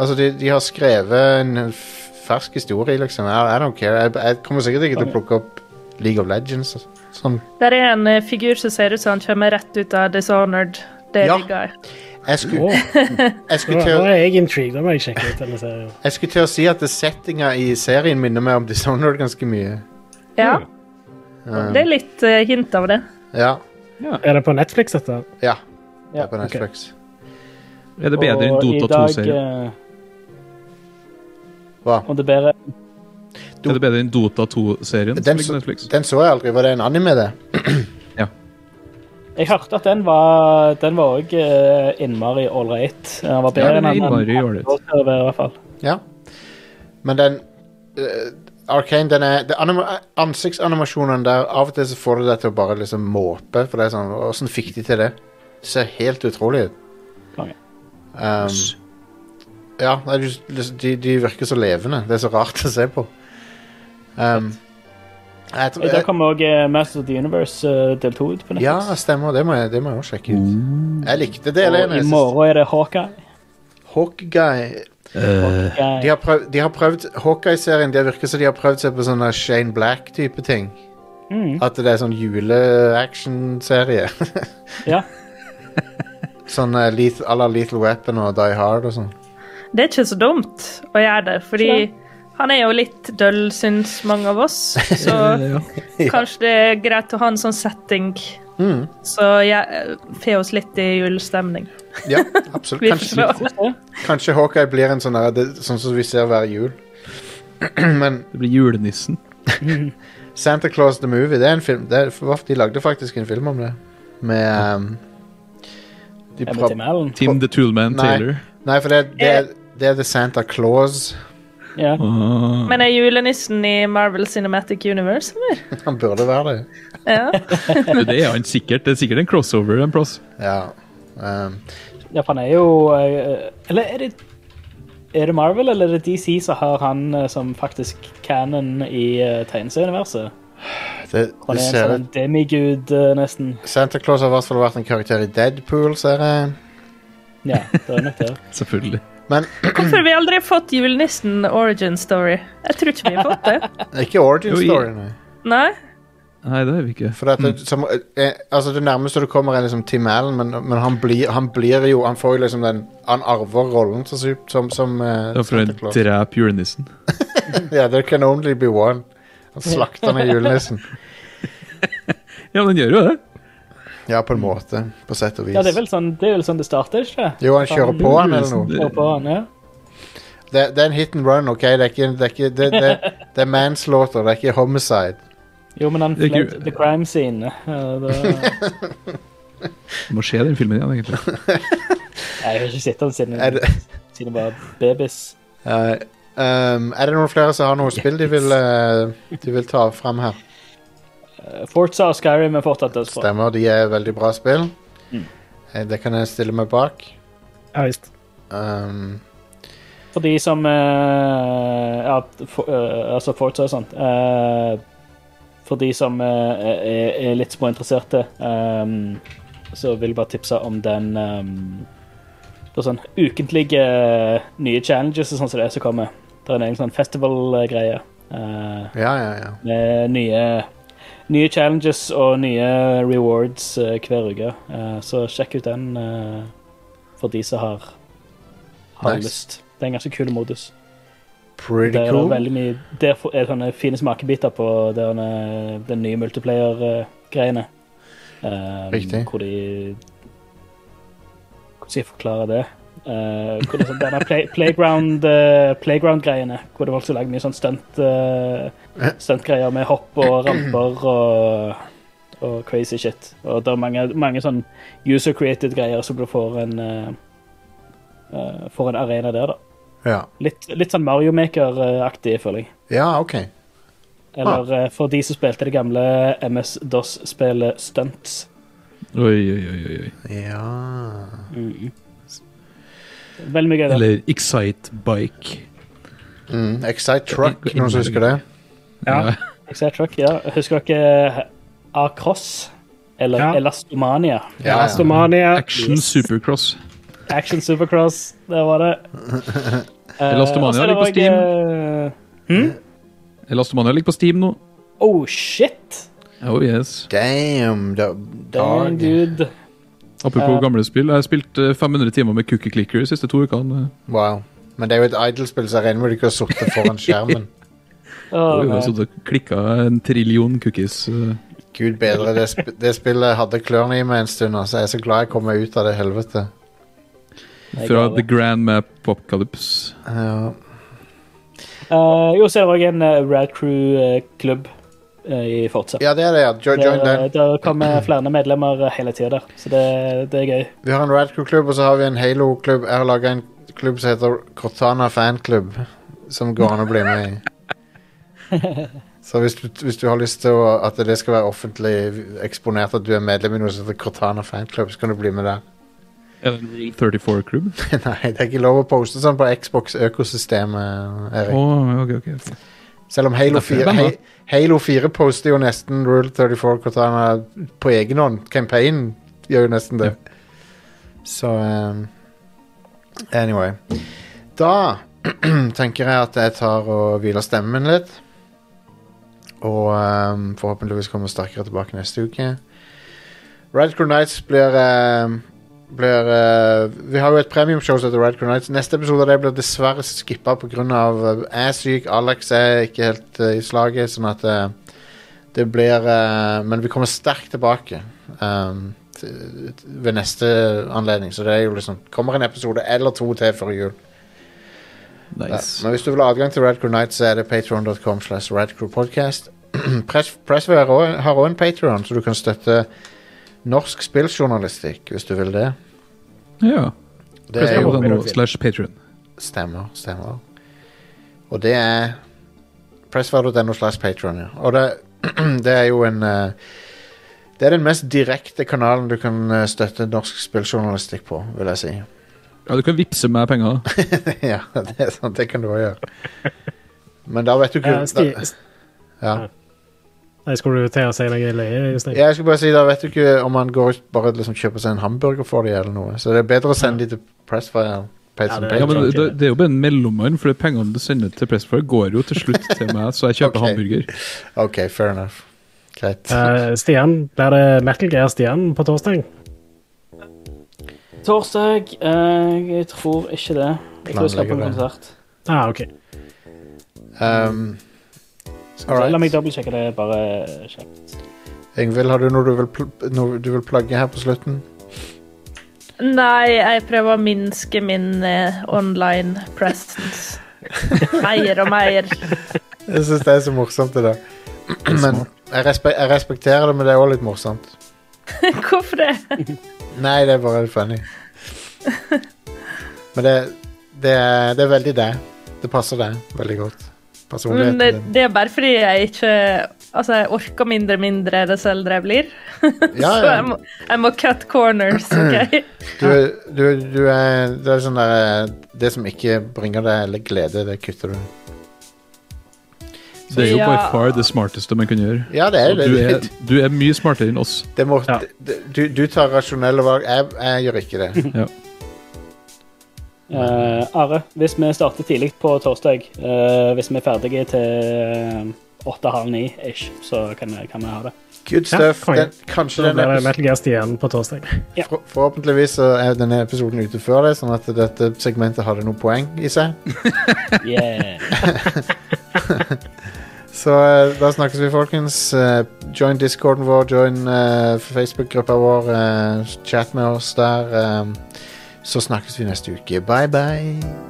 Altså, de, de har skrevet en f- fersk historie, liksom. I, I don't care. Jeg, jeg kommer sikkert ikke til å plukke opp League of Legends. og Sånn.
Der er en eh, figur som ser ut som han kommer rett ut av Dishonored. Det
Ja.
digger jeg.
Jeg skulle,
Åh,
jeg,
nå,
skulle
nå
til, å-
er jeg intrigued. Da må jeg sjekke ut denne serien.
jeg skulle til å si at det settinga i serien minner meg om Dishonored ganske mye.
Ja,
Um,
det er litt eh, hint av det.
ja.
Er det på Netflix, dette?
Ja. Det er
Ja,
på Netflix.
Er det bedre enn
Og i
Dota
dag,
2-serien?
eh,
Hva?
Om det er bedre
Er det bedre enn Dota 2-serien?
Den,
som ligger på
så-
Netflix?
den så jeg aldri. Var det en anime, det?
Jeg hørte at den var Den var òg innmari ålreit. Den var
Ja,
bedre
den er
enn den
innmari ålreit.
andre, i hvert fall.
Ja. Men den eh, Arcane, den er det anima- Ansiktsanimasjonene der, av og til så får du deg til å bare liksom måpe. For det er sånn Åssen fikk de til det? Det ser helt utrolig ut.
Konge.
Um, ja, nei, du- de, de virker så levende. Det er så rart å se på. Um, jeg tror,
I dag kommer òg Masters of the Universe eh, del 2 ut på
ja,
Netflix.
stemmer. Det må jeg det må jeg også sjekke ut. Jeg likte del 1.
og i morgen er det Hawkeye.
Hawkeye
Eh,
De
Hawkeye.
har prøvd, de har prøvd Hawkeye-serien, det virker som de har prøvd seg på sånne Shane Black-type ting.
Mm,
At det er sånn jule-action-serie. [LAUGHS]
ja.
sånn eh, Leth- à la Lethal Weapon og Die Hard og sånn.
Det er ikke så dumt å gjøre det, fordi han er jo litt døll, syns mange av oss. Så kanskje det er greit å ha en sånn setting
Mm.
så jeg får oss litt i julestemning.
Ja, absolutt.
Vi
Kanskje,
forstår.
kanskje Hawkeye blir en sånn der, det, sånn som vi ser hver jul. [CLEARS THROAT] Men
Det blir julenissen.
Santa Claus The Movie, det er en film det er, for- De lagde faktisk en film om det. Med ehm, de
Er
prøv-
det Tim Allen?
Tim the Toolman
Nei.
Taylor.
Nei, for det, det, er,
Eh.
det er The Santa Claus.
Ja.
Ah.
Men er julenissen i Marvel Cinematic Universe, eller?
Han burde være det.
Ja.
Du, det er han sikkert. Det er sikkert en crossover en plass.
Ja. ehm,
ja, for han er jo eh, Eller er det er det Marvel eller er det DC som har han eh, som faktisk canon i uh, tegneserieuniverset?
det, det
Han er en
ser ut
sånn demigud, eh, nesten.
Santa Claus har i hvert fall vært en karakter i Deadpool, ser jeg.
Ja, det er nok det.
Selvfølgelig.
Men
Hvorfor har vi aldri fått julenissen origin story? Jeg tror ikke vi har fått det.
ikke origin
Jo, i-
story, nei.
Nei?
Nei, det er vi ikke.
For at det, som, eh, altså det nærmeste du kommer, er liksom Tim Allen, men, men han, blir, han blir jo Han får jo liksom den Han arver rollen så sykt som, som eh,
Det er for
Santa
å
Claus.
drepe julenissen.
[LAUGHS] Ja, there can only be one.
[LAUGHS]
Han slakter ned julenissen.
Ja, men den gjør jo det.
Ja, på en måte. På sett og vis.
Ja, det er vel sånn det, er vel sånn det starter, ikke
Jo, han kjører på han eller noe.
Kjører på han, ja.
Det, det er en hit and run, OK? Det er, ikke, det, er ikke, det, det,
[LAUGHS]
det er manslaughter, det er ikke homicide.
Jo, men han
Det er
fløy
ikke-
the crime scene. Ja, det-
Det må skje den filmen igjen, egentlig.
Nei, jeg har ikke sett han siden
Er det,
siden jeg var babys.
eh, ehm, er det noen flere som har noe spill de vil, eh, de vil ta fram her?
Eh, Forza og Skyrim er fortsatt dødsbra.
Stemmer, de er veldig bra spill. Eh, Det kan jeg stille meg bak.
Ja visst.
Ehm,
For de som eh, ja, for, eh, Altså Forza og sånt. eh, for de som eh, er, er litt småinteresserte, um, så vil jeg bare tipse om den um, det er sånn ukentlige eh, nye challenges og sånn som det er som kommer. Det er en egen sånn festival-greie. eh,
ja, ja, ja.
med nye, nye challenges og nye rewards eh, hver uke. Eh, så sjekk ut den eh, for de som har, har
Nice.
lyst. Det er en ganske kul modus.
Pretty
Der, er det
cool.
veldig mye, der får- er det sånne fine smakebiter på der, er den nye multiplayer-greiene. Eh,
Riktig.
Hvor de Hvordan skal jeg forklare det? Eh, hvor det er sånn, denne play, playground, eh, playground-greiene, hvor det var også lagd mye sånn stunt, eh, stuntgreier med hopp og ramper og, og crazy shit. Og det er mange, mange sånn user-created greier som du får en, eh, eh, får en arena der, da.
Ja.
Litt, litt sånn Mario Maker-aktig, føler jeg.
ja, OK.
Eller
Ah.
eh, for de som spilte det gamle MS-DOS-spillet Stunts.
Oi, oi, oi, oi, oi.
Ja
Veldig mye gøy. der.
Eller Excite Bike.
mm, Excite
[CLEARS THROAT]
Truck, noen som husker det?
Ja.
Excite Truck, ja. Husker dere eh, Across? Eller
Ja.
Elastomania?
Ja, ja.
Astomania.
Action Supercross.
Action Supercross, der var
[LAUGHS]
det. Eh,
Elastomania
og så er
ligger
det
på
også,
Steam.
eh,
Elastomania ligger på Steam nå.
Oh, shit!
Oh yes.
Damn, da, dag.
Dang, dude.
Apropos
Eh.
gamle spill. Jeg har spilt eh, 500 timer med Cookie Clicker de siste to ukene.
Wow. Men det er jo et Idol-spill, så jeg regner med du ikke har sittet foran
[LAUGHS]
skjermen.
Å,
Oh,
nei.
så det klikka en trillion cookies. eh.
Gud bedre, det, sp det spillet hadde klørne i meg en stund, altså. jeg er så glad jeg kom meg ut av det helvete.
Jeg
Fra The
gav det.
Grand Map Apocalypse.
Ja.
Eh, jo, så er det òg en eh, Rad Crew-klubb i Forza.
ja, det er det, ja. Jo join
Der,
den.
der kommer flere medlemmer hele tida der, så det, det er gøy.
Vi har en Radcrew-klubb, og så har vi en Halo-klubb. Jeg har laga en klubb som heter Cortana Fanklubb, som går an å bli [LAUGHS] med i. Så hvis du, hvis du har lyst til å, at det skal være offentlig eksponert at du er medlem i noe som heter Cortana Fanklubb, så kan du bli med der. [LAUGHS]
Er det en Real 34 Club?
Nei, det er ikke lov å poste sånn på Xbox-økosystemet, Erik.
Å, ok, ok, ok.
Selv om Halo
Derfor er
4,
det
Hei- Halo 4 poster jo nesten Rule 34 Cortana på egen hånd. Campaignen gjør jo nesten det. Så um, Anyway. Da [CLEARS THROAT] tenker jeg at jeg tar og hviler stemmen min litt. Og um, forhåpentligvis kommer sterkere tilbake neste uke. Radical Nights blir um, blir, eh, Vi har jo et premiumshow som heter Radical Nights. Neste episode av det blir dessverre skippa pga. Uh, jeg er syk, Alex er ikke helt eh, i slaget, sånn at eh, det blir eh, Men vi kommer sterkt tilbake ehm, til- til- ved neste anledning, så det er jo liksom Kommer en episode eller to til før jul. Ja,
Nice.
Men hvis du vil ha adgang til Radcrew Night, så er det patreon.com slash radcrewpodcast. [CLEARS THROAT] Press- Pressware også- har òg en Patreon så du kan støtte norsk spilljournalistikk hvis du vil det.
Ja.
Det er jo
Press.no slash Patreon.
Stemmer, stemmer. Og det er pressfire.no slash patron, ja. Og det, [CLEARS THROAT] det er jo en eh, Det er den mest direkte kanalen du kan eh, støtte norsk spilljournalistikk på, vil jeg si. [LAUGHS]
Ja, du kan vippse meg penger. da.
ja, det er sant, det kan du òg gjøre. Men da vet du ikke
Eh, Sti-
da, ja.
Nei, skulle du til å si noe løye? Jostein?
Ja, Jeg skulle bare si, da vet du ikke om han går ut bare liksom kjøper seg en hamburger for dem eller noe. Så det er bedre å sende de til Pressfire. Pets and
det-
Pets.
Ja, men
tror ikke
det,
det.
det er jo bare en mellommann, for pengene du sender til Pressfire, går jo til slutt til meg, så jeg kjøper
Ok.
hamburger.
OK, fair enough. Greit.
Eh, Stian, blir det Metal Gear Stian på torsdag?
Torsdag eh, Jeg tror ikke det. Jeg tror jeg skal på
Planlegger
en
det.
konsert.
Ah, ok.
Um,
Så
Alright.
La meg dobbeltsjekke det. Bare kjapt.
Ingvild, har du noe du vil, pl noe du vil plugge her på slutten?
Nei, jeg prøver å minske min eh, online presence. [LAUGHS] Mer og mer. [LAUGHS]
Jeg syns det er så morsomt, det der. Men jeg, respe jeg respekterer det, men det er òg litt morsomt.
Hvorfor det?
Nei, det er bare funny. Men det, det, er, det er veldig det. Det passer deg veldig godt.
Men det,
Personligheten din.
det er bare fordi jeg ikke Altså, jeg orker mindre og mindre dess eldre jeg blir. [LAUGHS]
Ja,
Så jeg
ja.
må, jeg må cut corners, OK?
Du, du, du er, det er sånn der eh, Det som ikke bringer deg glede, det kutter du.
Det er jo by
Ja.
far det smarteste man kan gjøre.
Ja, det er
Og
jo
du,
det.
er, du er mye smartere enn
[LAUGHS]
oss.
det må,
Ja.
det- du, du tar rasjonelle valg. Jeg, jeg gjør ikke det.
Eh, Are, hvis vi starter tidlig på torsdag, eh, hvis vi er ferdige til åtte-halv ni-ish, så kan, kan vi ha det.
Good
Ja,
stuff.
konge.
Den, kanskje
Da
den
blir det
episoden
Metal Gear Stian på torsdag.
Ja.
for, Forhåpentligvis så er denne episoden ute før det, sånn at dette segmentet hadde noen poeng i seg.
Yeah.
Så eh, da snakkes vi, folkens. Eh, join discorden vår, join eh, Facebook-gruppa vår. eh, chat med oss der. eh, så snakkes vi neste uke. Bye, bye.